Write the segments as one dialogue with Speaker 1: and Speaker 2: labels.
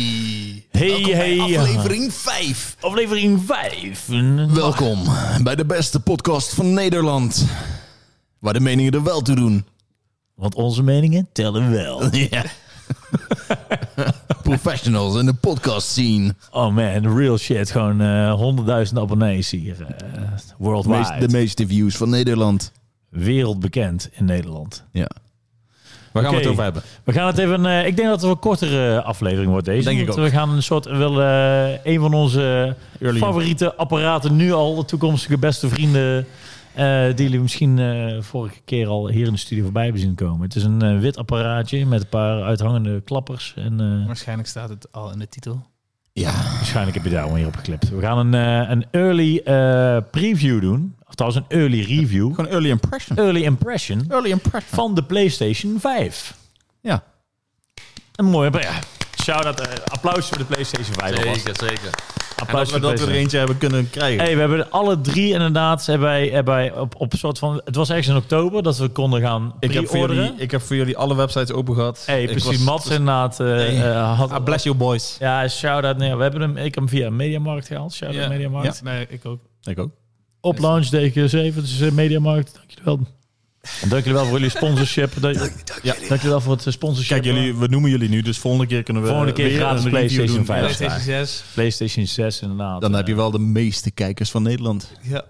Speaker 1: Hey.
Speaker 2: Hey,
Speaker 1: Welkom bij
Speaker 2: hey,
Speaker 1: aflevering 5.
Speaker 2: Aflevering 5.
Speaker 1: Welkom bij de beste podcast van Nederland. Waar de meningen er wel toe doen.
Speaker 2: Want onze meningen tellen wel.
Speaker 1: Ja. Professionals in de podcast scene.
Speaker 2: Oh man, real shit. Gewoon eh, honderdduizend abonnees hier. eh, worldwide.
Speaker 1: Meest- de meeste views van Nederland.
Speaker 2: Wereldbekend in Nederland.
Speaker 1: Ja.
Speaker 3: Waar gaan we
Speaker 2: Oké.
Speaker 3: het over hebben?
Speaker 2: We gaan het even... eh, ik denk dat het een kortere aflevering wordt deze.
Speaker 3: Denk ik
Speaker 2: want
Speaker 3: ook.
Speaker 2: We gaan een soort... Wel, eh, een van onze
Speaker 3: Early.
Speaker 2: favoriete apparaten nu al. De toekomstige beste vrienden. eh, die jullie misschien eh, vorige keer al hier in de studio voorbij hebben zien komen. Het is een eh, wit apparaatje met een paar uithangende klappers. En, eh,
Speaker 4: Waarschijnlijk staat het al in de titel.
Speaker 1: Ja.
Speaker 2: Waarschijnlijk heb je daar weer op geklipt. We gaan een, eh, een early eh, preview doen. Of trouwens een early review.
Speaker 3: Gewoon early impression.
Speaker 2: Early impression
Speaker 3: Early impression.
Speaker 2: van de PlayStation 5.
Speaker 3: Ja.
Speaker 2: Een mooie... Ja. Shout-out. eh, applaus voor de PlayStation 5. alvast.
Speaker 3: zeker. En
Speaker 2: Applaus
Speaker 3: dat we, dat we er eentje hebben kunnen krijgen.
Speaker 2: Hey, we hebben alle drie inderdaad hebben wij, hebben wij op, op soort van... Het was ergens in oktober dat we konden gaan
Speaker 3: ik, heb voor jullie,
Speaker 2: pre-orderen.
Speaker 3: ik heb voor jullie alle websites open gehad.
Speaker 2: Hey,
Speaker 3: Ik
Speaker 2: precies.
Speaker 3: was-
Speaker 2: Mats inderdaad eh, eh, had...
Speaker 3: Ah, bless you boys.
Speaker 2: ja, shout-out. Nee, we hebben hem, ik heb hem via Mediamarkt gehaald. Shout-out
Speaker 3: Ja.
Speaker 2: Mediamarkt.
Speaker 3: Ja.
Speaker 4: Nee, ik ook.
Speaker 3: Ik ook.
Speaker 2: Op Lounge DQ7, dus eh, Mediamarkt. Dank jullie wel. En Dank jullie wel voor jullie sponsorship. Dank,
Speaker 3: Ja.
Speaker 2: dank jullie wel voor het eh, sponsorship.
Speaker 3: Kijk, jullie, we noemen jullie nu, dus volgende keer kunnen we
Speaker 2: Volgende keer
Speaker 3: weer
Speaker 2: gratis
Speaker 3: een review
Speaker 2: PlayStation
Speaker 3: doen.
Speaker 2: 5. Ja, dat is
Speaker 4: PlayStation 6.
Speaker 2: PlayStation 6 inderdaad.
Speaker 3: eh,
Speaker 1: Dan heb je wel de meeste kijkers van Nederland.
Speaker 4: Ja.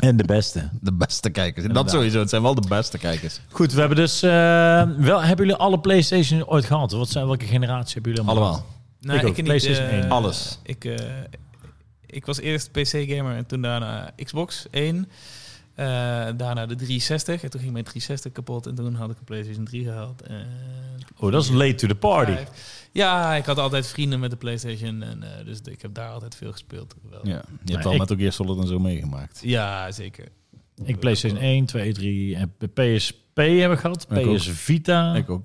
Speaker 2: En de beste.
Speaker 1: De beste kijkers.
Speaker 3: Dat sowieso, het zijn wel de beste kijkers.
Speaker 2: Goed, we hebben dus... eh, wel, hebben jullie alle PlayStation ooit gehad? Wat zijn, welke generatie hebben jullie allemaal?
Speaker 3: Allemaal.
Speaker 4: Nou,
Speaker 2: Ik
Speaker 4: ik,
Speaker 2: ook.
Speaker 4: niet,
Speaker 2: PlayStation
Speaker 4: eh,
Speaker 2: 1.
Speaker 3: Alles.
Speaker 4: Ik, eh, ik was eerst PC-gamer en toen daarna Xbox 1. Eh, daarna de 360. En toen ging mijn 360 kapot en toen had ik een PlayStation 3 gehaald. En
Speaker 2: Oh, dat is late to the party.
Speaker 4: vijf. Ja, ik had altijd vrienden met de PlayStation. En, eh, dus ik heb daar altijd veel gespeeld. Wel.
Speaker 3: Ja. Je
Speaker 2: Nee,
Speaker 3: hebt al
Speaker 2: ik-
Speaker 3: met ook eerst Solid en zo meegemaakt.
Speaker 4: Ja, zeker.
Speaker 2: Ik PlayStation 1, 2, 3. En PSP hebben we gehad.
Speaker 3: Ik ook.
Speaker 2: PS Vita.
Speaker 3: Ik ook.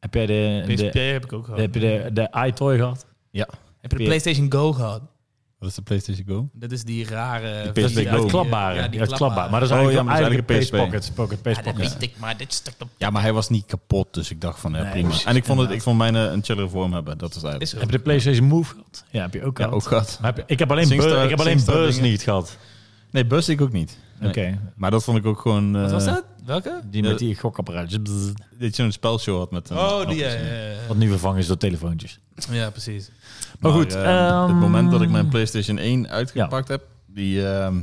Speaker 2: Heb jij de...
Speaker 4: PSP
Speaker 2: de
Speaker 4: heb ik ook gehad.
Speaker 2: heb je de, de iToy gehad?
Speaker 4: heb je de PlayStation Go gehad?
Speaker 3: Wat is de PlayStation Go?
Speaker 4: Dat is die rare...
Speaker 3: PSP
Speaker 4: die-
Speaker 3: Go.
Speaker 2: Het
Speaker 3: ook.
Speaker 2: klapbare. Ja,
Speaker 4: die
Speaker 2: het klapbare. Maar dat is
Speaker 3: Oh,
Speaker 2: eigenlijk,
Speaker 3: ja, maar dat
Speaker 2: eigenlijk
Speaker 3: is
Speaker 2: een
Speaker 3: eigenlijk
Speaker 2: Pocket.
Speaker 3: een
Speaker 2: Pocket,
Speaker 3: Ah,
Speaker 4: Ja, dat
Speaker 2: Pocket.
Speaker 4: weet ik, maar dit stuk op
Speaker 3: Ja, maar hij was niet kapot, dus ik dacht van, eh,
Speaker 2: Nee,
Speaker 3: prima.
Speaker 2: precies,
Speaker 3: en ik vond, het,
Speaker 2: inderdaad.
Speaker 3: ik vond mijn eh, een chillere vorm hebben, dat is eigenlijk.
Speaker 4: is er.
Speaker 2: Heb je de PlayStation Move gehad? Ja, heb je ook
Speaker 3: ja,
Speaker 2: gehad.
Speaker 3: ook gehad.
Speaker 2: Maar heb je- ik heb alleen,
Speaker 3: Singstar-
Speaker 2: Buzz- ik heb alleen
Speaker 3: Singstar
Speaker 2: Buzz
Speaker 3: dingen.
Speaker 2: niet gehad.
Speaker 3: Nee, bus ik ook niet. Nee.
Speaker 2: Oké.
Speaker 3: Maar dat vond ik ook gewoon... eh,
Speaker 4: Wat was dat? Welke?
Speaker 2: Die met die gokapparaatjes. bzz,
Speaker 3: Dat je een spelshow had met een
Speaker 4: Oh, die.
Speaker 3: knopjes.
Speaker 4: Ja, ja, ja.
Speaker 2: Wat nu vervangen is door telefoontjes.
Speaker 4: ja precies.
Speaker 2: Maar goed,
Speaker 3: eh,
Speaker 2: ehm,
Speaker 3: het moment dat ik mijn PlayStation 1 uitgepakt heb, die ehm,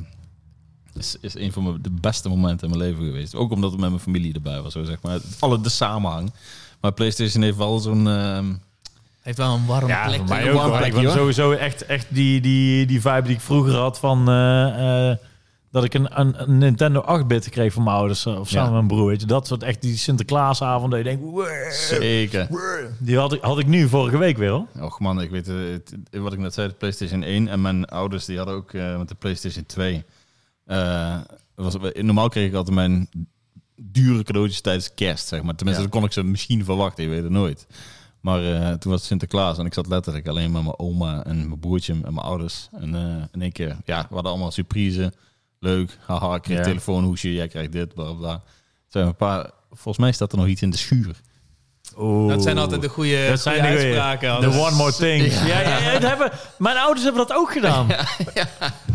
Speaker 3: is, is een van mijn, de beste momenten in mijn leven geweest. Ook omdat het met mijn familie erbij was, zo zeg maar. Het- Alle de samenhang. Maar PlayStation heeft wel zo'n. ehm,
Speaker 4: Heeft wel een warm
Speaker 2: Ja,
Speaker 4: plek.
Speaker 2: voor mij
Speaker 3: een
Speaker 2: ook
Speaker 3: warm
Speaker 2: hoor. Ik
Speaker 3: plekje,
Speaker 2: ben
Speaker 3: hoor.
Speaker 2: sowieso echt, echt die, die, die vibe die ik vroeger had van... eh, eh, dat ik een, een, een Nintendo 8-bit kreeg van mijn ouders eh, of samen
Speaker 3: Ja.
Speaker 2: met mijn broer. weet je. Dat soort echt die Sinterklaasavond dat je denkt... "Wee."
Speaker 3: zeker.
Speaker 2: Die had ik, had ik nu vorige week weer al.
Speaker 3: Och man, ik weet eh, het, wat ik net zei, de PlayStation 1 en mijn ouders die hadden ook eh, met de PlayStation 2. eh, was, normaal kreeg ik altijd mijn dure cadeautjes tijdens kerst, zeg maar. Tenminste,
Speaker 2: Ja.
Speaker 3: dan kon ik ze misschien verwachten, je weet het nooit. Maar eh, toen was het Sinterklaas en ik zat letterlijk alleen met mijn oma en mijn broertje en mijn ouders. En eh, in één keer, ja, we hadden allemaal surprise. Leuk, haha, ik kreeg
Speaker 2: Ja.
Speaker 3: een telefoonhoesje, jij krijgt dit, bla bla, bla. Het Zijn een paar, volgens mij staat er nog iets in de schuur.
Speaker 4: Dat zijn altijd de goede,
Speaker 2: Dat zijn de
Speaker 4: goede
Speaker 2: goeie.
Speaker 4: uitspraken.
Speaker 2: The
Speaker 4: anders-
Speaker 2: one more thing. Ja. Ja, het hebben, mijn ouders hebben dat ook gedaan.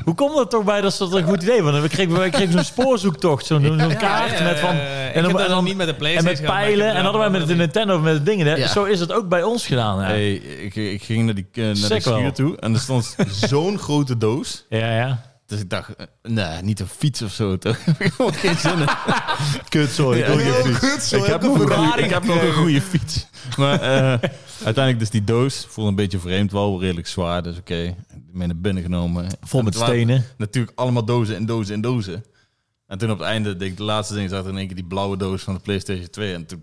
Speaker 2: Hoe komt dat toch bij dat ze dat een goed idee Want We kregen, we kregen zo'n spoorzoektocht, zo'n zo'n
Speaker 4: Ja,
Speaker 2: kaart
Speaker 4: ja,
Speaker 2: met van...
Speaker 4: ja, ja. Ik
Speaker 2: en
Speaker 4: heb
Speaker 2: dan-
Speaker 4: dat
Speaker 2: en
Speaker 4: nog
Speaker 2: dan-
Speaker 4: niet met de
Speaker 2: En
Speaker 4: PlayStation
Speaker 2: met pijlen. En hadden wij met de Nintendo of met de dingen. Hè? Zo is het ook bij ons gedaan. Hè?
Speaker 3: Hey, ik, ik ging naar die, eh, naar
Speaker 2: Sick
Speaker 3: de schuur
Speaker 2: wel.
Speaker 3: toe en er stond zo'n grote doos.
Speaker 2: Ja, ja.
Speaker 3: Dus ik dacht, eh, nee, niet een fiets of zo. Toch? Ik heb gewoon geen zin in.
Speaker 2: Kut, sorry.
Speaker 3: Ik wil geen fiets. ik, heb nog een goeie- ik heb nog een goede fiets. Maar eh, uiteindelijk dus die doos. Voelde een beetje vreemd, wel redelijk zwaar. Dus oké, ik ben naar binnen genomen.
Speaker 2: Vol
Speaker 3: En
Speaker 2: met
Speaker 3: het waren
Speaker 2: stenen.
Speaker 3: Natuurlijk allemaal dozen en dozen en dozen. En toen op het einde, denk ik, de laatste ding, zag er in één keer die blauwe doos van de PlayStation 2. En toen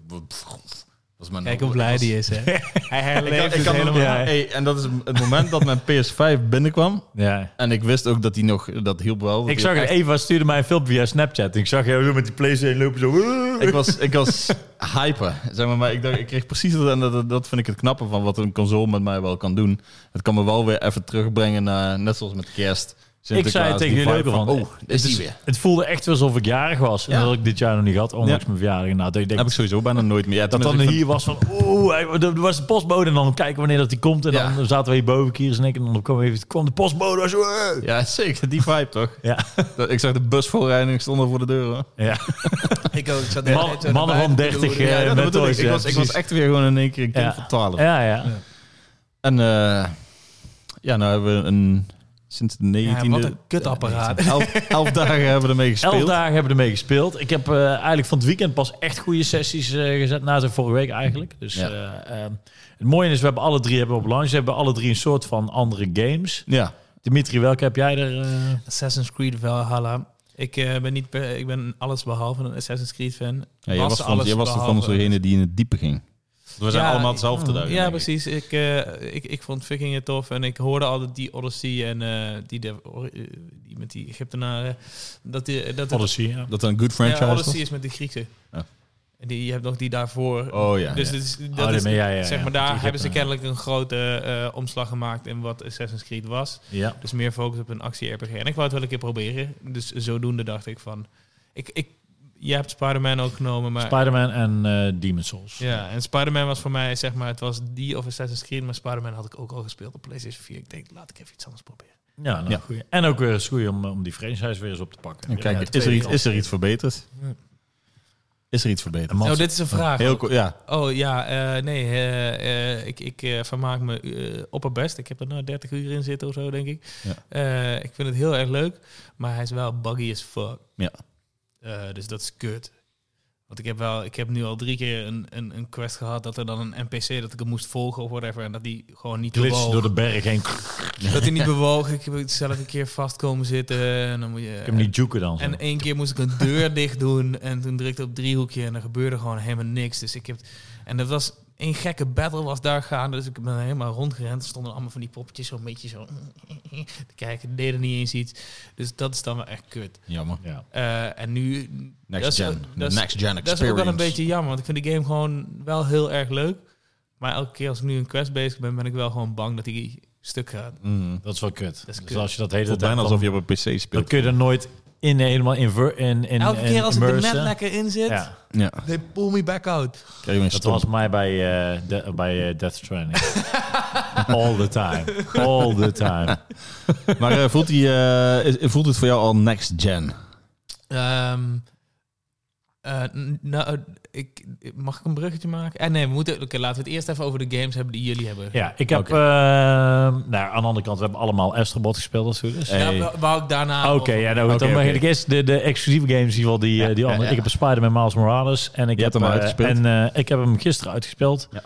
Speaker 3: was mijn
Speaker 4: Kijk hoe blij die is, hè. Hij
Speaker 3: Ik,
Speaker 4: herleeft
Speaker 3: ik kan
Speaker 4: helemaal.
Speaker 3: nog- hey, en dat is het moment dat mijn PS5 binnenkwam.
Speaker 2: Ja.
Speaker 3: En ik wist ook dat die nog, dat hielp wel. want
Speaker 2: Ik
Speaker 3: die
Speaker 2: zag
Speaker 3: had
Speaker 2: het,
Speaker 3: echt-
Speaker 2: Eva stuurde mij een filmpje via Snapchat. En ik zag jou zo met die PlayStation lopen. Zo.
Speaker 3: ik was, ik was hyper, zeg maar. maar ik, dacht, ik kreeg precies dat, en dat, dat vind ik het knappe van wat een console met mij wel kan doen. Het kan me wel weer even terugbrengen naar, net zoals met kerst,
Speaker 2: Ik zei het tegen jullie ook al van,
Speaker 1: Oh, daar is die
Speaker 2: dus
Speaker 1: weer.
Speaker 2: het voelde echt alsof ik jarig was. En
Speaker 3: Ja.
Speaker 2: dat had ik dit jaar nog niet had, ondanks
Speaker 3: Ja.
Speaker 2: mijn verjaardag. Nou, dat ik denk,
Speaker 3: Heb ik sowieso bijna nooit meer. Ja,
Speaker 2: dat dan
Speaker 3: tenminste, ik
Speaker 2: hier was van, oeh, hij- er was de postbode. En dan kijken wanneer dat die komt. En
Speaker 3: Ja.
Speaker 2: dan zaten we hier boven, Kiers en ik. En dan kwam, even, kwam de postbode. "Eh." was, "Oeh."
Speaker 3: vind- Ja, zeker. Die vibe toch?
Speaker 2: Ja,
Speaker 3: Dat- Ik zag de bus voorrijden en ik stond al voor de deur. hoor.
Speaker 2: ja.
Speaker 4: Ik ook. Ik zat
Speaker 2: Man-
Speaker 4: net zo
Speaker 2: mannen
Speaker 4: erbij.
Speaker 2: van 30
Speaker 3: Ja,
Speaker 2: eh,
Speaker 3: dat
Speaker 2: met
Speaker 3: bedoel ik.
Speaker 2: toys.
Speaker 3: Ik
Speaker 2: ja,
Speaker 3: was, ik was
Speaker 2: precies.
Speaker 3: echt weer gewoon in één keer een kind
Speaker 2: Ja.
Speaker 3: van 12.
Speaker 2: Ja, ja.
Speaker 3: En eh, ja, nou hebben we een, sinds de 19e...
Speaker 4: Ja, wat een kutapparaat.
Speaker 3: Elf, elf dagen hebben we ermee gespeeld.
Speaker 2: Elf dagen hebben we ermee gespeeld. Ik heb eh, eigenlijk van het weekend pas echt goede sessies eh, gezet. Na de vorige week eigenlijk. Dus
Speaker 3: Ja.
Speaker 2: eh, ehm, het mooie is, we hebben alle drie hebben we op launch. We hebben alle drie een soort van andere games.
Speaker 3: Ja,
Speaker 2: Dimitri, welke heb jij er? eh,
Speaker 4: Assassin's Creed Valhalla. Ik, eh, ben niet per- ik ben alles behalve een Assassin's Creed fan.
Speaker 3: ja jij was, van,
Speaker 4: alles
Speaker 3: jij was toch van
Speaker 4: behalve-
Speaker 3: degene die in het diepe ging. We zijn
Speaker 4: Ja,
Speaker 3: allemaal hetzelfde daar.
Speaker 4: Ja, precies. Ik, eh, ik, ik vond vikingen tof en ik hoorde altijd die Odyssey en eh, die, de, die met die Egyptenaren. Dat die, dat het-
Speaker 2: Odyssey, ja.
Speaker 3: Dat een good
Speaker 4: ja,
Speaker 3: franchise was?
Speaker 4: Odyssey is met de Grieken.
Speaker 3: Ja.
Speaker 4: En die, je hebt nog die daarvoor.
Speaker 3: Oh ja.
Speaker 4: dus
Speaker 3: ja.
Speaker 4: dit is- dat
Speaker 2: Oh,
Speaker 4: is,
Speaker 2: dit ben- ja, ja,
Speaker 4: zeg
Speaker 2: ja.
Speaker 4: maar, daar
Speaker 2: Ik
Speaker 4: hebben ze
Speaker 2: heb,
Speaker 4: kennelijk een grote eh, omslag gemaakt in wat Assassin's Creed was.
Speaker 2: Ja.
Speaker 4: Dus meer focus op een actie-RPG. En ik wou het wel een keer proberen. Dus zodoende dacht ik van... Ik, ik, jij hebt Spider-Man ook genomen, maar...
Speaker 2: Spider-Man en eh Demon Souls.
Speaker 4: ja, en Spider-Man was voor mij, zeg maar, het was die of Assassin's Creed, maar Spider-Man had ik ook al gespeeld op PlayStation 4. Ik denk, laat ik even iets anders proberen.
Speaker 2: Ja, nou,
Speaker 3: Ja.
Speaker 2: goeie. en ook weer eens goed om, om die franchise weer eens op te pakken.
Speaker 3: En kijk,
Speaker 2: Ja,
Speaker 3: is, er iets,
Speaker 2: tweede
Speaker 3: is er iets verbeterd?
Speaker 4: Ja.
Speaker 3: Is er iets verbeterd?
Speaker 2: Man. Als-
Speaker 4: oh, dit is een vraag.
Speaker 3: Heel ko- ja.
Speaker 4: Oh ja, eh, nee, eh, eh, ik, ik eh, vermaak me eh, op het best. Ik heb er nou 30 uur in zitten of zo, denk ik.
Speaker 3: Ja.
Speaker 4: Eh, ik vind het heel erg leuk, maar hij is wel buggy as fuck.
Speaker 3: Ja.
Speaker 4: Eh, dus dat is kut. Want ik heb, wel, ik heb nu al drie keer een, een, een quest gehad dat er dan een NPC dat ik hem moest volgen of whatever. En dat die gewoon niet
Speaker 2: Glitch
Speaker 4: bewoog.
Speaker 2: door de berg heen.
Speaker 4: Dat hij niet bewoog. Ik heb zelf een keer vast komen zitten. En dan moet je.
Speaker 2: Ik heb niet juken dan.
Speaker 4: En één keer moest ik een deur dicht doen. En toen drukte ik op driehoekje. En er gebeurde gewoon helemaal niks. Dus ik heb. En dat was. Een gekke battle was daar gaande. Dus ik ben helemaal rondgerend. Er stonden allemaal van die poppetjes zo'n beetje zo. te kijken. Deden niet eens iets. Dus dat is dan wel echt kut.
Speaker 3: Jammer.
Speaker 2: ja.
Speaker 4: Eh, en nu.
Speaker 3: Next
Speaker 4: dat is-
Speaker 3: gen.
Speaker 4: dat is-
Speaker 3: Next gen experience.
Speaker 4: Dat is ook wel een beetje jammer. Want ik vind de game gewoon wel heel erg leuk. Maar elke keer als ik nu een quest bezig ben, ben ik wel gewoon bang dat die stuk gaat.
Speaker 3: Mm.
Speaker 2: Dat is wel kut.
Speaker 4: is
Speaker 2: Dus
Speaker 4: kut.
Speaker 2: als je dat hele
Speaker 3: Het is
Speaker 2: tijd
Speaker 3: bijna
Speaker 2: dan-
Speaker 3: alsof je op een PC
Speaker 2: dan
Speaker 3: speelt.
Speaker 2: kun je er nooit in eh, helemaal in ver- in in
Speaker 4: Elke keer
Speaker 2: in
Speaker 4: als ik er net
Speaker 2: immersen.
Speaker 4: lekker in zit,
Speaker 2: Ja,
Speaker 3: Ja.
Speaker 4: they pull me back out.
Speaker 3: Krijg je een
Speaker 2: dat
Speaker 3: stomp.
Speaker 2: was mij bij eh, de- bij eh, Death Stranding. All the time, all the time.
Speaker 3: Maar eh, voelt, die, eh, is- voelt het voor jou al next gen?
Speaker 4: Ehm, eh, n- nou, ik, mag ik een bruggetje maken? Eh, nee, we moeten. Oké, laten we het eerst even over de games hebben die jullie hebben.
Speaker 2: Ja, ik heb.
Speaker 3: Oké.
Speaker 2: ehm, nou, aan de andere kant, we hebben allemaal Astrobot gespeeld als het goed is.
Speaker 3: Hey.
Speaker 4: Nou, wou- wou ik daarna.
Speaker 2: Ah, Oké,
Speaker 4: over-
Speaker 2: ja, nou,
Speaker 3: Oké,
Speaker 2: dan mag
Speaker 3: oké.
Speaker 2: ik eerst de, de exclusieve games, in ieder geval die, eh, die
Speaker 3: ja,
Speaker 2: andere.
Speaker 3: ja.
Speaker 2: Ik heb een Spider-Man Miles Morales en ik
Speaker 3: Je
Speaker 2: heb
Speaker 3: hebt hem
Speaker 2: eh,
Speaker 3: uitgespeeld.
Speaker 2: En eh, ik heb hem gisteren uitgespeeld.
Speaker 3: Ja.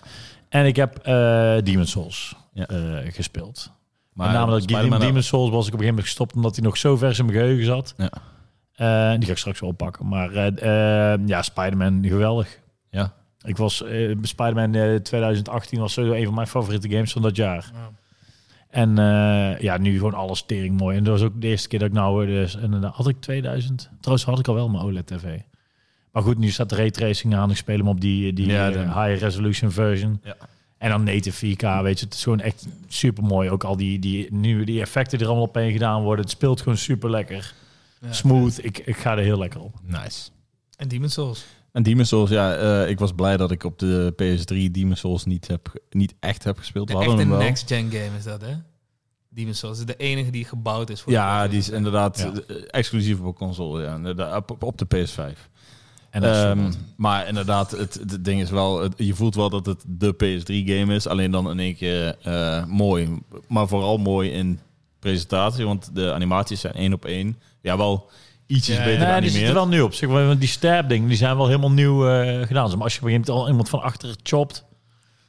Speaker 2: En ik heb eh Demon Souls
Speaker 3: Ja.
Speaker 2: eh, gespeeld.
Speaker 3: Maar eh,
Speaker 2: Met name dat
Speaker 3: Spider-Man
Speaker 2: Demon, Demon Souls was ik op een gegeven moment gestopt omdat hij nog zo vers in mijn geheugen zat.
Speaker 3: Ja.
Speaker 2: Eh, die ga ik straks wel oppakken. Maar eh, eh, ja, Spider-Man, geweldig.
Speaker 3: Ja.
Speaker 2: Ik was eh Spider-Man eh, 2018 was sowieso een van mijn favoriete games van dat jaar.
Speaker 4: Ja.
Speaker 2: En eh, ja, nu gewoon alles tering mooi. En dat was ook de eerste keer dat ik nou... eh, Dus, en dan had ik 2000. Trouwens had ik al wel mijn OLED-tv. Maar goed, nu staat de raytracing aan. Ik speel hem op die, die
Speaker 3: Ja,
Speaker 2: eh,
Speaker 3: dan-
Speaker 2: high resolution version.
Speaker 3: Ja.
Speaker 2: En dan native 4K, weet je. Het is gewoon echt super mooi. Ook al die, die, nu die effecten die er allemaal op heen gedaan worden. Het speelt gewoon super lekker.
Speaker 4: Ja.
Speaker 2: Smooth. Ik, ik ga er heel lekker op.
Speaker 3: Nice.
Speaker 4: En Demon's Souls.
Speaker 3: En Demon's Souls, ja, eh, ik was blij dat ik op de PS3 Demon's Souls niet, heb, ge- niet echt heb gespeeld. We
Speaker 4: De
Speaker 3: hadden
Speaker 4: echte
Speaker 3: hem wel.
Speaker 4: next-gen game is dat, hè? Demon's Souls is de enige die gebouwd is voor.
Speaker 3: Ja, die is inderdaad
Speaker 2: Ja.
Speaker 3: eh, exclusief op console, ja, inderdaad, op- op, op de PS5.
Speaker 2: En dat is
Speaker 3: Ehm,
Speaker 2: super.
Speaker 3: maar inderdaad, het, het ding is wel, het- je voelt wel dat het de PS3-game is, alleen dan in één keer eh, mooi. Maar vooral mooi in presentatie, want de animaties zijn één op één. Ja, wel ietsjes
Speaker 4: Ja, ja.
Speaker 3: beter
Speaker 2: Nee, die
Speaker 3: geanimeerd.
Speaker 2: zitten wel nieuw op zich. Want die stab dingen die zijn wel helemaal nieuw eh, gedaan. Dus maar als je op een gegeven moment al iemand van achter chopt,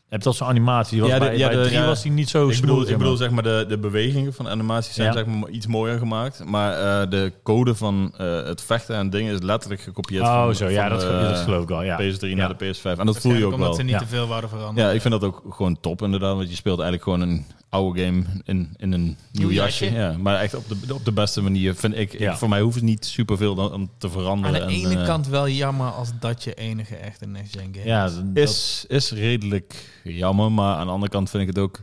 Speaker 2: heb je dat zo'n animatie. Die was
Speaker 3: Ja, de-
Speaker 2: bij,
Speaker 3: ja,
Speaker 2: bij
Speaker 3: de-
Speaker 2: drie
Speaker 3: ja.
Speaker 2: was die niet zo
Speaker 3: Ik bedoel,
Speaker 2: smooth,
Speaker 3: ik bedoel
Speaker 2: zeg
Speaker 3: zeg maar de, de bewegingen van de animaties zijn
Speaker 2: Ja.
Speaker 3: zeg maar iets mooier gemaakt. Maar eh, de code van eh, het vechten en dingen is letterlijk gekopieerd
Speaker 2: maar.
Speaker 3: van,
Speaker 2: Oh, zo.
Speaker 3: van eh,
Speaker 2: Ja, dat,
Speaker 3: de,
Speaker 2: dat geloof ik al. Ja.
Speaker 3: PS3
Speaker 2: Ja.
Speaker 3: naar de PS5. En dat voel je ook
Speaker 4: Omdat
Speaker 3: wel.
Speaker 4: ze niet
Speaker 2: Ja.
Speaker 4: te veel wouden veranderen.
Speaker 3: Ja, ik vind dat ook gewoon top inderdaad. Want je speelt eigenlijk gewoon een oude game in, in een nieuw jasje.
Speaker 4: jasje.
Speaker 3: Ja, maar echt op de, op de beste manier vind ik. ik-
Speaker 2: Ja.
Speaker 3: voor mij hoeft het niet superveel dan, om te
Speaker 4: Aan
Speaker 3: veranderen.
Speaker 4: de
Speaker 3: En,
Speaker 4: ene
Speaker 3: eh,
Speaker 4: kant wel jammer als dat je enige echte next-gen game
Speaker 2: Ja, dat-
Speaker 3: is, is redelijk jammer. Maar aan de andere kant vind ik het ook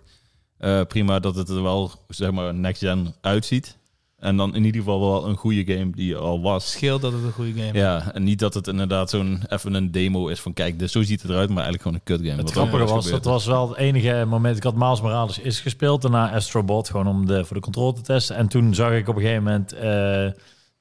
Speaker 3: eh, prima dat het er wel zeg maar next gen uitziet. En dan in ieder geval wel een goede game die er al was.
Speaker 4: Scheelt dat het een goede game is.
Speaker 3: Ja, en niet dat het inderdaad zo'n even een demo is van kijk, dus zo ziet het eruit, maar eigenlijk gewoon een kutgame.
Speaker 2: Het
Speaker 3: Wat
Speaker 2: grappige
Speaker 3: er ook
Speaker 2: was,
Speaker 3: gebeurt.
Speaker 2: dat was wel het enige moment. Ik had Miles Morales is gespeeld, daarna Astrobot, gewoon om de, voor de controle te testen. En toen zag ik op een gegeven moment eh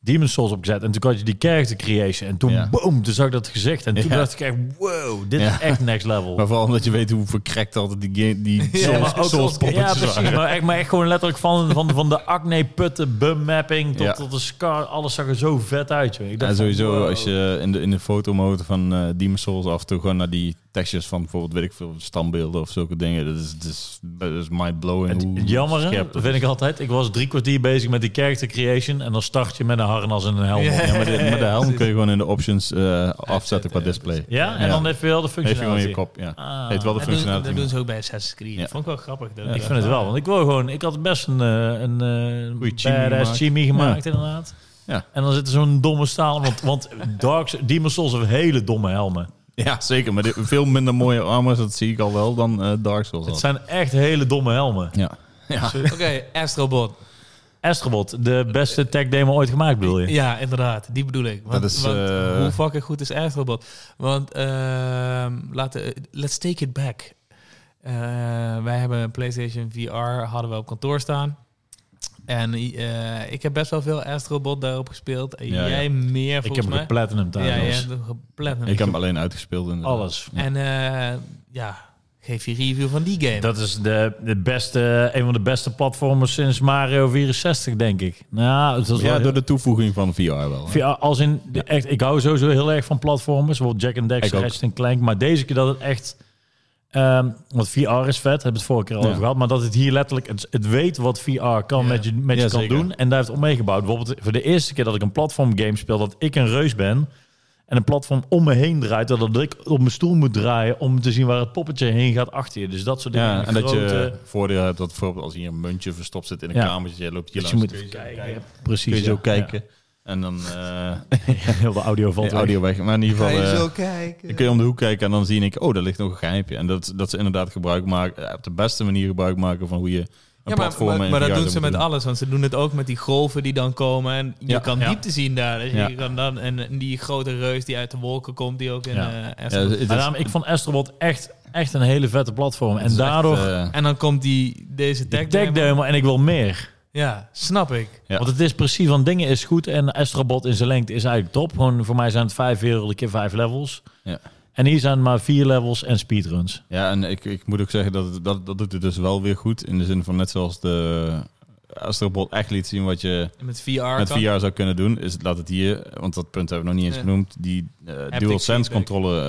Speaker 2: Demon's Souls opgezet. En toen had je die character creation. En toen,
Speaker 3: Ja.
Speaker 2: boom, toen zag ik dat gezicht. En toen
Speaker 3: Ja.
Speaker 2: dacht ik echt, wow, dit
Speaker 3: Ja.
Speaker 2: is echt next level.
Speaker 3: Maar vooral omdat je weet hoe verkrekt altijd die, game, die
Speaker 2: Ja,
Speaker 3: Souls-
Speaker 2: maar ook-
Speaker 3: Souls
Speaker 2: ja,
Speaker 3: poppetjes
Speaker 2: precies.
Speaker 3: waren.
Speaker 2: Maar echt, maar echt gewoon letterlijk van, van, van de acne-putten, bum-mapping tot,
Speaker 3: Ja.
Speaker 2: tot de scar. Alles zag er zo vet uit. joh. Ik dacht
Speaker 3: En
Speaker 2: van,
Speaker 3: sowieso,
Speaker 2: wow.
Speaker 3: als je in de, in de fotomode van eh Demon's Souls af en toe gewoon naar die textures van bijvoorbeeld, weet ik veel, standbeelden of zulke dingen. Dat is, dat is, dat is mind-blowing.
Speaker 2: Het
Speaker 3: hoe
Speaker 2: jammer
Speaker 3: scherp dat
Speaker 2: vind
Speaker 3: is.
Speaker 2: ik altijd. Ik was drie kwartier bezig met die character creation. En dan start je met een harnas en een helm. op.
Speaker 4: Ja.
Speaker 2: Ja,
Speaker 3: Ja, maar de, maar de helm kun je gewoon in de options eh, afzetten qua
Speaker 4: ja,
Speaker 3: display.
Speaker 2: en dan heeft je wel de
Speaker 3: Heeft je gewoon in je
Speaker 2: functionaliteit.
Speaker 3: kop, ja.
Speaker 2: Ah.
Speaker 3: Heeft wel de
Speaker 4: Dat doen, dat doen
Speaker 3: functionaliteit.
Speaker 4: ze ook bij Assassin's Creed.
Speaker 3: Ja.
Speaker 4: Vond ik "Ah, wel grappig. Dat
Speaker 2: Ik vind het wel, want ik wil gewoon... Ik had best een, eh, een eh,
Speaker 3: Goeie chimie
Speaker 2: badass
Speaker 3: gemaakt.
Speaker 2: chimie gemaakt, inderdaad.
Speaker 3: Ja.
Speaker 2: En dan zit er zo'n domme staal... Want, want Dark Demon's Souls hebben hele domme helmen.
Speaker 3: Ja, zeker. Maar dit- veel minder mooie armors, dat zie ik al wel, dan eh, Dark Souls
Speaker 2: Het
Speaker 3: had.
Speaker 2: zijn echt hele domme helmen.
Speaker 3: Ja. ja.
Speaker 4: Oké, Astrobot.
Speaker 2: Astrobot, de beste tech demo ooit gemaakt, bedoel je?
Speaker 4: Ja, inderdaad. Die bedoel ik. Want,
Speaker 3: Dat is,
Speaker 4: want
Speaker 3: eh,
Speaker 4: hoe fucking goed is Astrobot? Want ehm, laten, let's take it back. Eh, wij hebben een PlayStation VR, hadden we op kantoor staan. En eh, ik heb best wel veel Astrobot daarop gespeeld. En
Speaker 3: Ja,
Speaker 4: jij
Speaker 3: ja.
Speaker 4: meer
Speaker 2: Ik
Speaker 4: volgens
Speaker 2: heb
Speaker 4: mij.
Speaker 2: de platinum thuis.
Speaker 4: ja, ja,
Speaker 2: dus
Speaker 4: de geplatinum.
Speaker 3: Ik heb hem alleen uitgespeeld. In
Speaker 2: Alles.
Speaker 4: En eh, ja, geef je review van die game.
Speaker 2: Dat is de, de beste, een van de beste platformers sinds Mario 64, denk ik. Nou, het was
Speaker 3: Ja,
Speaker 2: wel-
Speaker 3: door de toevoeging van VR wel. hè.
Speaker 2: Ja, als in, de- echt, ik hou sowieso heel erg van platformers, bijvoorbeeld Jack and
Speaker 3: Ik ook.
Speaker 2: Dexter, Ratchet Clank. Maar deze keer dat het echt, ehm, want VR is vet, hebben we het vorige keer al
Speaker 3: Ja.
Speaker 2: over gehad. Maar dat het hier letterlijk, het, het weet wat VR kan met je, met je
Speaker 3: Ja,
Speaker 2: kan
Speaker 3: zeker.
Speaker 2: doen. En daar heeft het om meegebouwd. Bijvoorbeeld voor de eerste keer dat ik een platform game speel, dat ik een reus ben. En een platform om me heen draait, dat ik op mijn stoel moet draaien om te zien waar het poppetje heen gaat achter je. Dus dat soort dingen.
Speaker 3: Ja, en dat je
Speaker 2: Grote-
Speaker 3: voordeel hebt dat bijvoorbeeld als hier een muntje verstopt zit in een
Speaker 2: Ja.
Speaker 3: kamertje, je loopt hier
Speaker 2: dat Dus je
Speaker 3: langs,
Speaker 2: moet
Speaker 3: kun
Speaker 2: even
Speaker 3: zo
Speaker 2: kijken.
Speaker 3: kijken.
Speaker 2: Precies.
Speaker 3: Kun je zo
Speaker 2: ja.
Speaker 3: kijken. En dan eh
Speaker 2: Ja. Heel de audio valt
Speaker 3: de
Speaker 2: weg.
Speaker 3: audio weg. Maar in ieder geval, eh,
Speaker 4: kijken?
Speaker 3: dan kun je om de hoek kijken en dan zie ik, oh, daar ligt nog een geheimje. En dat, dat ze inderdaad gebruik maken, eh, op de beste manier gebruik maken van hoe je een
Speaker 4: Ja, maar,
Speaker 3: platform
Speaker 4: maar,
Speaker 3: en
Speaker 4: maar
Speaker 3: VR
Speaker 4: dat
Speaker 3: zou
Speaker 4: doen ze met
Speaker 3: moeten doen.
Speaker 4: alles. Want ze doen het ook met die golven die dan komen. En je
Speaker 3: Ja.
Speaker 4: kan
Speaker 2: Ja.
Speaker 4: diepte zien daar. Dus
Speaker 3: Ja.
Speaker 4: je kan dan, en, en die grote reus die uit de wolken komt, die ook in...
Speaker 2: Ja.
Speaker 4: eh,
Speaker 3: Ja,
Speaker 4: Aspen-
Speaker 3: het is-
Speaker 2: Maar daarom, ik vond Astrobot echt, echt een hele vette platform. En
Speaker 3: het is echt,
Speaker 2: daardoor
Speaker 3: eh,
Speaker 4: en dan komt die, deze
Speaker 2: de
Speaker 4: tech
Speaker 2: tech
Speaker 4: demo.
Speaker 2: demo en ik wil meer.
Speaker 4: Ja, snap ik.
Speaker 3: Ja.
Speaker 2: Want het is precies van dingen is goed en Astrobot in zijn lengte is eigenlijk top. Gewoon voor mij zijn het vijf werelden keer vijf levels.
Speaker 3: Ja.
Speaker 2: En hier zijn maar vier levels en speedruns.
Speaker 3: Ja, en ik, ik moet ook zeggen dat, het- dat dat doet het dus wel weer goed. In de zin van net zoals de Astrobot echt liet zien wat je
Speaker 4: En Met VR
Speaker 3: met
Speaker 4: kan.
Speaker 3: VR zou kunnen doen, is laat het hier, want dat punt hebben we nog niet eens
Speaker 4: Nee.
Speaker 3: genoemd, die eh
Speaker 4: Haptic
Speaker 3: DualSense
Speaker 4: feedback.
Speaker 3: controle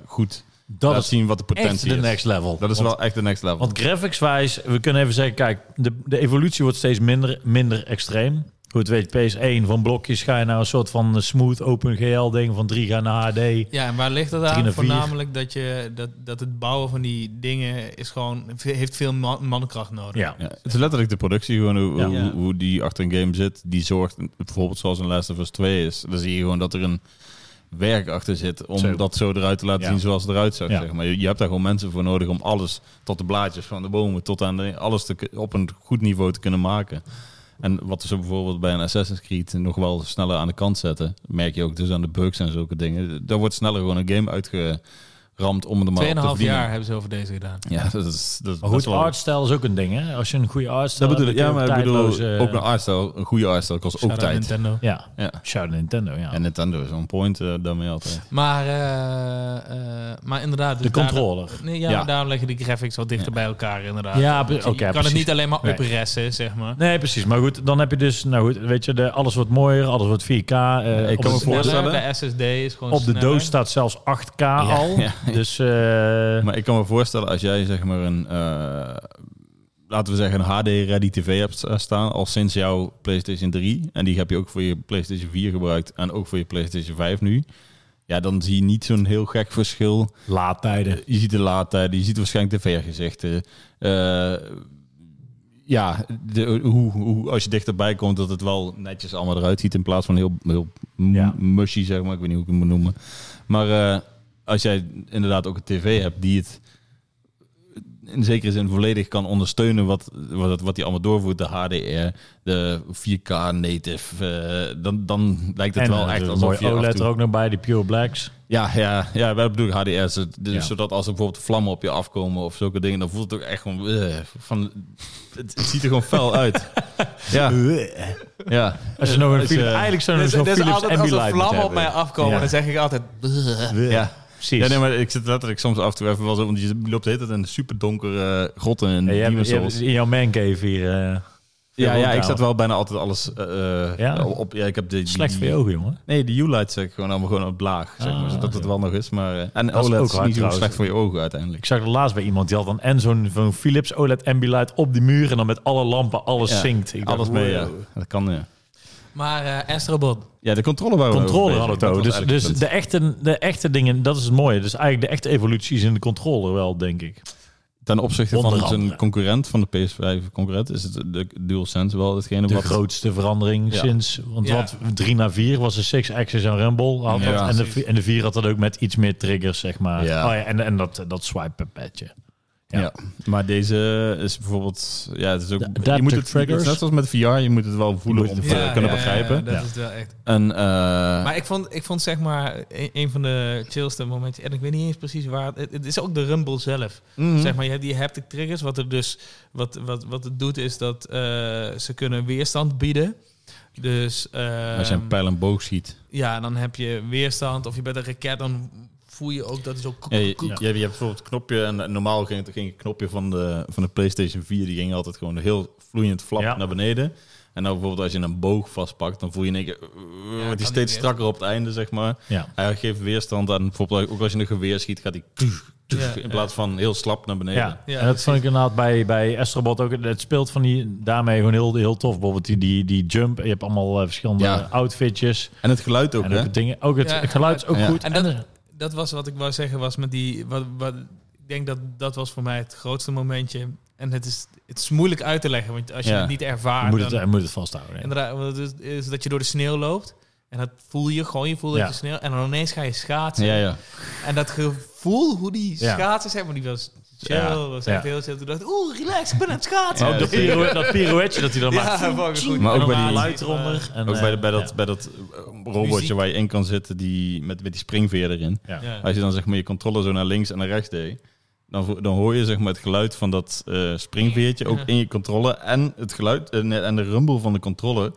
Speaker 3: eh, goed
Speaker 2: Dat
Speaker 3: laat
Speaker 2: is
Speaker 3: zien wat de
Speaker 2: echt
Speaker 3: potentie
Speaker 2: de
Speaker 3: is.
Speaker 2: next level.
Speaker 3: Dat is
Speaker 2: Want-
Speaker 3: wel echt de next level.
Speaker 2: Want graphics-wijs, we kunnen even zeggen, kijk, de, de evolutie wordt steeds minder, minder extreem. Hoe het weet, PS1 van blokjes ga je naar een soort van smooth OpenGL ding, van 3 ga naar HD.
Speaker 4: Ja, en waar ligt dat
Speaker 2: Drie
Speaker 4: aan?
Speaker 2: naar vier.
Speaker 4: Voornamelijk dat, je, dat, dat het bouwen van die dingen is gewoon, heeft veel man- mankracht nodig.
Speaker 2: Ja.
Speaker 3: ja, het is letterlijk de productie, gewoon hoe,
Speaker 2: Ja.
Speaker 3: hoe,
Speaker 4: Ja.
Speaker 3: hoe die achter een game zit, die zorgt, bijvoorbeeld zoals in Last of Us 2 is, dan zie je gewoon dat er een werk achter zit om
Speaker 2: Zo.
Speaker 3: dat zo eruit te laten
Speaker 2: Ja.
Speaker 3: zien zoals het eruit zag.
Speaker 2: Ja.
Speaker 3: Zeg maar. je, je hebt daar gewoon mensen voor nodig om alles, tot de blaadjes van de bomen, tot aan de, alles te, ku- op een goed niveau te kunnen maken. En wat ze bijvoorbeeld bij een Assassin's Creed nog wel sneller aan de kant zetten, merk je ook dus aan de bugs en zulke dingen. Daar wordt sneller gewoon een game uitgeramd om er maar op te
Speaker 4: Tweeënhalf
Speaker 3: verdienen.
Speaker 4: jaar hebben ze over deze gedaan.
Speaker 3: Ja, dat is, dat,
Speaker 2: Maar
Speaker 3: dat
Speaker 2: goed,
Speaker 3: is wel-
Speaker 2: artstijl is ook een ding, hè? Als je een goede artstijl
Speaker 3: Dat bedoel ik.
Speaker 2: hebt,
Speaker 3: Ja,
Speaker 2: dan
Speaker 3: maar ik
Speaker 2: kun je
Speaker 3: bedoel,
Speaker 2: eh, tijdloze-
Speaker 3: ook een artstyle, een goede artstyle kost ook
Speaker 4: Shout-out
Speaker 3: tijd.
Speaker 4: Nintendo.
Speaker 2: Ja,
Speaker 3: Ja.
Speaker 2: shout Nintendo, ja.
Speaker 3: En Nintendo is on point eh, daarmee altijd.
Speaker 4: Maar, eh, eh, maar inderdaad...
Speaker 2: de
Speaker 4: dus daar-
Speaker 2: controller.
Speaker 4: Nee, ja,
Speaker 3: Ja.
Speaker 4: maar daarom leggen de graphics wat dichter
Speaker 3: Ja.
Speaker 4: bij elkaar inderdaad.
Speaker 2: Ja,
Speaker 4: Want je
Speaker 2: oké,
Speaker 4: kan
Speaker 2: precies.
Speaker 4: het niet alleen maar
Speaker 2: Nee.
Speaker 4: opressen, zeg maar.
Speaker 2: Nee, precies. Maar goed, dan heb je dus, nou goed, weet je, de, alles wordt mooier, alles wordt 4K. eh,
Speaker 3: ik
Speaker 2: op
Speaker 3: kan
Speaker 2: de-
Speaker 3: me voor- voorstellen.
Speaker 4: Sneller, De SSD is gewoon
Speaker 2: op de
Speaker 4: sneller.
Speaker 2: doos staat zelfs 8K al.
Speaker 3: ja.
Speaker 2: Dus eh,
Speaker 3: Maar ik kan me voorstellen, als jij zeg maar een, eh, laten we zeggen, een HD-ready TV hebt eh, staan, al sinds jouw PlayStation 3, en die heb je ook voor je PlayStation 4 gebruikt en ook voor je PlayStation 5 nu, ja, dan zie je niet zo'n heel gek verschil.
Speaker 2: laadtijden.
Speaker 3: eh, Je ziet de laadtijden, je ziet waarschijnlijk de vergezichten. Eh, ja, de, hoe, hoe, als je dichterbij komt, dat het wel netjes allemaal eruit ziet. In plaats van heel, heel m-
Speaker 2: Ja.
Speaker 3: mushy, zeg maar. Ik weet niet hoe ik het moet noemen. Maar eh, als jij inderdaad ook een tv hebt die het in zekere zin volledig kan ondersteunen wat, wat, wat die allemaal doorvoert. De HDR, de 4K native. eh, dan, dan lijkt het
Speaker 2: en eh,
Speaker 3: wel echt alsof je
Speaker 2: mooi
Speaker 3: af en
Speaker 2: OLED
Speaker 3: toe-
Speaker 2: E er ook nog bij, de Pure Blacks.
Speaker 3: Ja, ja, ja, dat bedoel ik HDR. zo- Dus
Speaker 2: Ja.
Speaker 3: Zodat als er bijvoorbeeld vlammen op je afkomen of zulke dingen, dan voelt het ook echt gewoon... eh, van, het, het ziet er gewoon fel uit. ja, ja.
Speaker 2: Eh, Als je nog een
Speaker 3: Dus,
Speaker 2: Philips,
Speaker 3: eh,
Speaker 2: eigenlijk zouden
Speaker 4: Dus,
Speaker 2: we zo'n
Speaker 4: dus
Speaker 2: Philips
Speaker 4: altijd
Speaker 2: Ambilight
Speaker 4: als er
Speaker 2: moeten
Speaker 4: vlammen op
Speaker 2: hebben.
Speaker 4: mij afkomen,
Speaker 2: Ja.
Speaker 4: dan zeg ik altijd... "Bleh."
Speaker 3: ja.
Speaker 2: Precies.
Speaker 3: Ja, nee, maar ik zit letterlijk soms af en toe even wel zo, want je loopt de hele tijd in super donkere grotten en
Speaker 2: Ja, jij hebt-
Speaker 3: Demon's
Speaker 2: je hebt
Speaker 3: Souls.
Speaker 2: in jouw mancave hier. eh,
Speaker 3: Ja, ja, ik
Speaker 2: woonkamer.
Speaker 3: zet wel bijna altijd alles eh, eh,
Speaker 2: Ja?
Speaker 3: op. Ja, ik heb de,
Speaker 2: Slecht voor je ogen, jongen.
Speaker 3: Nee, de U-light zet ik gewoon allemaal gewoon op laag, zeg maar,
Speaker 2: Ah,
Speaker 3: zodat het
Speaker 2: ja.
Speaker 3: wel nog is. Maar, eh, en
Speaker 2: Dat is
Speaker 3: OLED
Speaker 2: ook
Speaker 3: is,
Speaker 2: hard
Speaker 3: niet zo
Speaker 2: trouwens.
Speaker 3: slecht voor je ogen uiteindelijk.
Speaker 2: Ik zag er laatst bij iemand die had dan en zo'n van Philips OLED Ambilight op die muur en dan met alle lampen alles
Speaker 3: Ja,
Speaker 2: zinkt. Ik dacht, eh,
Speaker 3: Alles mee, ja.
Speaker 2: wow.
Speaker 3: Dat kan, ja.
Speaker 4: Maar eh Astrobot,
Speaker 3: Ja, de controle waren we
Speaker 2: Controller
Speaker 3: over
Speaker 2: had het
Speaker 3: bezig.
Speaker 2: ook.
Speaker 3: Dat
Speaker 2: Dus,
Speaker 3: was
Speaker 2: dus
Speaker 3: eigenlijk
Speaker 2: de, echte, de echte dingen, dat is het mooie. Dus eigenlijk de echte evolutie is in de controller wel, denk ik.
Speaker 3: punt. Ten opzichte van
Speaker 2: Onder
Speaker 3: zijn
Speaker 2: andere.
Speaker 3: concurrent, van de PS5 concurrent, is het de DualSense wel hetgene
Speaker 2: De
Speaker 3: wat...
Speaker 2: grootste verandering
Speaker 3: Ja.
Speaker 2: sinds... Want
Speaker 4: Ja.
Speaker 2: wat 3 naar 4 was de 6 axis en rumble. Had
Speaker 3: Ja,
Speaker 2: dat, en, de,
Speaker 4: precies.
Speaker 2: vi- en de 4 had dat ook met iets meer triggers, zeg maar.
Speaker 3: Ja.
Speaker 2: Oh ja, en en dat, dat swipe padje.
Speaker 3: Ja.
Speaker 2: Ja.
Speaker 3: maar deze is bijvoorbeeld... Ja, het is ook,
Speaker 2: De
Speaker 3: je
Speaker 2: adaptive
Speaker 3: moet het,
Speaker 2: triggers.
Speaker 3: het is net zoals met VR, je moet het wel voelen
Speaker 2: moet
Speaker 3: om
Speaker 2: het
Speaker 3: te
Speaker 2: voelen.
Speaker 4: Ja,
Speaker 3: kunnen
Speaker 4: ja, ja,
Speaker 3: begrijpen.
Speaker 4: ja, dat
Speaker 2: Ja.
Speaker 4: is wel echt.
Speaker 3: En, eh,
Speaker 4: Maar ik vond, ik vond zeg maar e-, een, een van de chillste momenten. En ik weet niet eens precies waar. Het, het- het is ook de rumble zelf.
Speaker 3: mhm.
Speaker 4: Zeg maar, je hebt die haptic triggers. Wat, er dus, wat, wat, wat het doet is dat eh, ze kunnen weerstand bieden. Dus eh,
Speaker 3: Als je een pijl en boog schiet.
Speaker 4: ja, dan heb je weerstand. Of je bent een raket, dan voel je ook dat is ook.
Speaker 3: Ja, je, je, je hebt bijvoorbeeld het knopje, en eh, normaal ging het, ging het knopje van de, van de PlayStation 4, die ging altijd gewoon heel vloeiend flap
Speaker 2: Ja.
Speaker 3: naar beneden. En nou bijvoorbeeld als je een boog vastpakt, dan voel je in één keer, eh, wordt
Speaker 4: kan
Speaker 3: die
Speaker 4: niet
Speaker 3: steeds
Speaker 4: meer.
Speaker 3: strakker op het einde, zeg maar.
Speaker 2: Ja.
Speaker 3: Hij geeft weerstand aan, bijvoorbeeld ook als je een geweer schiet, gaat hij tuff, tuff,
Speaker 4: Ja.
Speaker 3: in plaats van heel slap naar beneden.
Speaker 2: Ja,
Speaker 3: Ja,
Speaker 4: Ja,
Speaker 2: en dat
Speaker 4: precies.
Speaker 2: vond ik inderdaad bij, bij Astrobot ook. Het speelt van die, daarmee gewoon heel, heel tof. Bijvoorbeeld die, die, die jump. Je hebt allemaal eh, verschillende
Speaker 3: Ja.
Speaker 2: outfitjes.
Speaker 3: En het geluid ook,
Speaker 2: en
Speaker 3: hè?
Speaker 2: ook, het dingen, ook het
Speaker 4: Ja,
Speaker 2: geluid is ook
Speaker 3: ja.
Speaker 2: goed.
Speaker 4: En
Speaker 2: En,
Speaker 4: dat- Dat was wat ik wou zeggen, was met die... Wat, wat, ik denk dat dat was voor mij het grootste momentje. En het is, het is moeilijk uit te leggen, want als je
Speaker 3: Ja.
Speaker 4: het niet
Speaker 2: je
Speaker 4: ervaart...
Speaker 2: moet,
Speaker 4: dan, eh,
Speaker 2: het, je moet het vasthouden. ja.
Speaker 4: inderdaad, want het is, is dat je door de sneeuw loopt. En dat voel je gewoon, je voelt
Speaker 2: Ja.
Speaker 4: dat je sneeuw... En dan ineens ga je schaatsen.
Speaker 3: Ja, ja.
Speaker 4: En dat gevoel, hoe die
Speaker 2: Ja.
Speaker 4: schaatsen zijn, maar die was chill.
Speaker 3: Ja.
Speaker 4: was echt
Speaker 2: Ja.
Speaker 4: heel chill. Toen dacht ik, oeh, relax, ik ben aan het schaatsen.
Speaker 3: Ja,
Speaker 2: Oh, dat,
Speaker 3: zeker.
Speaker 2: pirouet- dat pirouetje dat hij dan maakt.
Speaker 4: fucking goed.
Speaker 3: Maar
Speaker 2: En dan
Speaker 3: ook bij die-
Speaker 2: geluid eronder. En,
Speaker 3: Ook bij, de-
Speaker 2: eh,
Speaker 3: bij dat,
Speaker 2: ja.
Speaker 3: bij dat eh, robotje
Speaker 4: Muziek.
Speaker 3: waar je in kan zitten die, met, met die springveer erin.
Speaker 2: Ja.
Speaker 4: Ja.
Speaker 3: Als je dan zeg maar je controller zo naar links en naar rechts deed, dan, vo- dan hoor je zeg maar het geluid van dat eh, springveertje ook
Speaker 4: Ja.
Speaker 3: in je controller en het geluid eh, en, en de rumble van de controller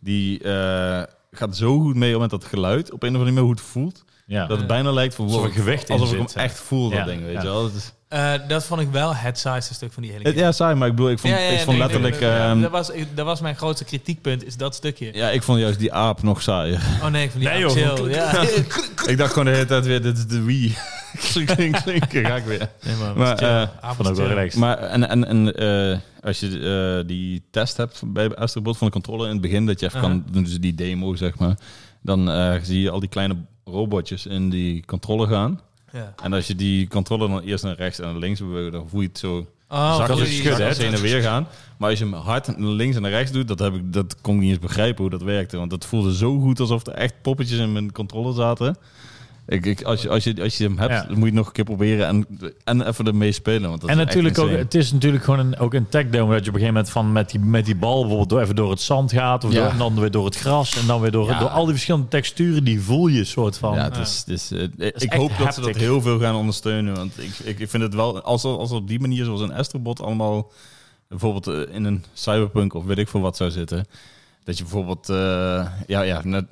Speaker 3: die eh, gaat zo goed mee met dat geluid op een of andere manier hoe het voelt
Speaker 2: Ja.
Speaker 3: dat het bijna lijkt van wow,
Speaker 2: Alsof er gewicht in
Speaker 3: alsof ik
Speaker 2: zit,
Speaker 3: hem
Speaker 2: ja.
Speaker 3: echt voel dat
Speaker 2: Ja,
Speaker 3: ding weet
Speaker 2: ja.
Speaker 3: je wel. Het is-
Speaker 4: Eh, dat vond ik wel het saaiste stuk van die hele
Speaker 3: het- ja saai, maar ik bedoel ik vond,
Speaker 4: Ja, ja,
Speaker 3: ik
Speaker 4: ja,
Speaker 3: vond
Speaker 4: nee, nee,
Speaker 3: letterlijk
Speaker 4: nee, nee,
Speaker 3: ehm,
Speaker 4: dat, was, dat was mijn grootste kritiekpunt, is dat stukje.
Speaker 3: ja ik vond juist die aap nog saaier.
Speaker 4: Oh nee, ik vond die
Speaker 2: Nee,
Speaker 4: ook
Speaker 2: joh.
Speaker 4: chill. Ja.
Speaker 3: ik dacht gewoon de hele tijd weer dit is de Wii. klink klink klink ga ik weer.
Speaker 2: Nee, maar,
Speaker 3: Maar, eh,
Speaker 2: vond ook wel relaxed.
Speaker 3: Maar en, en, en eh, als je eh, die test hebt bij Astrobot van de controle in het begin, dat je even
Speaker 4: Aha.
Speaker 3: kan doen, dus die demo zeg maar, dan eh, zie je al die kleine robotjes in die controle gaan.
Speaker 4: Ja.
Speaker 3: En als je die controle dan eerst naar rechts en naar links beweegt, dan voel je het zo
Speaker 4: Oh,
Speaker 3: zakjes,
Speaker 4: goeie.
Speaker 3: zakjes heen en weer gaan. Maar als je hem hard naar links en naar rechts doet, dat, heb ik, dat kon ik niet eens begrijpen hoe dat werkte. Want dat voelde zo goed alsof er echt poppetjes in mijn controle zaten. Ik, ik, als, je, als, je, als je hem hebt,
Speaker 2: Ja.
Speaker 3: dan moet je het nog een keer proberen en, en even ermee spelen. Want dat
Speaker 2: en
Speaker 3: is echt
Speaker 2: natuurlijk ook,
Speaker 3: insane.
Speaker 2: het is natuurlijk gewoon een, ook een tech demo dat je op een gegeven moment van met die, met die bal bijvoorbeeld door, even door het zand gaat, of
Speaker 3: Ja.
Speaker 2: door- en dan weer door het gras, en dan weer door,
Speaker 3: Ja.
Speaker 2: door al die verschillende texturen, die voel je soort van.
Speaker 3: Ja,
Speaker 2: Ja,
Speaker 3: het is, het is, eh,
Speaker 2: is
Speaker 3: ik
Speaker 2: echt
Speaker 3: hoop dat ze dat
Speaker 2: haptic.
Speaker 3: heel veel gaan ondersteunen. Want ik, ik, ik vind het wel, als, er- als er op die manier zoals een Astrobot allemaal bijvoorbeeld eh, in een cyberpunk of weet ik veel wat zou zitten. Dat je bijvoorbeeld, eh, ja, ja net,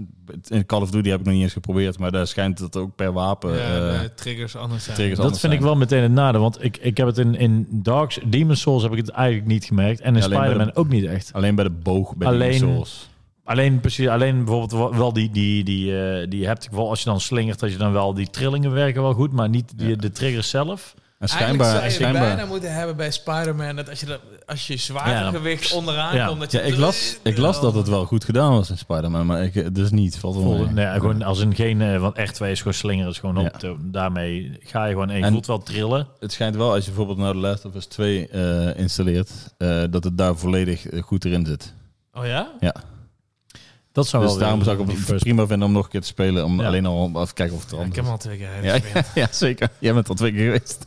Speaker 3: in Call of Duty heb ik nog niet eens geprobeerd, maar daar schijnt dat ook per wapen
Speaker 4: Ja,
Speaker 3: eh,
Speaker 4: de triggers anders zijn.
Speaker 3: triggers
Speaker 2: dat
Speaker 3: anders
Speaker 2: vind ik
Speaker 3: zijn.
Speaker 2: wel meteen het nadeel, want ik, ik heb het in, in Darks, Demon's Souls heb ik het eigenlijk niet gemerkt, en in
Speaker 3: Alleen bij de-
Speaker 2: Spider-Man ook niet echt.
Speaker 3: Alleen bij de boog, bij
Speaker 2: Alleen-
Speaker 3: de souls.
Speaker 2: Alleen, precies, alleen bijvoorbeeld wel- wel die, die, die, eh, die hebt ik wel, als je dan slingert, dat je dan wel, die trillingen werken wel goed, maar niet die,
Speaker 3: Ja.
Speaker 2: de triggers zelf.
Speaker 3: En
Speaker 4: Eigenlijk zou
Speaker 3: schijnbaar,
Speaker 4: je
Speaker 3: en
Speaker 4: het
Speaker 3: schijnbaar.
Speaker 4: bijna moeten hebben bij Spider-Man dat als je, dat, als je zwaartegewicht onderaan
Speaker 2: Ja.
Speaker 4: komt... Dat je
Speaker 3: Ja, ik las, ik las dat het wel goed gedaan was in Spider-Man, maar ik, dus niet. Valt wel
Speaker 2: Vol-
Speaker 3: mee.
Speaker 2: Nee, gewoon als in geen, eh, want R2 is gewoon slingeren, is gewoon op.
Speaker 3: Ja.
Speaker 2: te- daarmee ga je gewoon, en je
Speaker 3: En-
Speaker 2: voelt wel trillen.
Speaker 3: Het schijnt wel, als je bijvoorbeeld nou The Last of Us 2 eh, installeert, eh, dat het daar volledig eh, goed erin zit.
Speaker 4: Oh ja?
Speaker 2: Dat zou
Speaker 3: dus
Speaker 2: wel
Speaker 3: daarom
Speaker 2: weer-
Speaker 3: zou ik
Speaker 2: die
Speaker 3: het
Speaker 2: first-
Speaker 3: prima vinden om nog een keer te spelen, om
Speaker 2: Ja.
Speaker 3: alleen al om af te kijken of het er
Speaker 4: Ik
Speaker 3: anders
Speaker 4: heb
Speaker 3: is.
Speaker 4: hem al twee keer
Speaker 3: Ja, ja, ja, zeker. Jij bent al twee keer geweest.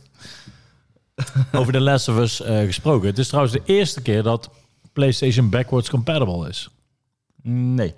Speaker 2: Over The Last of Us eh, gesproken. Het is trouwens de eerste keer dat PlayStation backwards compatible is.
Speaker 3: Nee.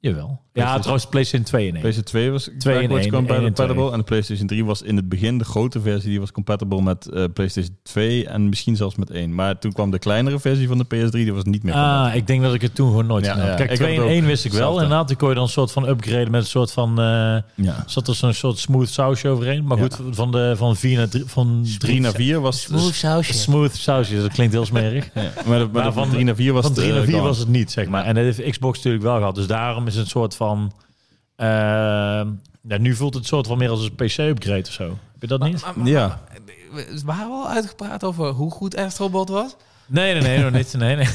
Speaker 2: Jawel. Ja,
Speaker 3: PlayStation-
Speaker 2: trouwens PlayStation 2 in één.
Speaker 3: PlayStation 2 was
Speaker 2: één,
Speaker 3: backwards
Speaker 2: één, één en twee.
Speaker 3: compatible. En de PlayStation 3 was in het begin, de grote versie, die was compatible met eh, PlayStation 2 en misschien zelfs met 1. Maar toen kwam de kleinere versie van de PS3, die was niet meer compatible.
Speaker 2: Ah, ik denk dat ik het toen gewoon nooit
Speaker 3: Ja,
Speaker 2: gedaan heb.
Speaker 3: ja.
Speaker 2: Kijk,
Speaker 3: Ik heb
Speaker 2: 2
Speaker 3: het
Speaker 2: in
Speaker 3: ook.
Speaker 2: 1 wist ik wel.
Speaker 3: Hetzelfde.
Speaker 2: Inderdaad, die kon je dan een soort van upgraden met een soort van... eh,
Speaker 3: Ja.
Speaker 2: zat er zo'n soort smooth sausje overheen. Maar
Speaker 3: Ja.
Speaker 2: goed, van, de, van, vier naar drie, van
Speaker 3: 3 naar 4 was...
Speaker 4: Smooth sausje.
Speaker 2: smooth sausje, dat klinkt heel smerig.
Speaker 3: Ja, maar de, maar
Speaker 2: Maar
Speaker 3: de-
Speaker 2: van-
Speaker 3: van 3 naar 4 was
Speaker 2: Van
Speaker 3: het,
Speaker 2: 3
Speaker 3: eh,
Speaker 2: naar 4
Speaker 3: gone.
Speaker 2: was het niet, zeg maar. En dat heeft Xbox natuurlijk wel gehad. Dus daarom is het een soort van... eh, ja, nu voelt het een soort van meer als een PC-upgrade of zo. Heb je dat niet?
Speaker 4: Maar- maar-
Speaker 3: Ja.
Speaker 4: We we waren al uitgepraat over hoe goed Astrobot was.
Speaker 2: Nee, nee, nee. nog niet. Nee, nee.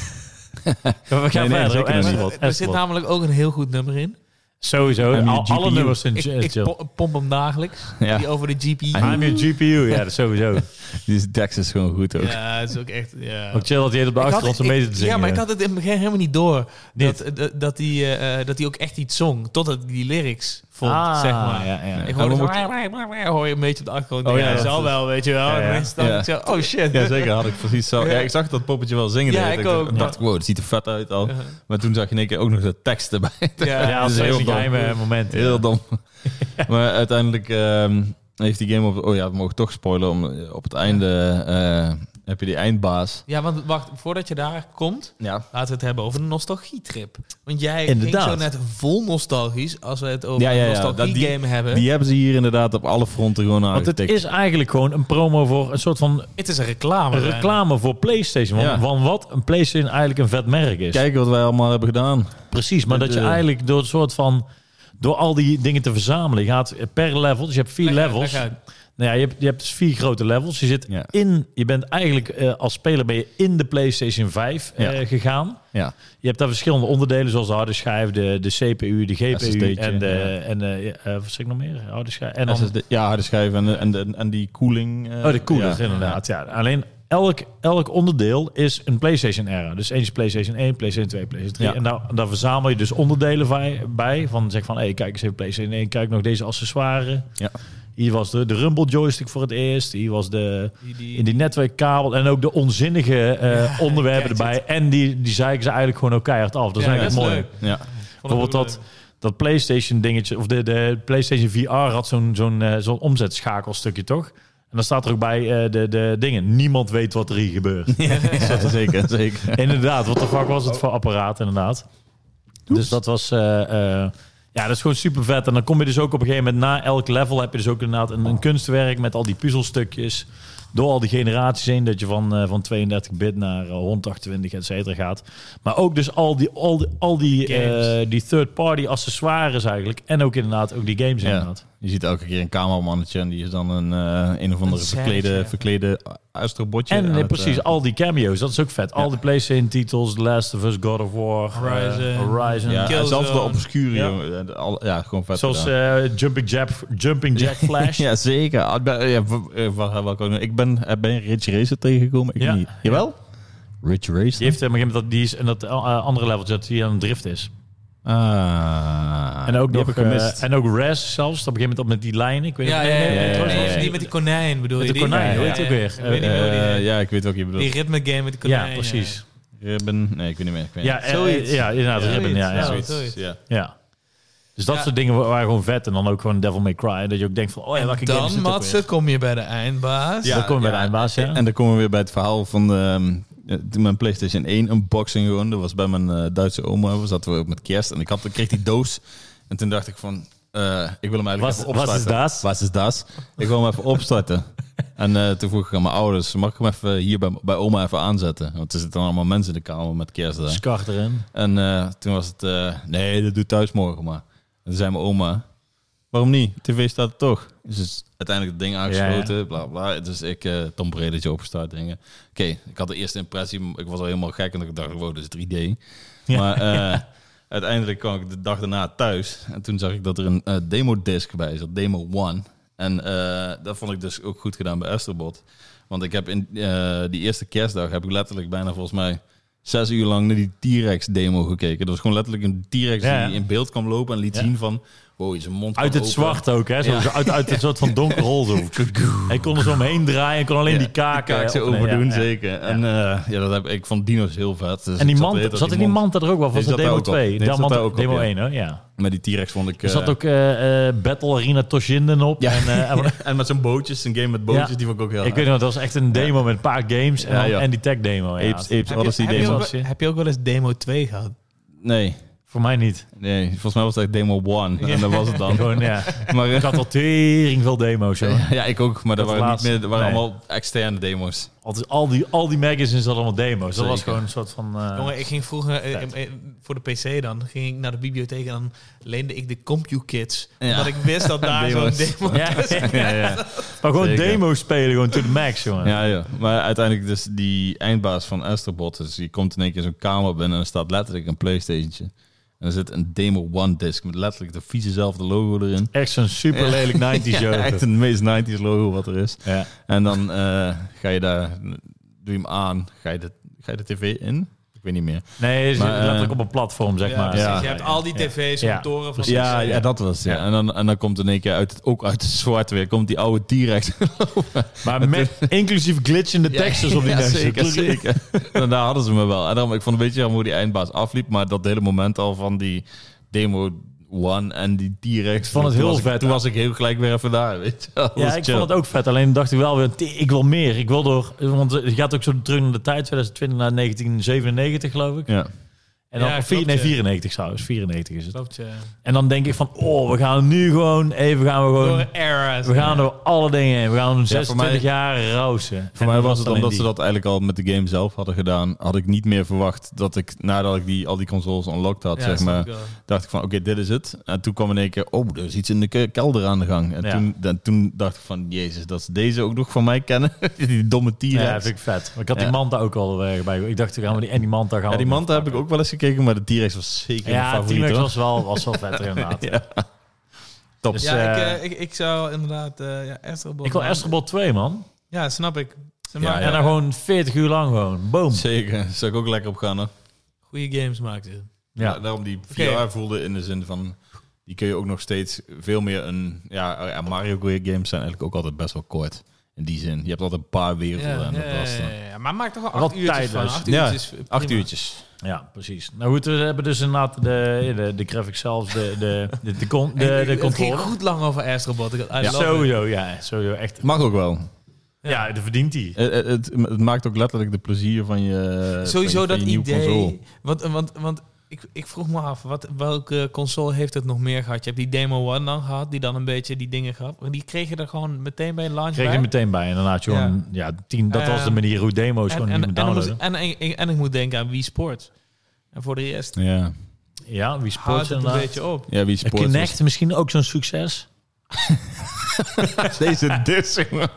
Speaker 2: We gaan
Speaker 3: Nee, nee,
Speaker 2: verder.
Speaker 3: zeker nog niet. nou-
Speaker 2: Astrobot,
Speaker 4: er zit
Speaker 2: Astrobot.
Speaker 4: namelijk ook een heel goed nummer in.
Speaker 2: Sowieso.
Speaker 3: I'm
Speaker 2: Al,
Speaker 3: your
Speaker 2: alle
Speaker 3: GPU.
Speaker 2: nummers zijn
Speaker 4: Ik,
Speaker 2: j-
Speaker 4: ik
Speaker 2: chill.
Speaker 4: po- pomp hem dagelijks.
Speaker 3: Ja.
Speaker 4: Die over de GPU.
Speaker 2: I'm your GPU. Ja, dat sowieso.
Speaker 3: Die is- Dex is gewoon goed ook.
Speaker 4: Ja, dat is ook echt... Ja.
Speaker 2: Ook chill dat hij op de
Speaker 4: Ik had-
Speaker 2: achtergrond zo mee
Speaker 4: ik-
Speaker 2: zit te zingen.
Speaker 4: Ja, maar ik had het in het begin helemaal niet door.
Speaker 2: Niet?
Speaker 4: Dat, dat, dat, die, eh, eh, dat die ook echt iets zong. Totdat ik die lyrics vond,
Speaker 2: Ah,
Speaker 4: zeg maar.
Speaker 2: Ja, ja.
Speaker 4: Ik
Speaker 3: Ja,
Speaker 4: hoorde
Speaker 3: dan
Speaker 4: zo,
Speaker 3: moet-
Speaker 4: hoor je een beetje op de achtergrond.
Speaker 2: Oh
Speaker 4: Ik
Speaker 2: ja,
Speaker 4: denk,
Speaker 2: dat
Speaker 4: zal
Speaker 2: is-
Speaker 4: wel, weet je wel.
Speaker 2: Ja,
Speaker 4: En
Speaker 2: ja.
Speaker 4: ineens dacht
Speaker 3: Ja.
Speaker 4: ik zo, oh shit.
Speaker 3: Ja, zeker had ik precies zo. Ja,
Speaker 4: Ja.
Speaker 3: ik zag dat poppetje wel zingen. de
Speaker 4: Ja,
Speaker 3: hele
Speaker 4: ik
Speaker 3: tijd.
Speaker 4: ook.
Speaker 3: dacht, wow, het ziet er vet uit al. Maar toen zag je in één keer ook nog de tekst erbij.
Speaker 4: Ja.
Speaker 2: Ja, dat is
Speaker 3: Dat is
Speaker 2: een
Speaker 3: heel dom.
Speaker 2: geheime moment.
Speaker 3: Heel dom. maar uiteindelijk ehm, heeft die game op... Oh ja, we mogen toch spoilen. Om, op het einde eh, heb je die eindbaas.
Speaker 4: Ja, want wacht, voordat je daar komt,
Speaker 3: Ja.
Speaker 4: laten we het hebben over de nostalgietrip. Want jij
Speaker 2: Inderdaad.
Speaker 4: ging zo net vol nostalgisch als we het over
Speaker 3: Ja, ja, ja,
Speaker 4: een
Speaker 3: dat die-
Speaker 4: nostalgie-game hebben.
Speaker 3: Die hebben ze hier inderdaad op alle fronten gewoon
Speaker 2: Want het
Speaker 3: aangetikt.
Speaker 2: is eigenlijk gewoon een promo voor een soort van
Speaker 4: het is een reclame.
Speaker 2: Een
Speaker 4: bijna.
Speaker 2: reclame voor eh, PlayStation. Van,
Speaker 3: Ja.
Speaker 2: van wat een PlayStation eigenlijk een vet merk is.
Speaker 3: Kijk wat wij allemaal hebben gedaan.
Speaker 2: Precies, maar dat je
Speaker 3: eh,
Speaker 2: eigenlijk door een soort van. Door al die dingen te verzamelen. Je gaat per level. Dus je hebt vier
Speaker 4: Leg uit,
Speaker 2: levels.
Speaker 4: leg uit.
Speaker 2: Nou ja, je, hebt, je hebt dus vier grote levels. Je zit
Speaker 3: Ja.
Speaker 2: in. Je bent eigenlijk eh, als speler ben je in de PlayStation 5 eh,
Speaker 3: Ja.
Speaker 2: gegaan.
Speaker 3: Ja.
Speaker 2: Je hebt daar verschillende onderdelen, zoals de harde schijf, de, de CPU, de GPU
Speaker 3: SSD'tje,
Speaker 2: en de.
Speaker 3: ja.
Speaker 2: En, eh, ja, eh, wat zeg ik nog meer? Harde schijf. En
Speaker 3: En
Speaker 2: dan,
Speaker 3: SSD, ja, harde schijf en, de- en, de- en die koeling. eh,
Speaker 2: Oh, de cooler,
Speaker 3: ja.
Speaker 2: inderdaad. Ja. Alleen elk, elk onderdeel is een PlayStation-era. Dus eentje PlayStation 1, PlayStation 2, PlayStation 3.
Speaker 3: Ja.
Speaker 2: En daar, daar verzamel je dus onderdelen bij. bij van zeg van, hey, kijk eens even PlayStation 1. Kijk nog deze accessoires.
Speaker 3: Ja.
Speaker 2: Hier was de, de Rumble joystick voor het eerst. Hier was de
Speaker 4: Die, die,
Speaker 2: in die netwerkkabel. En ook de onzinnige eh, onderwerpen
Speaker 4: gadget.
Speaker 2: erbij. En die, die zeiken ze eigenlijk gewoon ook keihard af. Dat is
Speaker 4: Ja,
Speaker 2: eigenlijk
Speaker 4: dat is
Speaker 2: mooi.
Speaker 4: leuk.
Speaker 3: Ja.
Speaker 4: vond ik ook
Speaker 2: Bijvoorbeeld dat,
Speaker 4: leuk.
Speaker 2: dat PlayStation dingetje, of de, de PlayStation VR had zo'n zo'n eh, zo'n omzetschakelstukje, toch? En dan staat er ook bij eh, de, de dingen. Niemand weet wat er hier gebeurt.
Speaker 3: Ja, zeker, zeker.
Speaker 2: inderdaad, wat de fuck was het voor apparaat, inderdaad. Dus dat was. eh, eh, ja, dat is gewoon super vet. En dan kom je dus ook op een gegeven moment na elk level heb je dus ook inderdaad een, een kunstwerk met al die puzzelstukjes. Door al die generaties heen, dat je van, eh, van 32-bit naar eh, 128, et cetera, gaat. Maar ook dus al die, al die, al die,
Speaker 4: Games.
Speaker 2: eh, die third-party accessoires eigenlijk. En ook inderdaad ook die games
Speaker 3: Ja.
Speaker 2: inderdaad.
Speaker 3: Je ziet elke keer een cameramannetje en die is dan een, eh, een of andere
Speaker 4: Een
Speaker 3: verklede,
Speaker 4: serretje.
Speaker 3: verklede astrobotje.
Speaker 2: En
Speaker 3: aan
Speaker 2: eh,
Speaker 3: het,
Speaker 2: precies,
Speaker 3: eh,
Speaker 2: al die cameo's. Dat is ook vet. Al die PlayStation-titels, The Last of Us, God of War, eh,
Speaker 4: Horizon.
Speaker 2: Horizon.
Speaker 3: ja,
Speaker 4: Killzone.
Speaker 3: en zelfs de obscure,
Speaker 2: Ja.
Speaker 3: jongen, eh, de- al- ja, gewoon vet.
Speaker 2: Zoals
Speaker 3: gedaan.
Speaker 2: eh, Jumping Jack, Jumping Jack Flash.
Speaker 3: ja, zeker. Ah, ik ben- ja, w- eh, waar- waar kan ik- Ik ben, eh, ben je Rich Racer tegengekomen, ik
Speaker 2: Ja.
Speaker 3: niet. Jawel? Rich Racer?
Speaker 2: Die heeft op een gegeven moment dat, die is, en dat eh, andere leveltje dat hij aan het drift is.
Speaker 3: Ah,
Speaker 2: En ook
Speaker 3: die
Speaker 2: nog
Speaker 3: heb ik gemist.
Speaker 2: eh, en ook Res zelfs. Op een gegeven moment op met die lijnen. Ik weet
Speaker 4: Ja,
Speaker 2: niet
Speaker 4: ja,
Speaker 2: of-
Speaker 4: ja,
Speaker 2: nee,
Speaker 4: ja,
Speaker 2: nee,
Speaker 3: ja,
Speaker 2: trouwens,
Speaker 3: ja,
Speaker 2: of
Speaker 3: ja,
Speaker 2: die
Speaker 4: Die met die konijn bedoel
Speaker 2: Met
Speaker 4: je?
Speaker 2: de konijn,
Speaker 4: die,
Speaker 2: hoe heet die ook weer?
Speaker 4: Ik weet niet meer hoe die
Speaker 3: Eh,
Speaker 4: heet.
Speaker 3: ja, ik weet wat je bedoelt.
Speaker 4: Die ritme game met de
Speaker 2: Ja,
Speaker 4: konijn.
Speaker 2: precies.
Speaker 3: Ribbon? Nee, ik weet niet meer. Ik weet
Speaker 2: Ja, eh,
Speaker 4: Zoiets.
Speaker 2: ja inderdaad.
Speaker 4: Ja,
Speaker 2: Ribbon, ja, ja.
Speaker 4: zoiets.
Speaker 3: niet. Zoiets, ja.
Speaker 2: ja. Dus dat
Speaker 4: Ja.
Speaker 2: soort dingen wa- waren gewoon vet. En dan ook gewoon Devil May Cry. Dat je ook denkt van, oh ja, welke
Speaker 4: En
Speaker 2: game is
Speaker 4: dan,
Speaker 2: dit ook weer?
Speaker 4: Matze, kom je bij de eindbaas.
Speaker 2: Ja. Dan komen we bij de eindbaas, ja.
Speaker 3: En dan komen we weer bij het verhaal van ehm, eh, toen mijn PlayStation 1 unboxing gewoon. Dat was bij mijn eh, Duitse oma. We zaten we ook met kerst. En ik, had, ik kreeg die doos. En toen dacht ik van, eh, ik wil hem eigenlijk
Speaker 2: Was-
Speaker 3: even
Speaker 2: was
Speaker 3: opstarten.
Speaker 2: is das?
Speaker 3: Wat is das? Ik wil hem even opstarten. En eh, toen vroeg ik aan mijn ouders, mag ik hem even hier bij, bij oma even aanzetten? Want er zitten allemaal mensen in de kamer met kerst. daar.
Speaker 2: Skart erin.
Speaker 3: En eh, toen was het, eh, nee, dat doet thuis morgen maar. En toen zei mijn oma, waarom niet? TV staat er toch. Dus is uiteindelijk het ding aangesloten, bla bla. Dus ik, eh Tom Bredertje opgestart, dingen. Oké, ik had de eerste impressie, ik was al helemaal gek en ik dacht, wow, dit is 3D. Maar eh, uiteindelijk kwam ik de dag daarna thuis en toen zag ik dat er een eh, demo-disc bij zat, Demo One. En eh, dat vond ik dus ook goed gedaan bij Astrobot. Want ik heb in eh, die eerste kerstdag heb ik letterlijk bijna volgens mij zes uur lang naar die T-Rex demo gekeken. Dat was gewoon letterlijk een T-Rex
Speaker 2: Ja, ja.
Speaker 3: die in beeld kwam lopen en liet
Speaker 2: Ja.
Speaker 3: zien van Wow, zijn mond
Speaker 2: Uit
Speaker 3: kwam
Speaker 2: het
Speaker 3: open.
Speaker 2: zwart ook, hè? Zo, zo Uit, uit een soort van donker hol. Zo. Hij kon er zo omheen draaien en kon alleen
Speaker 3: Ja,
Speaker 2: die kaken.
Speaker 3: die kaak zo
Speaker 2: opnemen.
Speaker 3: overdoen,
Speaker 2: Ja, ja.
Speaker 3: zeker. En eh, ja, dat heb ik van Dino's heel
Speaker 2: En
Speaker 3: vet. Dus
Speaker 2: die
Speaker 3: ik de hele
Speaker 2: manta,
Speaker 3: tijd
Speaker 2: zat in die manta er ook wel? Of
Speaker 3: Nee,
Speaker 2: was dat
Speaker 3: die zat
Speaker 2: demo
Speaker 3: daar ook op.
Speaker 2: 2?
Speaker 3: Nee, die
Speaker 2: Ja,
Speaker 3: zat daar
Speaker 2: manta,
Speaker 3: ook op,
Speaker 2: demo
Speaker 3: ja.
Speaker 2: 1, hoor. Ja.
Speaker 3: Met die T-Rex vond ik...
Speaker 2: Er zat
Speaker 3: eh,
Speaker 2: ook eh, eh, Battle Arena Toshinden op.
Speaker 3: Ja.
Speaker 2: En, eh, en-
Speaker 3: en met zijn bootjes, een game met bootjes,
Speaker 2: Ja.
Speaker 3: die vond ik ook heel
Speaker 2: ik weet
Speaker 3: erg.
Speaker 2: nog, dat was echt een demo met een paar games en,
Speaker 3: Ja,
Speaker 2: dan-
Speaker 3: ja.
Speaker 2: en die tech demo. Ja.
Speaker 3: Apes, Apes
Speaker 4: Heb je,
Speaker 3: Odyssey
Speaker 4: heb, je
Speaker 3: demo.
Speaker 4: ook, wel- heb je ook wel eens demo 2 gehad?
Speaker 3: Nee,
Speaker 2: Voor mij niet.
Speaker 3: nee, volgens mij was het echt demo one. En dat was het dan.
Speaker 2: Gewoon, ja.
Speaker 3: Maar, eh,
Speaker 2: Ik had al tering veel demo's, joh.
Speaker 3: ja, ik ook, maar dat,
Speaker 2: Dat
Speaker 3: waren, niet
Speaker 2: laatste.
Speaker 3: meer, dat waren
Speaker 2: Nee.
Speaker 3: allemaal externe demo's.
Speaker 2: Altijd, al, die, al die magazines hadden allemaal demo's. Dat was
Speaker 3: Zeker.
Speaker 2: gewoon een soort van... eh,
Speaker 4: Jongen, ik ging vroeger eh, eh, voor de PC dan, ging ik naar de bibliotheek en dan leende ik de CompuKids.
Speaker 3: Ja.
Speaker 4: Omdat ik wist dat daar zo'n
Speaker 3: Demo's.
Speaker 4: demo
Speaker 2: ja,
Speaker 3: ja, ja.
Speaker 2: maar gewoon
Speaker 3: Zeker.
Speaker 2: demo's spelen, gewoon to the max, jongen.
Speaker 3: Ja, ja, maar uiteindelijk dus die eindbaas van Astrobot, dus die komt in één keer zo'n kamer binnen en er staat letterlijk een Playstationtje. En er zit een Demo One disc met letterlijk de vieze zelfde logo erin.
Speaker 2: Echt zo'n super lelijk 90s
Speaker 3: Ja,
Speaker 2: joke.
Speaker 3: echt het meest 90s logo wat er is.
Speaker 2: Ja.
Speaker 3: En dan eh, ga je daar, doe je hem aan, ga je de, ga je de tv in? Ik weet niet meer.
Speaker 2: Nee, je zit
Speaker 3: Maar, eh,
Speaker 2: letterlijk op een platform, zeg
Speaker 4: Ja,
Speaker 2: maar.
Speaker 4: precies.
Speaker 3: Ja.
Speaker 4: je hebt al die tv's,
Speaker 2: Ja.
Speaker 4: kantoren van
Speaker 3: Ja, ja, dat was ja.
Speaker 2: Ja.
Speaker 3: En, dan, en dan komt in één keer uit, het- ook uit het zwart weer, komt die oude T-Rex.
Speaker 2: Maar met, inclusief glitchende
Speaker 3: Ja,
Speaker 2: teksten op die
Speaker 3: ja,
Speaker 2: neus.
Speaker 3: zeker, zeker. en daar hadden ze me wel. En daarom, ik vond een beetje jammer hoe die eindbaas afliep. Maar dat hele moment al van die demo one en die T-Rex.
Speaker 2: vond het
Speaker 3: toen
Speaker 2: heel
Speaker 3: was ik-
Speaker 2: vet.
Speaker 3: Toen was ik heel gelijk weer even daar, weet je wel.
Speaker 2: Ja,
Speaker 3: Dat
Speaker 2: ik
Speaker 3: is
Speaker 2: vond het ook vet. Alleen dacht ik wel weer, "Tee, ik wil meer. Ik wil door, want je gaat ook zo terug naar de tijd, 2020 naar 1997 geloof ik.
Speaker 3: chill. Ja.
Speaker 2: En dan,
Speaker 4: Ja,
Speaker 2: of
Speaker 4: klopt,
Speaker 2: vier- nee,
Speaker 4: ja.
Speaker 2: 94 trouwens, 94 is het.
Speaker 4: Klopt, ja.
Speaker 2: En dan denk ik van, oh, we gaan nu gewoon, even gaan we
Speaker 4: Door
Speaker 2: gewoon,
Speaker 4: era's.
Speaker 2: we gaan door alle dingen heen. We gaan 26
Speaker 3: mij-
Speaker 2: jaar rausen.
Speaker 3: Voor mij was het omdat ze dat eigenlijk al met de game zelf hadden gedaan. Had ik niet meer verwacht dat ik, nadat ik die, al die consoles unlocked had,
Speaker 4: Ja,
Speaker 3: zeg
Speaker 4: snap
Speaker 3: maar.
Speaker 4: ik wel.
Speaker 3: dacht ik van, oké, dit is het. En toen kwam in één keer, oh, er is iets in de ke- kelder aan de gang. En
Speaker 2: Ja.
Speaker 3: toen, dan, toen dacht ik van, jezus, dat ze deze ook nog van mij kennen. die domme T-Rex.
Speaker 2: Ja, vind ik vet. Maar ik had
Speaker 3: Ja.
Speaker 2: die manta ook al eh, bij. Ik dacht, we gaan we die, en die manta gaan
Speaker 3: Ja,
Speaker 2: we
Speaker 3: die manta heb ik ook wel eens gekeken, maar de T-Rex was zeker mijn
Speaker 2: Ja,
Speaker 3: favoriet.
Speaker 2: T-Rex
Speaker 3: hoor.
Speaker 2: was wel, was wel vet inderdaad.
Speaker 3: Ja. Top.
Speaker 2: Dus,
Speaker 4: Ja, ik,
Speaker 2: eh,
Speaker 4: eh, ik, ik zou inderdaad eh ja, Astrobot...
Speaker 2: ik wil Astrobot 2, man.
Speaker 4: Ja, snap ik. Ze
Speaker 3: Ja,
Speaker 4: maken
Speaker 2: En dan gewoon 40 uur lang gewoon. Boom.
Speaker 3: Zeker, zou ik ook lekker op gaan. Hoor.
Speaker 4: goede games maken ze.
Speaker 2: Ja.
Speaker 3: Da- Daarom die VR
Speaker 4: Oké.
Speaker 3: voelde in de zin van, die kun je ook nog steeds veel meer een... Ja, oh ja, Mario games zijn eigenlijk ook altijd best wel kort. In die zin, je hebt altijd een paar werelden en dat was
Speaker 4: ja,
Speaker 3: dan.
Speaker 4: ja, ja. Maar maak toch wel
Speaker 2: Wat
Speaker 4: acht uurtjes van.
Speaker 2: tijdloos.
Speaker 4: Acht
Speaker 3: Ja,
Speaker 4: uurtjes. prima.
Speaker 3: Acht uurtjes.
Speaker 2: Ja, precies. Nou goed, we hebben dus inderdaad de, de, de graphics zelfs, de, de, de, de, con-
Speaker 4: En
Speaker 2: de,
Speaker 4: ik-
Speaker 2: de
Speaker 4: het ging
Speaker 2: controller.
Speaker 4: goed lang over Astrobot. Ik, I love it.
Speaker 2: Sowieso, ja. Sowieso, echt.
Speaker 3: Mag ook wel.
Speaker 2: Ja, dat verdient hij.
Speaker 3: Eh, eh, Het, het maakt ook letterlijk de plezier van je
Speaker 4: Sowieso
Speaker 3: Eh, van je- van
Speaker 4: dat
Speaker 3: je nieuwe console.
Speaker 4: idee. Want, want, want ik, ik vroeg me af, wat, welke console heeft het nog meer gehad? Je hebt die Demo One dan gehad, die dan een beetje die dingen gaf. Maar die kreeg je er gewoon meteen bij launch
Speaker 2: Kreeg
Speaker 4: bij.
Speaker 2: je meteen bij. Inderdaad, gewoon, ja. tien, dat was de
Speaker 4: Ehm,
Speaker 2: manier hoe demo's
Speaker 4: en,
Speaker 2: gewoon
Speaker 4: en,
Speaker 2: niet meer
Speaker 4: en, dan moest-
Speaker 2: downloaden.
Speaker 4: en, en, en, ik moet denken aan Wii Sports. En voor de rest
Speaker 3: Ja.
Speaker 2: Ja, wie
Speaker 4: houdt
Speaker 2: sports
Speaker 4: het een
Speaker 2: inderdaad.
Speaker 4: beetje op.
Speaker 3: ja, wie
Speaker 2: De
Speaker 3: sport
Speaker 2: Kinect misschien ook zo'n succes.
Speaker 3: Deze dus. jongen.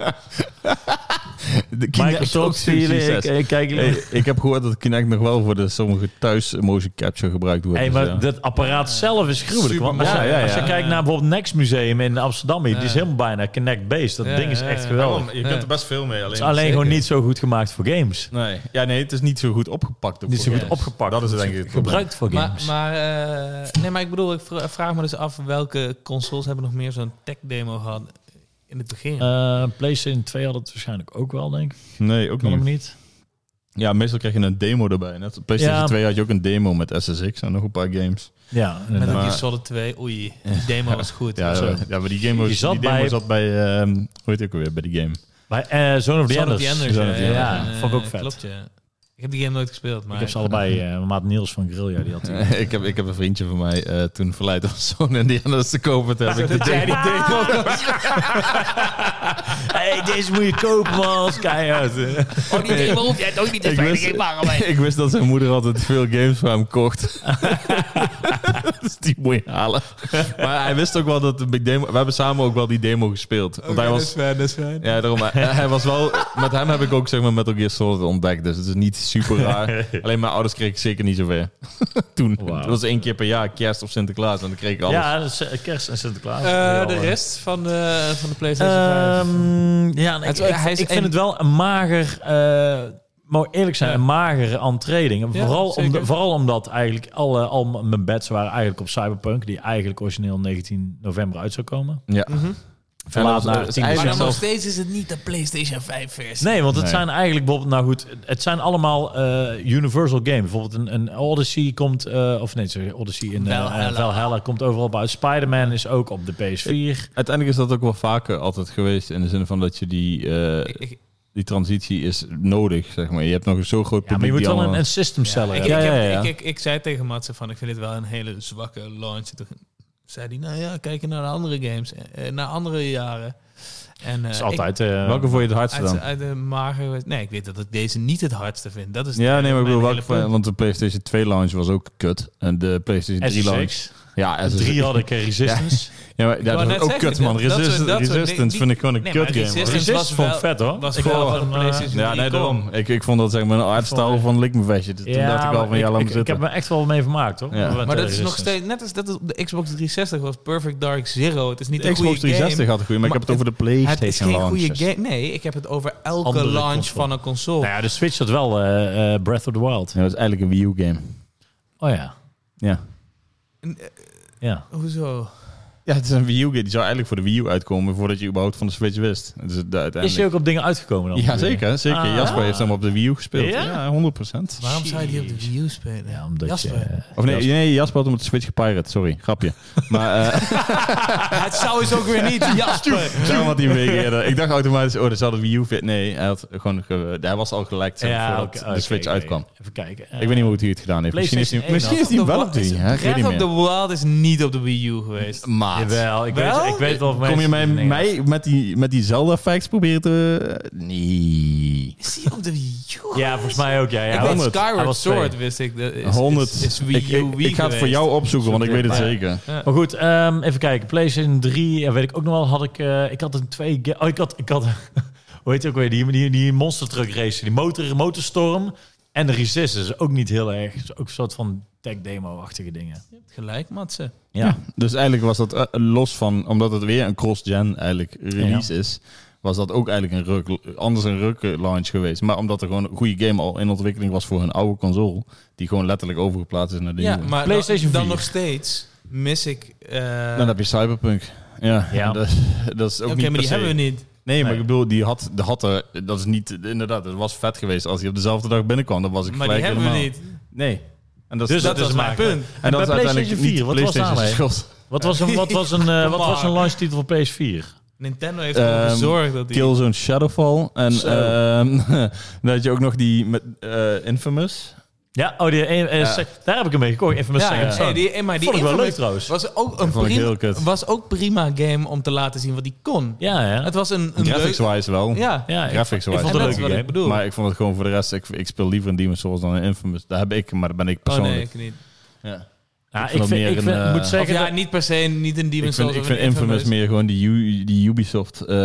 Speaker 3: De Kinect is ook
Speaker 2: Microsoft,
Speaker 3: zo'n
Speaker 2: zie je, ik,
Speaker 3: succes.
Speaker 2: ik kijk
Speaker 3: Hey, ik heb gehoord dat Kinect nog wel voor de sommige thuis motion capture gebruikt wordt.
Speaker 2: Hey,
Speaker 3: dus
Speaker 2: maar
Speaker 3: ja.
Speaker 2: dat apparaat zelf is gruwelijk.
Speaker 4: Super
Speaker 2: Want als,
Speaker 3: mooi.
Speaker 2: je,
Speaker 3: Ja, ja,
Speaker 2: als je
Speaker 3: ja.
Speaker 2: kijkt naar bijvoorbeeld Next Museum in Amsterdam, die is
Speaker 4: Ja.
Speaker 2: helemaal bijna Connect-based. Dat
Speaker 4: Ja,
Speaker 2: ding is
Speaker 4: ja,
Speaker 2: echt
Speaker 4: ja.
Speaker 2: geweldig.
Speaker 4: Daarom, je kunt er
Speaker 3: best veel mee.
Speaker 2: Het is alleen gewoon niet zo goed gemaakt voor games.
Speaker 3: Nee. Ja, nee, het is niet zo goed opgepakt. ook
Speaker 2: Niet zo
Speaker 3: voor
Speaker 2: goed
Speaker 3: games.
Speaker 2: opgepakt.
Speaker 3: Dat is denk ik het probleem.
Speaker 2: Gebruikt voor
Speaker 4: Maar,
Speaker 2: games.
Speaker 4: maar, eh, nee, maar ik bedoel, ik vra- vraag me dus af welke consoles hebben nog meer zo'n tech-demo gehad in het begin.
Speaker 2: Eh, PlayStation 2 had het waarschijnlijk ook wel, denk ik.
Speaker 3: Nee, ook
Speaker 2: Kan hem
Speaker 3: niet.
Speaker 2: niet.
Speaker 3: Ja, meestal krijg je een demo erbij. Net op PlayStation
Speaker 2: Ja.
Speaker 3: 2 had je ook een demo met SSX en nog een paar games.
Speaker 2: Ja,
Speaker 4: Met
Speaker 2: inderdaad.
Speaker 4: een
Speaker 3: maar-
Speaker 4: Solid 2, oei, die demo was goed.
Speaker 3: Ja,
Speaker 4: Zo.
Speaker 3: ja, ja, maar die game
Speaker 2: Je
Speaker 3: was,
Speaker 2: zat
Speaker 3: die demo
Speaker 2: bij-
Speaker 3: zat bij... ehm hoe heet het ook alweer? Bij die game.
Speaker 2: Bij eh, Zone of the
Speaker 4: Son of
Speaker 2: Enders.
Speaker 4: the Enders,
Speaker 3: Son of the
Speaker 4: ja,
Speaker 2: Ja,
Speaker 4: ja, ja,
Speaker 2: vond ik ook
Speaker 4: ja,
Speaker 2: vet.
Speaker 4: Klopt, ja. Ik heb die game nooit gespeeld, maar...
Speaker 2: Ik heb ze allebei. eh, maat Niels van Grillja, die had die.
Speaker 3: ik, heb, ik heb een vriendje van mij eh, toen verleid om zo'n Indiana's te kopen. Toen heb ik de demo-
Speaker 2: hey, deze moet je kopen, man. Dat is keihard.
Speaker 4: Oh, die demo hoef jij ook niet
Speaker 3: Ik wist, ik wist dat zijn moeder altijd veel games voor hem kocht. dus die moet je halen. Maar hij wist ook wel dat de big demo... We hebben samen ook wel die demo gespeeld. Want hij was...
Speaker 4: fijn, Oh, dat is fijn.
Speaker 3: Ja, daarom. Hij, hij was wel... Met hem heb ik ook zeg maar Metal Gear Solid ontdekt. Dus het is niet super raar. Alleen mijn ouders kregen zeker niet zoveel. Toen.
Speaker 2: Wauw.
Speaker 3: Dat was één keer per jaar. Kerst of Sinterklaas. En dan kreeg ik alles.
Speaker 2: Ja, dat is, eh, kerst en Sinterklaas.
Speaker 4: de
Speaker 2: Heel, eh,
Speaker 4: rest van de, van de PlayStation 5.
Speaker 2: Ehm, ja, nee,
Speaker 4: Het- eh,
Speaker 2: ik,
Speaker 4: hij
Speaker 2: ik
Speaker 4: is
Speaker 2: vind
Speaker 4: een-
Speaker 2: het wel een mager, eh, maar eerlijk zijn,
Speaker 4: Ja.
Speaker 2: een magere entreeding. En
Speaker 4: Ja,
Speaker 2: vooral, om
Speaker 4: zeker.
Speaker 2: de, vooral omdat eigenlijk alle, al mijn bets waren eigenlijk op Cyberpunk, die eigenlijk origineel 19 november uit zou komen.
Speaker 3: Ja.
Speaker 4: Mhm.
Speaker 2: Verlaat
Speaker 3: En dat
Speaker 2: naar
Speaker 3: is
Speaker 2: 10
Speaker 4: Maar
Speaker 3: eigenlijk
Speaker 4: dan nog
Speaker 3: zelf-
Speaker 4: steeds is het niet de PlayStation 5 versie.
Speaker 2: Nee, want het
Speaker 3: Nee.
Speaker 2: zijn eigenlijk bijvoorbeeld, nou goed, het zijn allemaal eh, Universal games. Bijvoorbeeld een, een Odyssey komt, eh, of nee, sorry, Odyssey in eh, eh,
Speaker 4: Valhalla.
Speaker 2: Valhalla. komt overal bij. Spider-Man is ook op de PS4.
Speaker 3: Uiteindelijk is dat ook wel vaker altijd geweest. In de zin van dat je die, eh,
Speaker 4: Ik, ik,
Speaker 3: die transitie is nodig, zeg maar. Je hebt nog een zo groot
Speaker 2: Ja, maar je
Speaker 3: publiek.
Speaker 2: moet
Speaker 3: die
Speaker 2: wel een,
Speaker 3: allemaal-
Speaker 2: een system seller
Speaker 4: ik,
Speaker 2: hebben.
Speaker 4: ik,
Speaker 3: ja,
Speaker 4: heb-
Speaker 3: ja, ja.
Speaker 4: Ik, ik, ik zei tegen Matze van, ik vind dit wel een hele zwakke launch. Toen zei hij, nou ja, kijk je naar de andere games, eh, eh, naar andere jaren. En, eh,
Speaker 2: Dat is
Speaker 4: ik-
Speaker 2: altijd... eh,
Speaker 3: Welke vond je het hardste
Speaker 4: uit,
Speaker 3: dan?
Speaker 4: uit de mager... Nee, ik weet dat ik deze niet het hardste vind. Dat is
Speaker 3: Ja, nee, maar ik
Speaker 4: mijn
Speaker 3: bedoel,
Speaker 4: hele
Speaker 3: welke,
Speaker 4: punt.
Speaker 3: want de PlayStation 2 launch was ook kut. En de PlayStation 3 launch...
Speaker 2: SSX.
Speaker 3: Ja, SSX.
Speaker 2: Drie had ik eh, Resistance.
Speaker 3: Ja, maar, ja,
Speaker 4: wou
Speaker 3: dat is
Speaker 4: net
Speaker 3: ook
Speaker 4: zeggen,
Speaker 3: kut, man.
Speaker 4: dat- dat soort-
Speaker 3: Resist-
Speaker 4: dat soort dingen-
Speaker 3: Resistance
Speaker 4: die-
Speaker 3: vind ik gewoon een
Speaker 4: Nee, maar
Speaker 3: kut game. hoor.
Speaker 4: Resistance
Speaker 2: Resistance
Speaker 4: was
Speaker 2: vond
Speaker 4: wel-
Speaker 2: vet, hoor.
Speaker 4: Was
Speaker 2: Voor-
Speaker 4: wel van de
Speaker 2: eh,
Speaker 4: PlayStation
Speaker 3: Ja,
Speaker 4: 3
Speaker 3: nee,
Speaker 4: kom.
Speaker 3: daarom. Ik, ik vond dat zeg maar een artstyle van Lick Me Vestje. Toen dacht ik al van,
Speaker 2: maar
Speaker 3: ja,
Speaker 2: ik,
Speaker 3: laat me
Speaker 2: ik, ik
Speaker 3: zitten.
Speaker 2: heb me echt wel mee vermaakt, hoor.
Speaker 3: Ja.
Speaker 2: Met,
Speaker 4: Maar
Speaker 2: eh,
Speaker 4: dat is nog
Speaker 2: Resistance.
Speaker 4: steeds... Net als dat op de Xbox 360 was Perfect Dark Zero. Het is niet
Speaker 3: De
Speaker 4: een
Speaker 3: Xbox
Speaker 4: goede
Speaker 3: 360
Speaker 4: game.
Speaker 3: had een goede, maar, ik
Speaker 4: Maar
Speaker 3: heb het over de PlayStation
Speaker 4: Het is geen goede
Speaker 3: launches.
Speaker 4: game. Nee, ik heb het over elke
Speaker 2: Andere
Speaker 4: launch
Speaker 2: console.
Speaker 4: van een console.
Speaker 2: Nou ja, de Switch had wel eh, eh, Breath of the Wild.
Speaker 3: Ja, dat is eigenlijk een Wii U game.
Speaker 2: Oh ja,
Speaker 3: Ja.
Speaker 2: ja.
Speaker 4: Hoezo?
Speaker 3: Ja, het is een Wii U game. Die zou eigenlijk voor de Wii U uitkomen voordat je überhaupt van de Switch wist. Dus het-
Speaker 2: Is je
Speaker 3: uiteindelijk...
Speaker 2: ook op dingen uitgekomen dan?
Speaker 3: Ja, zeker. zeker.
Speaker 2: Ah.
Speaker 3: Jasper heeft hem op de Wii U gespeeld.
Speaker 2: Ja?
Speaker 3: Ja, 100%.
Speaker 4: Waarom zou je die op de
Speaker 2: Jeez.
Speaker 4: Wii U spelen?
Speaker 2: Ja, omdat
Speaker 4: Jasper.
Speaker 2: je... eh,
Speaker 3: Of nee,
Speaker 2: Jasper.
Speaker 3: nee, Jasper had hem op de Switch gepirate. Sorry, grapje. Maar eh
Speaker 4: het zou eens ook weer niet, Jasper.
Speaker 3: daarom had hij hem meegegeven. Ik dacht automatisch, oh, dat zou de Wii U fit. Nee, hij, had gewoon ge- hij was al gelekt zeg,
Speaker 2: Ja,
Speaker 3: eh, voordat
Speaker 2: oké,
Speaker 3: de
Speaker 2: oké,
Speaker 3: Switch
Speaker 2: oké.
Speaker 3: uitkwam.
Speaker 2: Even kijken.
Speaker 3: ik weet niet meer hoe hij het gedaan heeft. Misschien is hij, misschien
Speaker 2: PlayStation
Speaker 3: is hij hem wel op die. hè? Ik weet
Speaker 4: Breath
Speaker 3: niet
Speaker 4: of the
Speaker 3: meer.
Speaker 4: Wild is niet op de Wii U geweest.
Speaker 3: Maat.
Speaker 2: Jawel, ik
Speaker 4: Wel?
Speaker 2: weet, ik weet wel of
Speaker 3: Kom je
Speaker 2: mensen-
Speaker 3: mij,
Speaker 2: Nee,
Speaker 3: mij met die, met die Zelda-facts proberen te... Nee.
Speaker 4: Is die op de Wii U?
Speaker 2: Ja, volgens mij ook. Ja, ja.
Speaker 4: ik weet
Speaker 3: 100.
Speaker 2: Hij
Speaker 4: Skyward
Speaker 2: was twee.
Speaker 4: Sword, wist ik. Dat is,
Speaker 3: 100.
Speaker 4: Is, is Wii U
Speaker 3: ik, ik,
Speaker 4: Wii
Speaker 3: ik ga het voor
Speaker 4: geweest.
Speaker 3: jou opzoeken, want ik weet het
Speaker 2: Ja.
Speaker 3: zeker.
Speaker 2: Maar goed, ehm, even kijken. PlayStation 3, ja, weet ik ook nog wel, had ik... eh, ik had een twee... ga- Oh, ik had... Ik had hoe heet die ook weer? Die, die, die monster truck race. Die motor, motorstorm. En de Resistance. Ook niet heel erg. Is Ook een soort van tech demo-achtige dingen.
Speaker 4: Gelijk, Matze.
Speaker 2: Ja.
Speaker 3: Dus eigenlijk was dat eh, los van... Omdat het weer een cross-gen eigenlijk release is... Was dat ook eigenlijk een ruk, anders een ruk eh, launch geweest. Maar omdat er gewoon een goede game al in ontwikkeling was voor hun oude console. Die gewoon letterlijk overgeplaatst is naar de
Speaker 4: Ja,
Speaker 3: nieuwe.
Speaker 4: maar
Speaker 2: PlayStation
Speaker 4: dan, dan
Speaker 2: 4.
Speaker 4: nog steeds mis ik... eh,
Speaker 3: Dan Nou, heb je Cyberpunk. Ja,
Speaker 2: Ja.
Speaker 3: Dat, dat is ook
Speaker 4: Oké,
Speaker 3: niet
Speaker 4: maar
Speaker 3: per
Speaker 4: die
Speaker 3: se-
Speaker 4: hebben we niet.
Speaker 3: Nee, maar
Speaker 2: Nee.
Speaker 3: ik bedoel, die had, de had er... Dat is niet... Inderdaad, het was vet geweest. Als hij op dezelfde dag binnenkwam, dan was ik
Speaker 4: Maar die
Speaker 3: gelijk
Speaker 4: hebben we
Speaker 3: helemaal...
Speaker 4: niet.
Speaker 3: Nee. En dat,
Speaker 2: Dus
Speaker 4: Dat,
Speaker 2: is
Speaker 4: is mijn
Speaker 2: makkelijk.
Speaker 4: punt.
Speaker 2: En bij PlayStation 4, wat was daarmee? Wat was een, wat was een, eh, wat was een launchtitel voor PS4?
Speaker 4: Nintendo heeft ervoor
Speaker 3: Ehm,
Speaker 4: gezorgd dat die...
Speaker 3: Killzone Shadowfall. En
Speaker 2: Zo.
Speaker 3: ehm, dan had je ook nog die met eh, Infamous.
Speaker 2: Ja, oh, die, eh, eh,
Speaker 3: Ja.
Speaker 2: se- daar heb ik hem mee gekocht. Even met
Speaker 4: Ja,
Speaker 2: Second
Speaker 4: ja.
Speaker 2: Son.
Speaker 4: Hey, die, hey, maar die
Speaker 2: Vond ik wel
Speaker 4: Infamous
Speaker 2: leuk trouwens.
Speaker 4: Was ook een
Speaker 3: vond ik
Speaker 4: prima,
Speaker 3: heel kut.
Speaker 4: was ook prima game om te laten zien wat die kon.
Speaker 2: Ja, ja.
Speaker 4: Het was een, een leuk...
Speaker 3: Graphics-wise wel.
Speaker 4: Ja, Oh,
Speaker 2: ja ik-
Speaker 3: Graphics-wise.
Speaker 2: Ik vond het
Speaker 4: En dat
Speaker 2: een
Speaker 4: is
Speaker 2: leuke
Speaker 4: wat ik
Speaker 2: game.
Speaker 4: bedoel.
Speaker 3: Maar ik vond het gewoon voor de rest... Ik, ik speel liever een Demon's Souls dan een Infamous. Daar heb ik, maar daar ben ik
Speaker 4: Oh
Speaker 3: persoonlijk...
Speaker 4: nee, ik niet.
Speaker 3: ja.
Speaker 2: Ja, ik
Speaker 3: vond het
Speaker 2: vind,
Speaker 3: meer
Speaker 2: ik vind-
Speaker 3: een, eh,
Speaker 2: moet
Speaker 4: Of
Speaker 2: zeggen...
Speaker 4: ja,
Speaker 2: dat-
Speaker 4: niet per se niet een
Speaker 3: Ik
Speaker 4: Demon's
Speaker 3: vind,
Speaker 4: Souls
Speaker 3: ik
Speaker 4: of
Speaker 3: vind
Speaker 4: een
Speaker 3: Infamous meer gewoon die, U- die Ubisoft eh,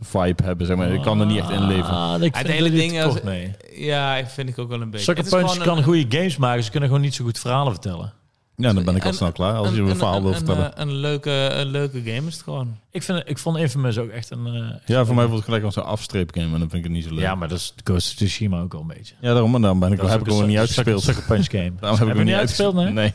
Speaker 3: vibe hebben, zeg maar. Ik kan er niet echt in leven.
Speaker 2: Ah, ik
Speaker 4: Het
Speaker 2: vind
Speaker 4: hele
Speaker 2: er niet
Speaker 4: ding
Speaker 2: te
Speaker 4: als-
Speaker 2: kort mee.
Speaker 4: Ja, vind ik ook wel een beetje.
Speaker 2: Sucker
Speaker 4: Het is
Speaker 2: Punch
Speaker 4: gewoon
Speaker 2: kan
Speaker 4: een-
Speaker 2: goede games maken. Ze kunnen gewoon niet zo goed verhalen vertellen.
Speaker 3: Ja, dan ben ik al
Speaker 4: een-
Speaker 3: snel klaar als je
Speaker 4: een-
Speaker 3: een
Speaker 4: een-
Speaker 3: verhaal wil
Speaker 4: een-
Speaker 3: vertellen.
Speaker 4: Een, een leuke, een leuke game is het gewoon.
Speaker 2: Ik, vind, ik vond Infamous ook echt een... eh,
Speaker 3: Ja, voor mij voelt het gelijk als een afstreepgame en dan vind ik het niet zo leuk.
Speaker 2: ja, maar dat is Ghost of Tsushima ook al een beetje.
Speaker 3: Ja, daarom en daarom ben ik,
Speaker 2: Dat is
Speaker 3: heb
Speaker 2: ook
Speaker 3: ik
Speaker 2: een
Speaker 3: gewoon niet
Speaker 2: Sucker-
Speaker 3: uitgespeeld.
Speaker 2: Sucker Punch game.
Speaker 3: Daarom heb ik
Speaker 2: je
Speaker 3: hem niet
Speaker 2: uitgespeeld, nee?
Speaker 3: Nee.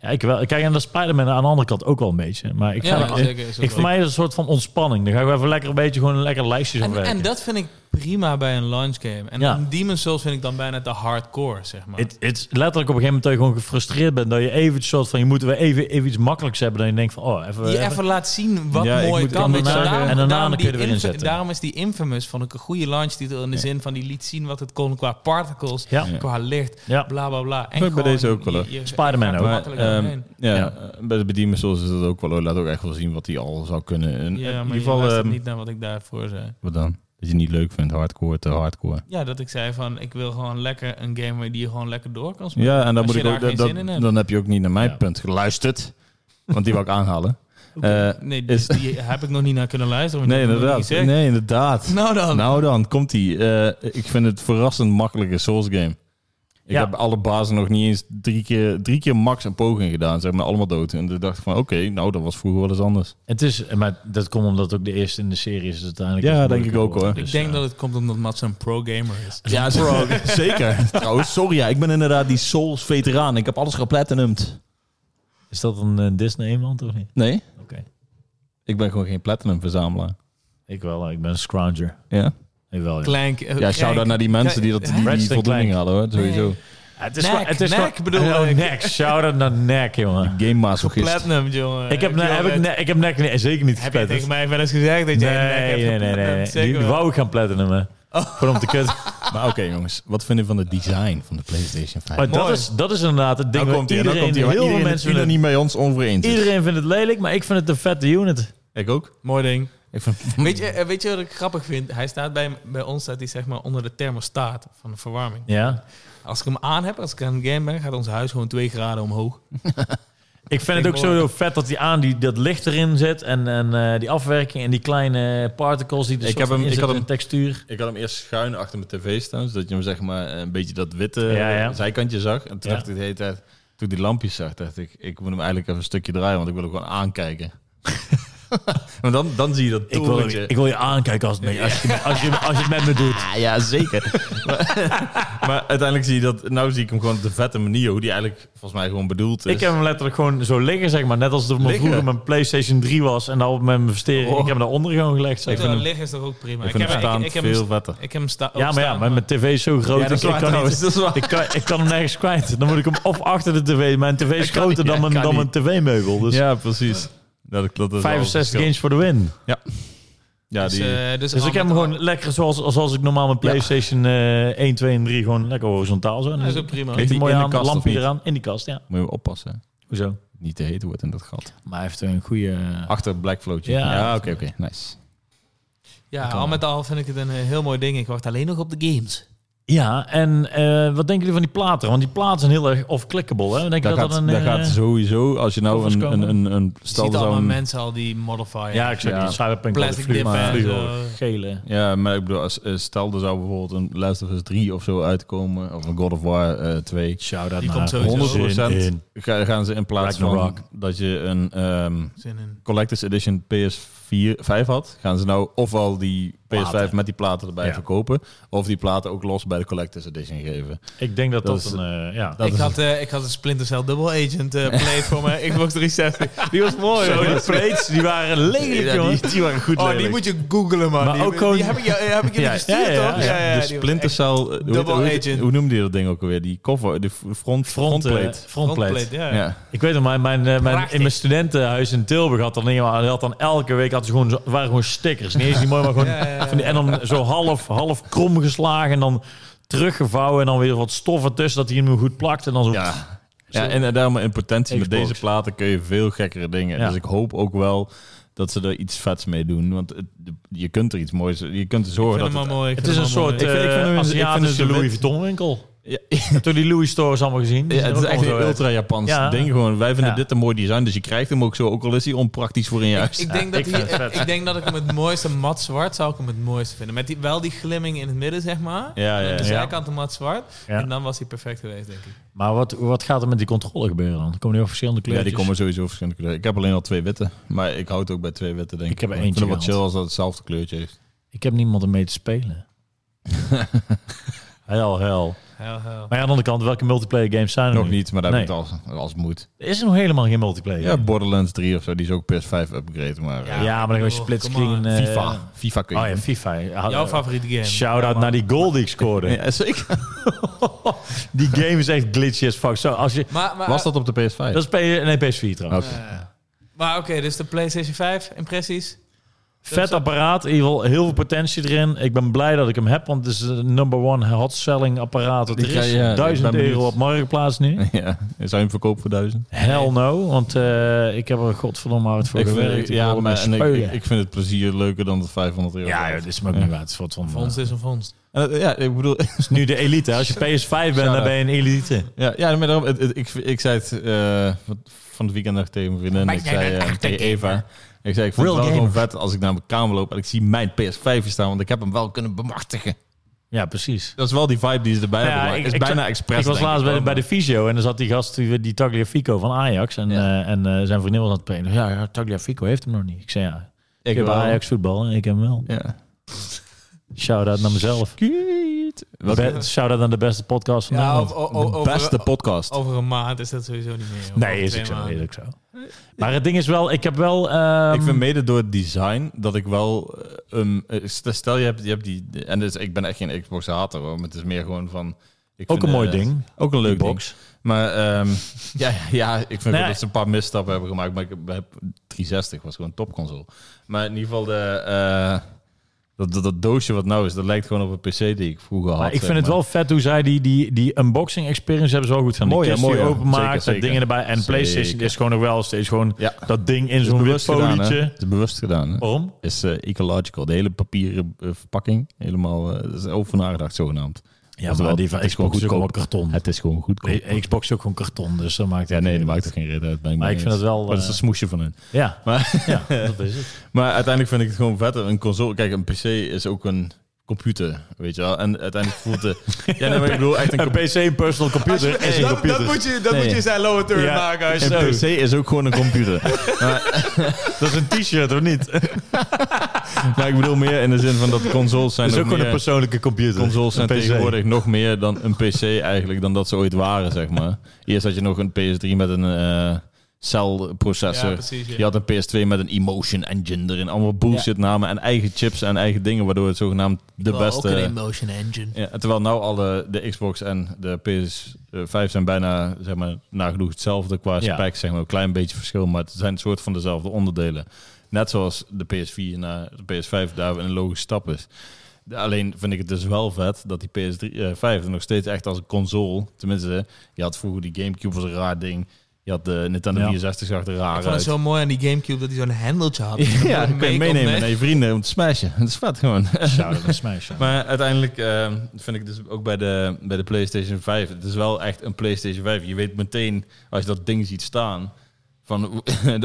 Speaker 2: Ja, ik wel. Kijk, en dat Spider-Man aan de andere kant ook wel een beetje. Maar ik,
Speaker 4: Ja,
Speaker 2: ga, ik,
Speaker 4: zeker, is ook
Speaker 2: ik- voor
Speaker 4: leuk.
Speaker 2: mij is het een soort van ontspanning. Dan ga ik even lekker een beetje gewoon een lekker lijstje zo
Speaker 4: En,
Speaker 2: werken.
Speaker 4: en dat vind ik prima bij een launch game. En
Speaker 2: Ja.
Speaker 4: een Demon's Souls vind ik dan bijna te hardcore, zeg maar.
Speaker 2: Het het is letterlijk op een gegeven moment dat je gewoon gefrustreerd bent. Dat je even het soort van, je moet weer even, even iets makkelijks hebben. Dat je denkt van, oh, even...
Speaker 4: die
Speaker 2: even-
Speaker 4: even laat zien wat
Speaker 3: Ja, ik
Speaker 4: mooi
Speaker 3: moet-
Speaker 4: kan.
Speaker 2: kan
Speaker 4: weet je.
Speaker 2: daarna- en daarna
Speaker 4: daarom
Speaker 2: dan
Speaker 4: die
Speaker 2: kun je er weer in
Speaker 4: Infa-
Speaker 2: zetten.
Speaker 4: Daarom is die Infamous vond ik een goede launchtitel in de
Speaker 3: Ja.
Speaker 4: zin van die liet zien wat het kon qua particles,
Speaker 2: Ja.
Speaker 3: Ja.
Speaker 4: qua licht,
Speaker 2: Ja.
Speaker 4: bla bla bla. En
Speaker 3: Vind ik bij
Speaker 4: gewoon
Speaker 3: deze ook wel
Speaker 4: je-
Speaker 3: leuk.
Speaker 4: je- je
Speaker 2: Spider-Man
Speaker 4: gaat er
Speaker 2: ook.
Speaker 3: Maar,
Speaker 4: makkelijk
Speaker 3: ehm,
Speaker 4: doorheen.
Speaker 3: ja,
Speaker 2: Ja.
Speaker 3: eh, bij de Demon's Souls is dat ook wel. Laat ook echt wel zien wat hij al zou kunnen. En,
Speaker 4: Ja,
Speaker 3: in
Speaker 4: maar in
Speaker 3: ieder geval, ehm,
Speaker 4: niet naar wat ik daarvoor zei.
Speaker 3: wat dan? Dat je niet leuk vindt, hardcore te hardcore.
Speaker 4: Ja, dat ik zei van, ik wil gewoon lekker een game waar die je gewoon lekker door kan spelen.
Speaker 3: Ja, en dan,
Speaker 4: Als
Speaker 3: moet
Speaker 4: je
Speaker 3: ik
Speaker 4: daar
Speaker 3: ook,
Speaker 4: geen
Speaker 3: dat-
Speaker 4: zin in hebt.
Speaker 3: dan heb je ook niet naar mijn
Speaker 2: Ja.
Speaker 3: punt geluisterd. Want die wou ik aanhalen. Eh,
Speaker 4: nee, dus
Speaker 3: is-
Speaker 4: die heb ik nog niet naar kunnen luisteren. want
Speaker 3: nee,
Speaker 4: je hebt het
Speaker 3: inderdaad.
Speaker 4: nog niet gezegd.
Speaker 3: Nee, inderdaad.
Speaker 4: Nou dan.
Speaker 3: Nou dan, komt die. Eh, ik vind het verrassend makkelijke Souls game. Ik
Speaker 2: Ja.
Speaker 3: heb alle bazen nog niet eens drie keer, drie keer max een poging gedaan. Ze hebben me allemaal dood. En toen dacht ik van, oké, nou, dat was vroeger wel eens anders.
Speaker 2: Het is, maar dat komt omdat het ook de eerste in de serie is. Dus uiteindelijk
Speaker 3: Ja,
Speaker 2: is het
Speaker 3: denk ik
Speaker 2: moeilijker
Speaker 3: ook, hoor.
Speaker 2: geworden.
Speaker 4: Ik
Speaker 2: Dus,
Speaker 4: denk
Speaker 2: eh,
Speaker 4: dat het komt omdat Mats een pro-gamer is.
Speaker 3: Ja, bro, zeker. Trouwens, sorry, ja, ik ben inderdaad die Souls-veteraan. Ik heb alles geplatinumd.
Speaker 2: Is dat een eh, Disney-land of niet?
Speaker 3: Nee,
Speaker 2: Oké.
Speaker 3: ik ben gewoon geen platinum-verzamelaar.
Speaker 2: Ik wel, ik ben een scrounger.
Speaker 3: Ja,
Speaker 2: Jawel, ja.
Speaker 4: Klein,
Speaker 3: ja shout-out naar die mensen die dat die, die
Speaker 2: Ratchet
Speaker 3: voldoening
Speaker 2: Clank.
Speaker 3: hadden, hoor. Sowieso.
Speaker 2: Het
Speaker 4: Nek,
Speaker 2: gewoon-
Speaker 4: nek
Speaker 2: gewoon-
Speaker 4: bedoel
Speaker 2: Oh,
Speaker 4: ik.
Speaker 2: nek. Shout-out naar nek, jongen.
Speaker 3: Game masochist.
Speaker 4: Platinum, jongen.
Speaker 2: Ik heb, ne- heb, ik,
Speaker 4: Jongen,
Speaker 2: ne- ik heb nek nee, zeker niet
Speaker 4: Heb je tegen
Speaker 2: gespletterd.
Speaker 4: mij wel eens gezegd dat
Speaker 2: Nee,
Speaker 4: jij
Speaker 2: nee, nee, nee. nee, Die, die wou ik gaan platinum, hè.
Speaker 3: Oh.
Speaker 2: Gewoon om te kut.
Speaker 3: Maar oké, jongens. Wat vinden we van het design van de PlayStation 5?
Speaker 2: Maar dat
Speaker 4: Mooi.
Speaker 2: is, Oh, dat is inderdaad het ding.
Speaker 3: dan
Speaker 2: waar
Speaker 3: komt hij, dan
Speaker 2: iedereen,
Speaker 3: komt hij. waar
Speaker 2: heel veel
Speaker 3: Iedereen
Speaker 2: mensen
Speaker 3: het
Speaker 2: vinden
Speaker 3: niet mee ons onvereens.
Speaker 2: het- iedereen vindt het lelijk, maar ik vind het een vette unit.
Speaker 3: Ik ook.
Speaker 4: Mooi ding.
Speaker 3: Ik vind,
Speaker 4: Weet je, eh, weet je wat ik grappig vind? Hij staat bij, bij ons staat hij zeg maar onder de thermostaat van de verwarming.
Speaker 2: Ja.
Speaker 4: Als ik hem aan heb, als ik aan het game ben, gaat ons huis gewoon 2 graden omhoog.
Speaker 2: Ik vind het
Speaker 4: Ik
Speaker 2: ook
Speaker 4: hoor-
Speaker 2: sowieso vet dat die aan die, dat licht erin zit en, en eh, die afwerking en die kleine particles die er
Speaker 3: Ik
Speaker 2: soort
Speaker 3: heb hem-
Speaker 2: in
Speaker 3: ik
Speaker 2: zitten
Speaker 3: had
Speaker 2: en
Speaker 3: hem-
Speaker 2: textuur.
Speaker 3: ik had hem eerst schuin achter mijn tv staan, zodat je hem zeg maar een beetje dat witte eh,
Speaker 2: Ja, ja.
Speaker 3: zijkantje zag. En toen
Speaker 2: Ja.
Speaker 3: dacht ik de hele tijd, toen ik die lampjes zag, dacht ik, ik moet hem eigenlijk even een stukje draaien, want ik wil hem gewoon aankijken. Maar dan, dan zie je dat
Speaker 2: Ik wil,
Speaker 3: torentje.
Speaker 2: ik wil je aankijken als, het mee, als, je, als, je, als je het met me doet.
Speaker 3: Ah, ja, zeker. maar, maar uiteindelijk zie je dat, nou zie ik hem gewoon op de vette manier, hoe die eigenlijk volgens mij gewoon bedoeld is.
Speaker 2: Ik heb hem letterlijk gewoon zo liggen, zeg maar. Net als het me
Speaker 3: Dus. Liggen?
Speaker 2: vroeger mijn PlayStation 3 was en dan op mijn investering.
Speaker 3: Oh.
Speaker 2: Ik heb hem daaronder gewoon gelegd. Zeg.
Speaker 4: Ik
Speaker 2: maar.
Speaker 4: liggen is toch ook prima.
Speaker 3: ik vind hem
Speaker 4: heb,
Speaker 3: staand
Speaker 4: ik, heb
Speaker 3: veel
Speaker 4: hem,
Speaker 3: vetter.
Speaker 4: ik heb hem sta-
Speaker 2: ja, maar ja,
Speaker 4: opstaan,
Speaker 2: maar mijn tv is zo groot.
Speaker 3: Ja, dat is
Speaker 2: ik,
Speaker 3: waar
Speaker 2: ik, kan
Speaker 3: trouwens,
Speaker 2: niet,
Speaker 3: dat is waar.
Speaker 2: ik, kan, ik kan hem nergens kwijt. Dan moet ik hem of achter de tv. Mijn tv is groter dan
Speaker 3: ja,
Speaker 2: mijn,
Speaker 3: kan
Speaker 2: dan mijn
Speaker 3: niet.
Speaker 2: tv-meubel. Dus
Speaker 3: Ja, precies. Dat, dat is wel
Speaker 2: 65
Speaker 3: verschil.
Speaker 2: games voor de win.
Speaker 3: Ja,
Speaker 4: Dus,
Speaker 3: die,
Speaker 4: eh, dus
Speaker 2: Dus ik
Speaker 4: allemaal-
Speaker 2: heb hem gewoon lekker zoals, zoals ik normaal mijn PlayStation eh 1, 2 en 3 gewoon lekker horizontaal zo. En
Speaker 4: Dat is
Speaker 2: dan
Speaker 4: ook prima.
Speaker 2: Klinkt hij
Speaker 3: die
Speaker 2: mooi
Speaker 3: in de
Speaker 2: aan,
Speaker 3: kast of
Speaker 2: lampje
Speaker 3: niet?
Speaker 2: eraan in die kast, ja.
Speaker 3: moet je oppassen. hè.
Speaker 2: Hoezo?
Speaker 3: Niet te heet wordt in dat gat.
Speaker 2: Maar hij heeft een goede...
Speaker 3: Achter Black Floatje.
Speaker 2: Ja.
Speaker 3: Ja, oké, oké. Nice.
Speaker 4: Ja, al met al vind ik het een eh, heel mooi ding. Ik wacht alleen nog op de games.
Speaker 2: Ja, en eh, wat denken jullie van die platen? Want die platen zijn heel erg off-clickable, hè? Denk je
Speaker 3: Daar
Speaker 2: dat
Speaker 3: gaat,
Speaker 2: dat een... eh,
Speaker 3: daar gaat sowieso, als je nou
Speaker 2: koffers
Speaker 3: een,
Speaker 2: komen.
Speaker 3: een, een, een
Speaker 4: Je
Speaker 3: stel
Speaker 4: ziet
Speaker 3: dat
Speaker 4: allemaal
Speaker 3: een-
Speaker 4: mensen al die modifier.
Speaker 2: ja, ik zeg
Speaker 3: Ja.
Speaker 2: die Cyberpunk
Speaker 4: Plastic
Speaker 2: vlieg-
Speaker 4: dip en
Speaker 2: vlieg-
Speaker 4: zo.
Speaker 2: gele.
Speaker 3: Ja, maar ik bedoel, als, eh, stel er zou bijvoorbeeld een Last of Us 3 of zo uitkomen, of een God of War eh 2.
Speaker 2: Shout-out
Speaker 4: Die
Speaker 2: naar
Speaker 4: komt sowieso.
Speaker 3: 100%
Speaker 2: Zin in.
Speaker 3: ga- gaan ze in plaats
Speaker 2: Ragnarok.
Speaker 3: van dat je een ehm,
Speaker 4: Zin in.
Speaker 3: Collectors Edition PS4 5 had, gaan ze nou ofwel die PS5
Speaker 2: Platen.
Speaker 3: met die platen erbij
Speaker 2: Ja.
Speaker 3: verkopen, of die platen ook los bij de Collectors Edition geven.
Speaker 2: Ik denk dat dat,
Speaker 3: Dat is-
Speaker 2: een... eh, ja.
Speaker 3: Dat
Speaker 4: ik,
Speaker 3: is-
Speaker 4: had, eh, ik had een Splinter Cell Double Agent eh played voor mijn Xbox 360. Die was mooi.
Speaker 2: Zo,
Speaker 4: hoor.
Speaker 2: die plates, die waren lelijk,
Speaker 3: Ja,
Speaker 2: jongen.
Speaker 3: die, die waren goed
Speaker 4: Oh, die
Speaker 3: lelijk.
Speaker 4: moet je googlen, man.
Speaker 2: Maar
Speaker 4: die,
Speaker 2: ook
Speaker 4: die
Speaker 2: gewoon-
Speaker 4: heb ik, jou- heb ik jullie
Speaker 2: Ja,
Speaker 4: gestuurd,
Speaker 2: ja, ja,
Speaker 4: toch?
Speaker 2: ja.
Speaker 4: die
Speaker 3: de
Speaker 4: was
Speaker 3: Splinter
Speaker 4: echt-
Speaker 3: Cell, eh, hoe,
Speaker 4: Double
Speaker 3: hoe- hoe-
Speaker 4: Agent.
Speaker 3: hoe noemde je dat ding ook alweer? Die cover, de f- front,
Speaker 2: Front, eh,
Speaker 3: frontplate.
Speaker 2: frontplate.
Speaker 4: frontplate, eh, ja.
Speaker 3: ja.
Speaker 2: Ik weet nog, mijn, mijn, eh, mijn,
Speaker 4: Prachtig.
Speaker 2: in mijn studentenhuis in Tilburg had dan, had dan elke week had ze gewoon, zo- waren gewoon stickers. Niet eens niet mooi, maar gewoon.
Speaker 4: Ja, ja, ja.
Speaker 2: Van die, en dan zo half, half krom geslagen en dan teruggevouwen en dan weer wat stof ertussen dat hij hem goed plakt. En dan zo.
Speaker 3: Ja. ja, en eh, daarom in potentie met
Speaker 2: Xbox.
Speaker 3: deze platen kun je veel gekkere dingen.
Speaker 2: Ja.
Speaker 3: Dus ik hoop ook wel dat ze er iets vets mee doen. Want het- de- je kunt er iets moois... Je kunt er
Speaker 4: Ik
Speaker 3: zorgen
Speaker 4: vind
Speaker 3: dat...
Speaker 4: hem
Speaker 3: het-
Speaker 4: wel mooi. ik
Speaker 2: Het
Speaker 4: vind
Speaker 2: is een
Speaker 4: hem wel
Speaker 2: soort
Speaker 4: mooi.
Speaker 3: Ik vind- ik
Speaker 2: eh,
Speaker 3: vind hem- ik vind
Speaker 2: Aziatische
Speaker 3: hem zo
Speaker 2: Louis
Speaker 3: wit.
Speaker 2: Vuitton winkel.
Speaker 3: ja,
Speaker 2: Heb je die Louis stores allemaal gezien? Die
Speaker 3: ja,
Speaker 2: zijn
Speaker 3: het is
Speaker 2: ook
Speaker 3: echt
Speaker 2: allemaal
Speaker 3: een
Speaker 2: zo, eh,
Speaker 3: ultra-Japans
Speaker 2: Ja.
Speaker 3: ding. Gewoon, wij vinden
Speaker 2: Ja.
Speaker 3: dit een mooi design, dus je krijgt hem ook zo. Ook al is hij onpraktisch voor in je huis.
Speaker 4: Ik denk, dat
Speaker 2: ik
Speaker 4: die,
Speaker 2: vind het
Speaker 4: ik,
Speaker 2: vet.
Speaker 4: ik denk dat ik hem het mooiste mat zwart zou ik hem het mooiste vinden. Met die, wel die glimming in het midden, zeg maar.
Speaker 3: Ja, ja,
Speaker 4: En de
Speaker 3: ja.
Speaker 4: zijkant een mat zwart.
Speaker 2: Ja.
Speaker 4: En dan was hij perfect geweest, denk ik.
Speaker 2: Maar wat, wat gaat er met die controle gebeuren dan? Er komen nu ook verschillende
Speaker 3: Ja,
Speaker 2: kleurtjes.
Speaker 3: die komen sowieso verschillende kleuren. Ik heb alleen al twee witte. Maar ik houd ook bij twee witte, denk ik.
Speaker 2: Ik heb er
Speaker 3: Want
Speaker 2: eentje
Speaker 3: vind het wat chill
Speaker 2: gehaald.
Speaker 3: als dat hetzelfde kleurtje heeft.
Speaker 2: Ik heb niemand om mee te spelen. hel, hel.
Speaker 4: Heel, heel.
Speaker 2: Maar ja, aan de andere kant, welke multiplayer games zijn er
Speaker 3: Nog
Speaker 2: nu?
Speaker 3: niet, maar daar heb
Speaker 2: Nee.
Speaker 3: ik het als, als moet.
Speaker 2: Er is nog helemaal geen multiplayer.
Speaker 3: Ja, Borderlands 3 of zo, die is ook PS5 upgrade. Maar
Speaker 4: Ja.
Speaker 3: eh,
Speaker 2: Ja, maar dan ga je
Speaker 4: Oh,
Speaker 2: split
Speaker 4: come on.
Speaker 2: screen. eh,
Speaker 3: FIFA. FIFA kun je.
Speaker 2: Oh ja, FIFA. Ja,
Speaker 4: Jouw
Speaker 2: eh,
Speaker 4: favoriete game.
Speaker 2: Shout-out naar die goal die ik scoorde.
Speaker 3: Ja, zeker.
Speaker 2: Die game is echt glitchy as fuck. Zo, als je,
Speaker 4: Maar, maar,
Speaker 3: Was dat op de PS5?
Speaker 2: dat is E P, nee, PS4
Speaker 3: Oké.
Speaker 2: trouwens.
Speaker 4: maar oké, dus de PlayStation 5 impressies.
Speaker 3: Oh.
Speaker 2: Vet apparaat, in ieder geval heel veel potentie erin. Ik ben blij dat ik hem heb, want het is de number one hot-selling apparaat. dat
Speaker 3: Die
Speaker 2: er
Speaker 3: ga
Speaker 2: is
Speaker 3: je- ja, ik
Speaker 2: duizend
Speaker 3: ben benieuwd.
Speaker 2: euro op marktplaats nu.
Speaker 3: Ja, zou je hem verkopen voor duizend?
Speaker 2: Hell no, want eh, ik heb er godverdomme hard voor
Speaker 3: Ik
Speaker 2: gewerkt.
Speaker 3: vind,
Speaker 2: Ik wil
Speaker 3: ja,
Speaker 2: hem
Speaker 3: maar en ik,
Speaker 2: speulen.
Speaker 3: ik, ik vind het plezier leuker dan de 500 euro.
Speaker 2: ja, joh, dit is me ook niet waard. Het is wat van-
Speaker 4: Fonds is een fonds.
Speaker 3: En het- ja ik bedoel...
Speaker 2: Het is nu de elite. hè. Als je PS5 bent, dan ben je een elite.
Speaker 3: Ja, ja maar daarom, het- het- ik, ik zei het eh, van- van het weekend nog tegen mijn vriendin.
Speaker 4: Maar
Speaker 3: Ik
Speaker 4: jij
Speaker 3: zei
Speaker 4: bent
Speaker 3: eh,
Speaker 4: echt
Speaker 3: tegen
Speaker 4: een gamer.
Speaker 3: Eva. Ik zei, ik vind
Speaker 2: Real
Speaker 3: het wel
Speaker 2: gamer.
Speaker 3: gewoon vet als ik naar mijn kamer loop en ik zie mijn PS5 hier staan, want ik heb hem wel kunnen bemachtigen.
Speaker 2: Ja, precies.
Speaker 3: Dat is wel die vibe die ze erbij
Speaker 2: Nou
Speaker 3: hebben.
Speaker 2: ja,
Speaker 3: gemaakt.
Speaker 2: ik-
Speaker 3: is
Speaker 2: ik
Speaker 3: bijna
Speaker 2: zag-
Speaker 3: expres.
Speaker 2: ik was
Speaker 3: denk
Speaker 2: laatst bij,
Speaker 3: wel,
Speaker 2: bij de fysio en er zat die gast, die, die Tagliafico van Ajax. En,
Speaker 3: Ja.
Speaker 2: eh, en eh, zijn vriendin was aan het praten. Ja, ja, Tagliafico heeft hem nog niet. Ik zei ja,
Speaker 3: maar
Speaker 2: ik, heb
Speaker 3: wel.
Speaker 2: Ajax voetbal en ik heb hem wel.
Speaker 3: Ja.
Speaker 2: Shout-out naar mezelf. Be- Shout-out aan de beste podcast van
Speaker 4: Ja,
Speaker 2: Nederland.
Speaker 4: of- o- o- over,
Speaker 3: Beste podcast.
Speaker 4: over een maand is dat sowieso niet meer.
Speaker 2: Nee, is ook
Speaker 4: ik
Speaker 2: zo, is ook zo. Maar het ding is wel, ik heb wel... ehm,
Speaker 3: ik vind mede door het design dat ik wel. eh, um, eh, st- stel je hebt, je hebt die. En dus, ik ben echt geen Xbox-hater hoor. Maar het is meer gewoon van. Ik
Speaker 2: ook
Speaker 3: vind,
Speaker 2: een mooi
Speaker 3: eh,
Speaker 2: ding.
Speaker 3: Ook een leuk
Speaker 2: die
Speaker 3: box.
Speaker 2: box.
Speaker 3: Maar ehm, ja, ja, ik vind
Speaker 2: Nou ja.
Speaker 3: wel dat ze een paar misstappen hebben gemaakt. Maar ik heb 360 was gewoon een topconsole. Maar in ieder geval de, eh, dat, dat, dat doosje wat nou is, dat lijkt gewoon op een PC die ik vroeger had.
Speaker 2: Maar ik
Speaker 3: zeg
Speaker 2: vind het
Speaker 3: maar.
Speaker 2: wel vet hoe zij die, die, die unboxing experience hebben zo goed van
Speaker 3: Mooi,
Speaker 2: die
Speaker 3: hè,
Speaker 2: kist die
Speaker 3: mooi,
Speaker 2: je
Speaker 3: hè.
Speaker 2: openmaakt,
Speaker 3: Zeker,
Speaker 2: met
Speaker 3: zeker.
Speaker 2: dingen erbij. En PlayStation
Speaker 3: Zeker.
Speaker 2: is gewoon nog wel steeds gewoon
Speaker 3: Ja.
Speaker 2: dat ding in zo'n wit
Speaker 3: bewust gedaan, hè.
Speaker 2: folietje. Oh.
Speaker 3: Het is bewust gedaan. Hè?
Speaker 2: Waarom?
Speaker 3: is eh, ecological. De hele papieren eh, verpakking, helemaal eh, dat is over nagedacht zogenaamd.
Speaker 2: Ja,
Speaker 3: maar
Speaker 2: maar
Speaker 3: die
Speaker 2: die
Speaker 3: van
Speaker 2: van
Speaker 3: Het is gewoon
Speaker 2: Xbox is ook allemaal
Speaker 3: goedkoop.
Speaker 2: karton.
Speaker 3: Het is gewoon goedkoop.
Speaker 2: Nee, Xbox is ook gewoon karton, dus dat maakt
Speaker 3: ja, nee, dat
Speaker 2: niet
Speaker 3: maakt
Speaker 2: uit.
Speaker 3: er geen reden uit. ben
Speaker 2: Maar
Speaker 3: mee
Speaker 2: ik vind
Speaker 3: eens.
Speaker 2: het wel,
Speaker 3: Maar dat is
Speaker 2: eh,
Speaker 3: een smoesje van hun.
Speaker 2: Ja,
Speaker 3: Maar,
Speaker 2: ja, dat is het.
Speaker 3: maar uiteindelijk vind ik het gewoon vetter. Een console, kijk, een PC is ook een computer, weet je wel. En uiteindelijk voelt de. ja, nee, maar ik bedoel echt een
Speaker 2: Een
Speaker 3: computer.
Speaker 2: PC, een personal computer is een
Speaker 4: dat,
Speaker 2: computer.
Speaker 4: dat moet je, dat
Speaker 3: dus. Nee.
Speaker 4: moet je zijn lower third
Speaker 2: Ja.
Speaker 4: maken. Als je
Speaker 3: Een
Speaker 4: zo-
Speaker 3: PC is ook gewoon een computer.
Speaker 2: Dat is een t-shirt, of niet? Dat
Speaker 3: maar ik bedoel meer in de zin van dat consoles zijn
Speaker 2: is ook
Speaker 3: ook
Speaker 2: gewoon een
Speaker 3: meer,
Speaker 2: persoonlijke computer.
Speaker 3: consoles zijn
Speaker 2: Een PC.
Speaker 3: tegenwoordig nog meer dan een PC eigenlijk dan dat ze ooit waren, zeg maar. Eerst had je nog een PS3 met een eh
Speaker 4: Ja,
Speaker 3: celprocessor.
Speaker 4: precies. ja.
Speaker 3: Je had een PS2 met een Emotion Engine erin. Allemaal bullshit namen en eigen chips en eigen dingen, waardoor het zogenaamd de
Speaker 4: Wel,
Speaker 3: beste...
Speaker 4: Ook een emotion engine.
Speaker 3: Ja, terwijl nou alle de Xbox en de PS5 zijn bijna zeg maar, nagenoeg hetzelfde qua
Speaker 2: Ja.
Speaker 3: spec, zeg maar, een klein beetje verschil, maar het zijn een soort van dezelfde onderdelen. Net zoals de PS4 naar de PS5 daar een logische stap is. De- Alleen vind ik het dus wel vet dat die PS5 eh, er nog steeds echt als een console, tenminste, je had vroeger die Gamecube was een raar ding, je had de Nintendo
Speaker 2: Ja.
Speaker 3: 64 zag er raar
Speaker 4: Ik vond het
Speaker 3: uit.
Speaker 4: zo mooi aan die Gamecube dat hij zo'n hendeltje had.
Speaker 3: Ja,
Speaker 4: Dat
Speaker 3: dat kun je
Speaker 4: mee kon
Speaker 3: meenemen
Speaker 4: mee-
Speaker 3: naar je vrienden om te smashen. Dat is vet gewoon.
Speaker 2: Shout-out naar Smash. ja.
Speaker 3: Maar uiteindelijk eh, vind ik dus ook bij de, bij de PlayStation 5. Het is wel echt een PlayStation 5. Je weet meteen als je dat ding ziet staan. Van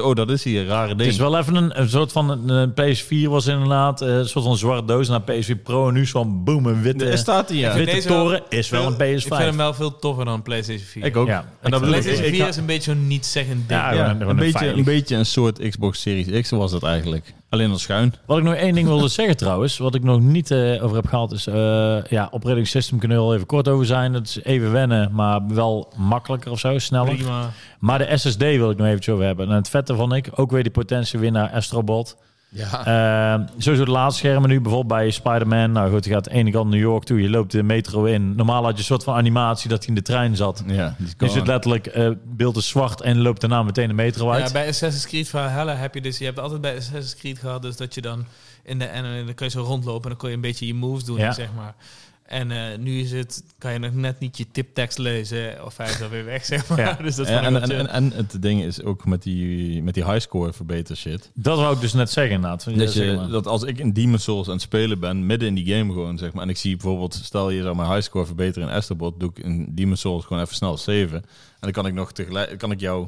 Speaker 3: oh, dat is hier een rare
Speaker 2: Het
Speaker 3: ding.
Speaker 2: is wel even een, een soort van een, een PS4 was inderdaad eh, een soort van zwarte doos naar PS4 Pro en nu zo'n boom een witte.
Speaker 3: Er staat hier. Ja.
Speaker 2: Witte
Speaker 4: Deze
Speaker 2: toren is wel een PS5.
Speaker 4: Ik vind hem wel veel toffer dan een PlayStation 4.
Speaker 3: Ik ook.
Speaker 2: Ja,
Speaker 3: en
Speaker 2: ik
Speaker 3: dat
Speaker 2: vind
Speaker 3: bedoel ik.
Speaker 2: het
Speaker 4: PlayStation
Speaker 2: ook.
Speaker 4: 4 is een beetje zo'n niet-zeggend ding.
Speaker 2: Ja,
Speaker 3: Ja,
Speaker 2: gewoon een-
Speaker 3: een,
Speaker 2: gewoon een
Speaker 3: beetje,
Speaker 2: veilig.
Speaker 3: een beetje een soort Xbox Series X was het eigenlijk. Alleen al schuin.
Speaker 2: Wat ik nog één ding wilde zeggen trouwens, wat ik nog niet eh, over heb gehaald, is eh ja, operating system kunnen we al even kort over zijn. Dat is even wennen, maar wel makkelijker of zo, sneller.
Speaker 4: Prima.
Speaker 2: Maar de SSD wil ik nog eventjes over hebben. En het vette van ik, ook weer die potentiewinnaar Astrobot.
Speaker 3: Ja.
Speaker 2: Eh, sowieso de laadschermen nu, bijvoorbeeld bij Spider-Man. Nou goed, je gaat de ene kant New York toe, je loopt de metro in. Normaal had je een soort van animatie dat hij in de trein zat.
Speaker 3: Ja, die is
Speaker 2: Nu is
Speaker 3: gone.
Speaker 2: het letterlijk, eh beeld is zwart en loopt daarna meteen de metro uit.
Speaker 4: Ja, bij Assassin's Creed verhalen heb je dus... Je hebt altijd bij Assassin's Creed gehad, dus dat je dan in de... En, en dan kun je zo rondlopen en dan kon je een beetje je moves doen,
Speaker 2: Ja.
Speaker 4: zeg maar. En eh, nu is het, kan je nog net niet je tiptekst lezen of hij is alweer weg, zeg maar.
Speaker 2: Ja.
Speaker 4: Dus dat
Speaker 3: En,
Speaker 4: vond ik wel
Speaker 3: en,
Speaker 4: chill.
Speaker 3: en, en het ding is ook met die, met die highscore verbeter shit.
Speaker 2: Dat wou ik dus net zeggen, inderdaad. Ja,
Speaker 3: Dat,
Speaker 2: zeg
Speaker 3: je,
Speaker 2: maar.
Speaker 3: dat als ik in Demon's Souls aan het spelen ben, midden in die game gewoon, zeg maar. En ik zie bijvoorbeeld, stel je zou mijn highscore verbeteren in Astrobot, doe ik in Demon's Souls gewoon even snel 7. En dan kan ik nog tegelijk, kan ik jou,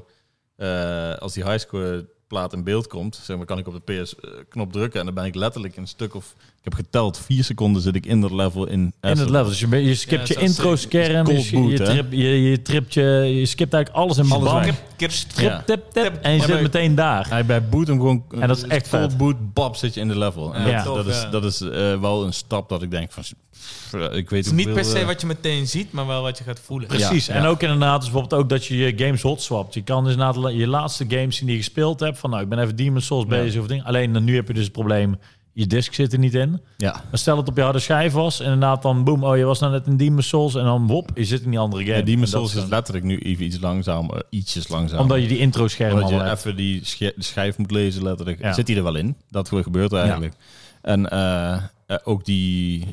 Speaker 3: eh, als die highscore plaat in beeld komt, zeg maar, kan ik op de PS-knop drukken en dan ben ik letterlijk een stuk of, ik heb geteld, 4 seconden zit ik in dat level in
Speaker 2: In het
Speaker 3: Astrobot.
Speaker 2: level. Dus je, ben- je
Speaker 4: Ja,
Speaker 2: skipt je
Speaker 4: dat is
Speaker 2: intro's kern,
Speaker 3: cold
Speaker 2: je, sch- je,
Speaker 3: boot, hè?
Speaker 2: trip, je, je tript je, je skipt eigenlijk alles in
Speaker 3: Alles
Speaker 2: bam,
Speaker 3: weg.
Speaker 4: Kip, kip,
Speaker 2: trip,
Speaker 3: Ja.
Speaker 2: tip, tip, en je
Speaker 3: Ja,
Speaker 2: zit
Speaker 3: maar-
Speaker 2: meteen daar.
Speaker 3: Hij bij boot hem gewoon...
Speaker 2: En dat is echt
Speaker 3: vol
Speaker 2: vet.
Speaker 3: boot, bab, zit je in de level. En
Speaker 2: Ja,
Speaker 3: dat, dat
Speaker 4: tof,
Speaker 3: is,
Speaker 4: ja.
Speaker 3: dat is eh, wel een stap dat ik denk van... pff, Ik weet
Speaker 4: Het is niet per
Speaker 3: hoeveel,
Speaker 4: se
Speaker 3: eh,
Speaker 4: wat je meteen ziet, maar wel wat je gaat voelen.
Speaker 2: Precies.
Speaker 3: ja.
Speaker 2: En ook inderdaad dus bijvoorbeeld ook dat je je games hot swapt. Je kan dus na je laatste games die je gespeeld hebt, van nou, ik ben even Demon's Souls bezig of ding. Alleen dan nu heb je dus het probleem, je disc zit er niet in.
Speaker 3: Ja.
Speaker 2: Maar stel dat het op je harde schijf was, en inderdaad dan boem, oh, je was nou net in Demon's Souls, en dan wop, je zit in die andere game.
Speaker 3: Ja, die
Speaker 2: En dat
Speaker 3: Souls
Speaker 2: is
Speaker 3: is
Speaker 2: dan-
Speaker 3: letterlijk nu even iets langzamer, ietsjes langzamer.
Speaker 2: Omdat je die intro scherm
Speaker 3: Omdat
Speaker 2: al
Speaker 3: je
Speaker 2: hebt.
Speaker 3: even die sche- schijf moet lezen, letterlijk.
Speaker 2: Ja.
Speaker 3: Zit hij er wel in? Dat ge- gebeurt er eigenlijk. En eh, eh, ook die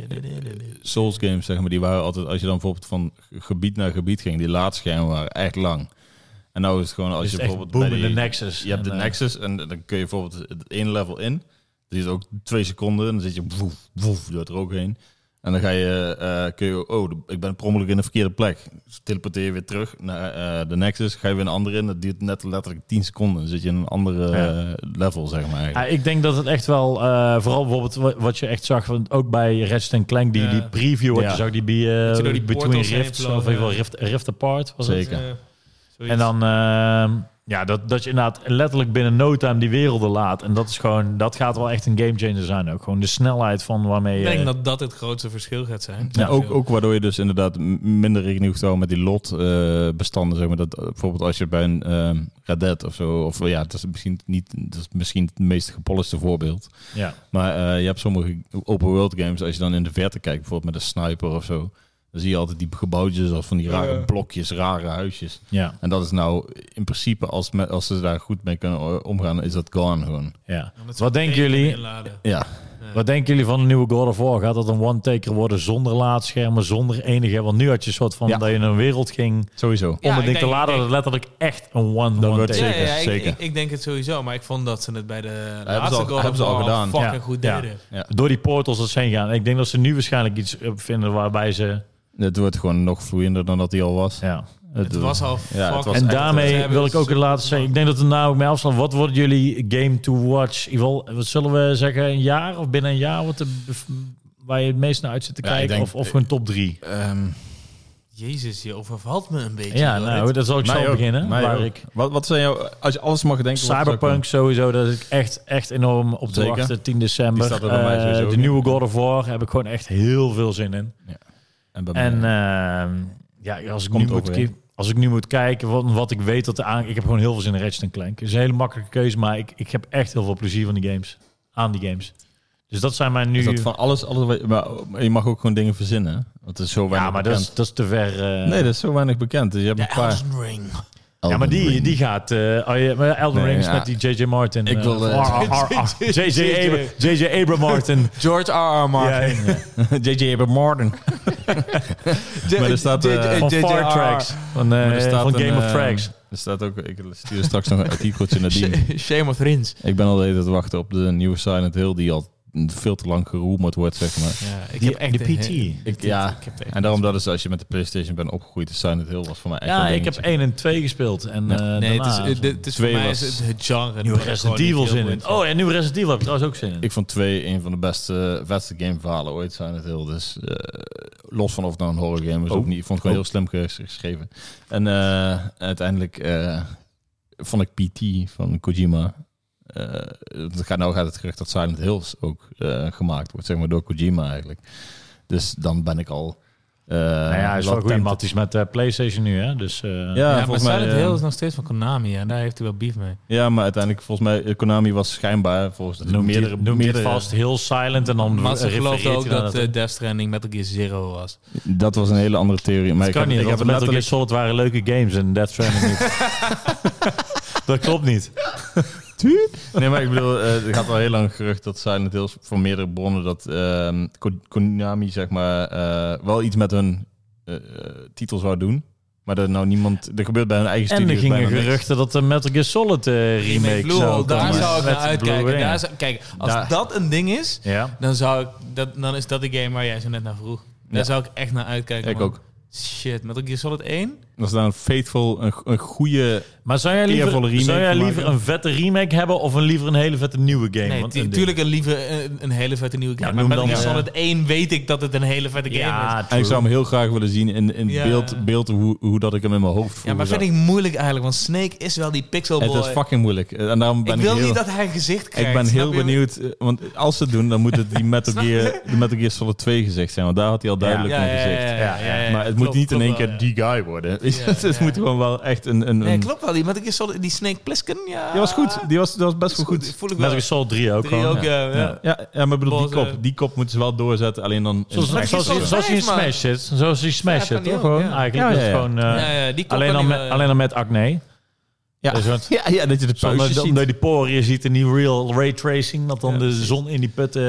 Speaker 3: Souls games, zeg maar, die waren altijd, als je dan bijvoorbeeld van ge- gebied naar gebied ging, die laadschermen waren echt lang. En nou is het gewoon als
Speaker 2: Dus
Speaker 3: je
Speaker 2: echt
Speaker 3: bijvoorbeeld
Speaker 2: boem
Speaker 3: bij
Speaker 2: in
Speaker 3: die,
Speaker 2: de Nexus.
Speaker 3: je hebt de
Speaker 2: En, eh,
Speaker 3: Nexus en dan kun je bijvoorbeeld het ene level in. Dan zit ook twee seconden en dan zit je woef, woef, door het er ook heen. En dan ga je, eh, kun je, oh, de- ik ben per ongeluk in de verkeerde plek. Dus teleporteer je weer terug naar eh, de Nexus, ga je weer een andere in. Dat duurt net letterlijk 10 seconden. Dan zit je in een andere
Speaker 2: Ja.
Speaker 3: eh, level, zeg maar. eigenlijk.
Speaker 2: Ja, ik denk dat het echt wel, eh, vooral bijvoorbeeld wa- wat je echt zag, want ook bij Ratchet Clank, die,
Speaker 4: Ja.
Speaker 2: die preview, wat
Speaker 3: Ja. nou
Speaker 2: je zag, die, bij, eh,
Speaker 4: je door die
Speaker 2: Between
Speaker 4: portals heen
Speaker 2: Rifts,
Speaker 4: vloog,
Speaker 2: of in ieder geval
Speaker 4: ja.
Speaker 2: Rift, Rift Apart was het.
Speaker 3: Zeker.
Speaker 4: Eh, zoiets.
Speaker 2: En dan, eh, ja, dat, dat je inderdaad letterlijk binnen no time die werelden laat. En dat is gewoon, dat gaat wel echt een gamechanger zijn ook. Gewoon de snelheid van waarmee
Speaker 4: Ik
Speaker 2: je...
Speaker 4: denk dat dat het grootste verschil gaat zijn.
Speaker 2: Ja.
Speaker 3: Ja, ook, ook waardoor je dus inderdaad m- minder rekening hoeft te houden met die lotbestanden. bestanden zeg maar. dat, eh, bijvoorbeeld als je bij een ehm Red Dead of zo, of ja, dat is misschien niet dat is misschien het meest gepolijste voorbeeld.
Speaker 2: Ja.
Speaker 3: Maar eh, je hebt sommige open world games, als je dan in de verte kijkt, bijvoorbeeld met een sniper of zo, dan zie je altijd die gebouwtjes of van die rare
Speaker 4: Ja.
Speaker 3: blokjes, rare huisjes.
Speaker 2: ja.
Speaker 3: En dat is nou in principe, als, me, als ze daar goed mee kunnen o- omgaan, is dat gone gewoon.
Speaker 2: Ja.
Speaker 4: Om het
Speaker 2: Wat
Speaker 4: zo
Speaker 2: denken
Speaker 4: tegen
Speaker 2: jullie?
Speaker 4: inladen.
Speaker 3: Ja,
Speaker 2: Wat denken jullie van de nieuwe God of War? Gaat dat een one-taker worden zonder laadschermen, zonder enige? Want nu had je een soort van
Speaker 3: Ja.
Speaker 2: dat je in een wereld ging
Speaker 3: sowieso.
Speaker 4: Ja,
Speaker 2: om
Speaker 4: ik
Speaker 2: het ding te
Speaker 4: denk-
Speaker 2: laden,
Speaker 4: ik-
Speaker 2: dat het letterlijk echt een
Speaker 3: Dat wordt
Speaker 2: one-taker
Speaker 3: zeker,
Speaker 4: ja, ja, ik,
Speaker 3: zeker.
Speaker 4: Ik, ik denk het sowieso, maar ik vond dat ze het bij de
Speaker 3: ze
Speaker 4: laatste
Speaker 3: al-
Speaker 4: goal
Speaker 3: hebben ze al gedaan.
Speaker 4: fucking
Speaker 2: Ja.
Speaker 4: goed
Speaker 2: Ja.
Speaker 4: deden.
Speaker 2: Door die portals dat ze heen gaan. Ik denk dat ze nu waarschijnlijk iets eh, vinden waarbij ze...
Speaker 3: Het wordt gewoon nog vloeiender dan dat hij al was.
Speaker 2: Ja.
Speaker 4: Het was al
Speaker 3: Ja, het was
Speaker 4: fucking-
Speaker 2: en
Speaker 3: echt- eh,
Speaker 4: ze
Speaker 2: daarmee
Speaker 4: hebben
Speaker 2: wil ik ook
Speaker 4: super-
Speaker 2: het laatste zeggen. Ik denk dat we nou ook mee afslaan. Wat wordt jullie game to watch? In ieder geval, wat zullen we zeggen? Een jaar of binnen een jaar? Wat de, waar je het meest naar uit zit te
Speaker 3: Ja, ik
Speaker 2: kijken?
Speaker 3: denk-
Speaker 2: of, of gewoon top drie?
Speaker 3: Ehm,
Speaker 4: Jezus, je overvalt me een beetje.
Speaker 2: Ja,
Speaker 4: joh.
Speaker 2: nou,
Speaker 4: Dit-
Speaker 2: dat zal ik
Speaker 3: Mij
Speaker 2: zo
Speaker 3: ook,
Speaker 2: beginnen.
Speaker 3: mij
Speaker 2: Waar
Speaker 3: ook.
Speaker 2: ik...
Speaker 3: Wat, wat zijn jouw... Als je alles mag denken... wat zou
Speaker 2: Cyberpunk sowieso, dat ik echt, echt enorm op te
Speaker 3: Zeker.
Speaker 2: wachten. 10 december.
Speaker 3: Die staat er bij mij
Speaker 2: Eh,
Speaker 3: sowieso ook
Speaker 2: de
Speaker 3: in.
Speaker 2: nieuwe God of War heb ik gewoon echt heel veel zin in.
Speaker 3: komen?
Speaker 2: En
Speaker 3: En, bij mij-
Speaker 2: ehm, ja, als ik,
Speaker 3: eh, Komt
Speaker 2: nu
Speaker 3: ook
Speaker 2: moet,
Speaker 3: weer.
Speaker 2: ki- als ik nu moet kijken wat, wat ik weet dat er aan... Ik heb gewoon heel veel zin in Ratchet Clank. Het is een hele makkelijke keuze, maar ik, ik heb echt heel veel plezier van die games. Aan die games. Dus dat zijn mijn nu...
Speaker 3: Is dat van alles... alles wat je- maar, maar je mag ook gewoon dingen verzinnen. hè? Want het is zo weinig
Speaker 2: ja, maar dat
Speaker 3: bekend.
Speaker 2: is, dat is te ver... eh.
Speaker 3: Nee, dat is zo weinig bekend. Dus je hebt
Speaker 4: de
Speaker 3: een paar...
Speaker 4: Elden Ring.
Speaker 2: ja, maar die, die gaat... eh oh, ja, maar Elden
Speaker 3: Nee,
Speaker 2: Ring is
Speaker 3: ja.
Speaker 2: met die J.J. Martin.
Speaker 3: Ik
Speaker 2: eh,
Speaker 3: wil, eh,
Speaker 2: of R- R- R- J.J. Abra- J.J. Abram Martin. eh,
Speaker 4: George R.R.
Speaker 2: Ja,
Speaker 4: Martin.
Speaker 2: ja.
Speaker 3: J.J. Martin. maar er staat, eh,
Speaker 2: van Far Tracks. Van, eh,
Speaker 3: Maar er staat
Speaker 2: van Game
Speaker 3: een,
Speaker 2: of
Speaker 3: eh,
Speaker 2: Tracks.
Speaker 3: Er staat ook... Ik stuur straks nog een artikeltje naar die.
Speaker 4: Shame of Thrones.
Speaker 3: Ik ben al de hele tijd te wachten op de nieuwe Silent Hill... die al veel te lang geroemd wordt, zeg maar.
Speaker 4: Ja, ik
Speaker 2: Die-
Speaker 4: heb echt
Speaker 2: de
Speaker 4: een-
Speaker 2: PT.
Speaker 4: ik-
Speaker 3: Ik- ja.
Speaker 4: ik heb echt-
Speaker 3: En daarom dat is als je met de PlayStation bent opgegroeid... is Silent Hill was voor mij echt
Speaker 2: Ja,
Speaker 3: een
Speaker 2: ik heb
Speaker 3: dingetje.
Speaker 2: 1 en 2 gespeeld. En,
Speaker 3: Ja.
Speaker 2: eh,
Speaker 4: Nee,
Speaker 2: daarna-
Speaker 4: het is, het, het is voor
Speaker 3: Twee
Speaker 4: mij
Speaker 3: was-
Speaker 4: is het, het genre.
Speaker 2: Nieuwe
Speaker 4: waar ik
Speaker 2: Resident
Speaker 4: gewoon
Speaker 2: Evil
Speaker 4: niet heel
Speaker 2: zin in.
Speaker 4: boeiend
Speaker 2: Oh, en nieuwe Resident Evil heb ik trouwens ook zin in.
Speaker 3: Ik vond twee een van de beste, beste gameverhalen ooit zijn het heel. Dus eh, los van of het nou een horror game is
Speaker 2: Oh.
Speaker 3: of niet. Ik vond het gewoon
Speaker 2: Oh.
Speaker 3: heel slim ges- geschreven. En eh, uiteindelijk eh, vond ik PT van Kojima. eh, het gaat, nou gaat het gerucht dat Silent Hills ook eh, gemaakt wordt, zeg maar door Kojima eigenlijk. Dus dan ben ik al. eh
Speaker 2: nou ja, hij is wel
Speaker 3: latent-
Speaker 2: goed matties met eh, PlayStation nu, hè? Dus, eh,
Speaker 3: Ja,
Speaker 4: Ja, maar
Speaker 3: volgens mij,
Speaker 4: Silent
Speaker 3: eh,
Speaker 4: Hill is nog steeds van Konami en daar heeft hij wel beef mee.
Speaker 3: ja, maar uiteindelijk volgens mij, eh, Konami was schijnbaar volgens
Speaker 2: Noemt, hij,
Speaker 3: meerdere,
Speaker 2: noemt hij het
Speaker 3: meerdere
Speaker 2: vast heel silent en dan
Speaker 4: Maar ze
Speaker 2: eh, refereert
Speaker 4: geloofden
Speaker 2: hij
Speaker 4: ook
Speaker 2: naar
Speaker 4: dat eh, Death Stranding Metal Gear Zero was.
Speaker 3: Dat was een hele andere theorie. Maar
Speaker 2: Dat
Speaker 3: ik
Speaker 2: kan
Speaker 3: heb,
Speaker 2: niet,
Speaker 3: ik heb
Speaker 2: want Metal Gear
Speaker 3: letterlijk
Speaker 2: Solid waren leuke games en Death Stranding niet. dat klopt niet.
Speaker 3: Nee, maar ik bedoel, eh, er gaat al heel lang gerucht dat Silent Hills van meerdere bronnen dat ehm, Ko- Konami zeg maar eh, wel iets met hun eh, eh, titel zou doen, maar dat nou niemand, er gebeurt bij hun eigen
Speaker 2: En
Speaker 3: studio.
Speaker 2: er gingen geruchten dat de Metal Gear Solid eh, remake
Speaker 4: Blue
Speaker 2: zou
Speaker 4: Hole, daar
Speaker 2: komen.
Speaker 4: zou ik
Speaker 2: Met
Speaker 4: naar
Speaker 2: Blue
Speaker 4: uitkijken.
Speaker 2: Ring.
Speaker 4: Daar zou- kijk, als
Speaker 3: Daar-
Speaker 4: dat een ding is,
Speaker 2: Ja.
Speaker 4: dan, zou ik, dat, dan is dat de game waar jij zo net naar vroeg. Daar
Speaker 3: Ja.
Speaker 4: zou ik echt naar uitkijken.
Speaker 3: Ik
Speaker 4: man.
Speaker 3: ook.
Speaker 4: Shit, Metal Gear Solid 1?
Speaker 3: Als daar een faithful, een, go- een goede,
Speaker 2: Maar zou jij
Speaker 3: Eervolle
Speaker 2: liever,
Speaker 3: remake
Speaker 2: zou jij
Speaker 3: van
Speaker 2: liever
Speaker 3: maken.
Speaker 2: een vette remake hebben of een liever een hele vette nieuwe game?
Speaker 4: Nee,
Speaker 2: Want
Speaker 4: tu-
Speaker 2: een-
Speaker 4: tuurlijk een, liever, een, een hele vette nieuwe game.
Speaker 2: Ja,
Speaker 4: maar
Speaker 2: noem
Speaker 4: Metal
Speaker 2: dan,
Speaker 4: Gear
Speaker 2: eh,
Speaker 4: Solid 1 weet ik dat het een hele vette game is.
Speaker 2: Ja,
Speaker 3: en ik zou hem heel graag willen zien in, in
Speaker 4: Ja.
Speaker 3: beeld, beeld hoe, hoe dat ik hem in mijn hoofd voel.
Speaker 4: Ja, maar vind ik moeilijk eigenlijk, want Snake is wel die pixel
Speaker 3: Het
Speaker 4: boy.
Speaker 3: is fucking moeilijk. Eh, En daarom ben
Speaker 4: ik
Speaker 3: ik,
Speaker 4: wil
Speaker 3: heel,
Speaker 4: niet dat hij een gezicht krijgt.
Speaker 3: ik ben
Speaker 4: snap
Speaker 3: heel
Speaker 4: je?
Speaker 3: benieuwd, eh, want als ze het doen, dan moet het die Metal
Speaker 4: Snap
Speaker 3: Gear, de Metal Gear Solid 2 gezicht zijn, want daar had hij al duidelijk
Speaker 4: Ja,
Speaker 3: een
Speaker 4: ja, ja,
Speaker 3: gezicht.
Speaker 4: ja, ja, ja, ja, ja.
Speaker 3: maar het
Speaker 4: Klopt,
Speaker 3: moet niet in
Speaker 4: klopt
Speaker 3: één
Speaker 4: wel,
Speaker 3: keer
Speaker 4: ja.
Speaker 3: die guy worden.
Speaker 4: Ja,
Speaker 3: het
Speaker 4: ja.
Speaker 3: moet gewoon wel echt een... een,
Speaker 4: Nee,
Speaker 3: een...
Speaker 4: klopt wel. Die Metal Gear Solid, die Snake Plissken, ja.
Speaker 3: Die was goed. Die was, dat was best wel
Speaker 4: Is
Speaker 3: goed.
Speaker 4: Voel ik
Speaker 2: Metal
Speaker 4: wel.
Speaker 2: Gear Solid 3 ook
Speaker 4: Drie
Speaker 2: gewoon.
Speaker 4: ook, ja. ja.
Speaker 3: Ja, ja, maar ik bedoel, die
Speaker 4: Boze.
Speaker 3: kop, die kop moeten ze wel doorzetten. Alleen dan...
Speaker 2: Zoals,
Speaker 4: Metal Gear
Speaker 2: zoals,
Speaker 4: Solid
Speaker 2: zoals, hij in
Speaker 4: vijf, man.
Speaker 2: Smash zit. Zoals hij in
Speaker 4: Ja,
Speaker 2: Smash
Speaker 4: kan
Speaker 2: zit,
Speaker 4: die
Speaker 2: toch?
Speaker 4: ook,
Speaker 2: Gewoon,
Speaker 4: ja.
Speaker 2: eigenlijk.
Speaker 3: Ja,
Speaker 2: Dat is
Speaker 3: ja, ja.
Speaker 2: gewoon, eh,
Speaker 4: Ja, ja, die klopt
Speaker 2: alleen,
Speaker 4: wel
Speaker 2: dan
Speaker 4: niet
Speaker 2: met,
Speaker 4: wel, ja.
Speaker 2: alleen dan met acne.
Speaker 3: Ja.
Speaker 2: Dus want-
Speaker 3: ja, ja, dat je de
Speaker 2: Omdat
Speaker 3: pausjes ziet.
Speaker 2: omdat je die poriën ziet en die real ray tracing. Dat dan de zon in die put eh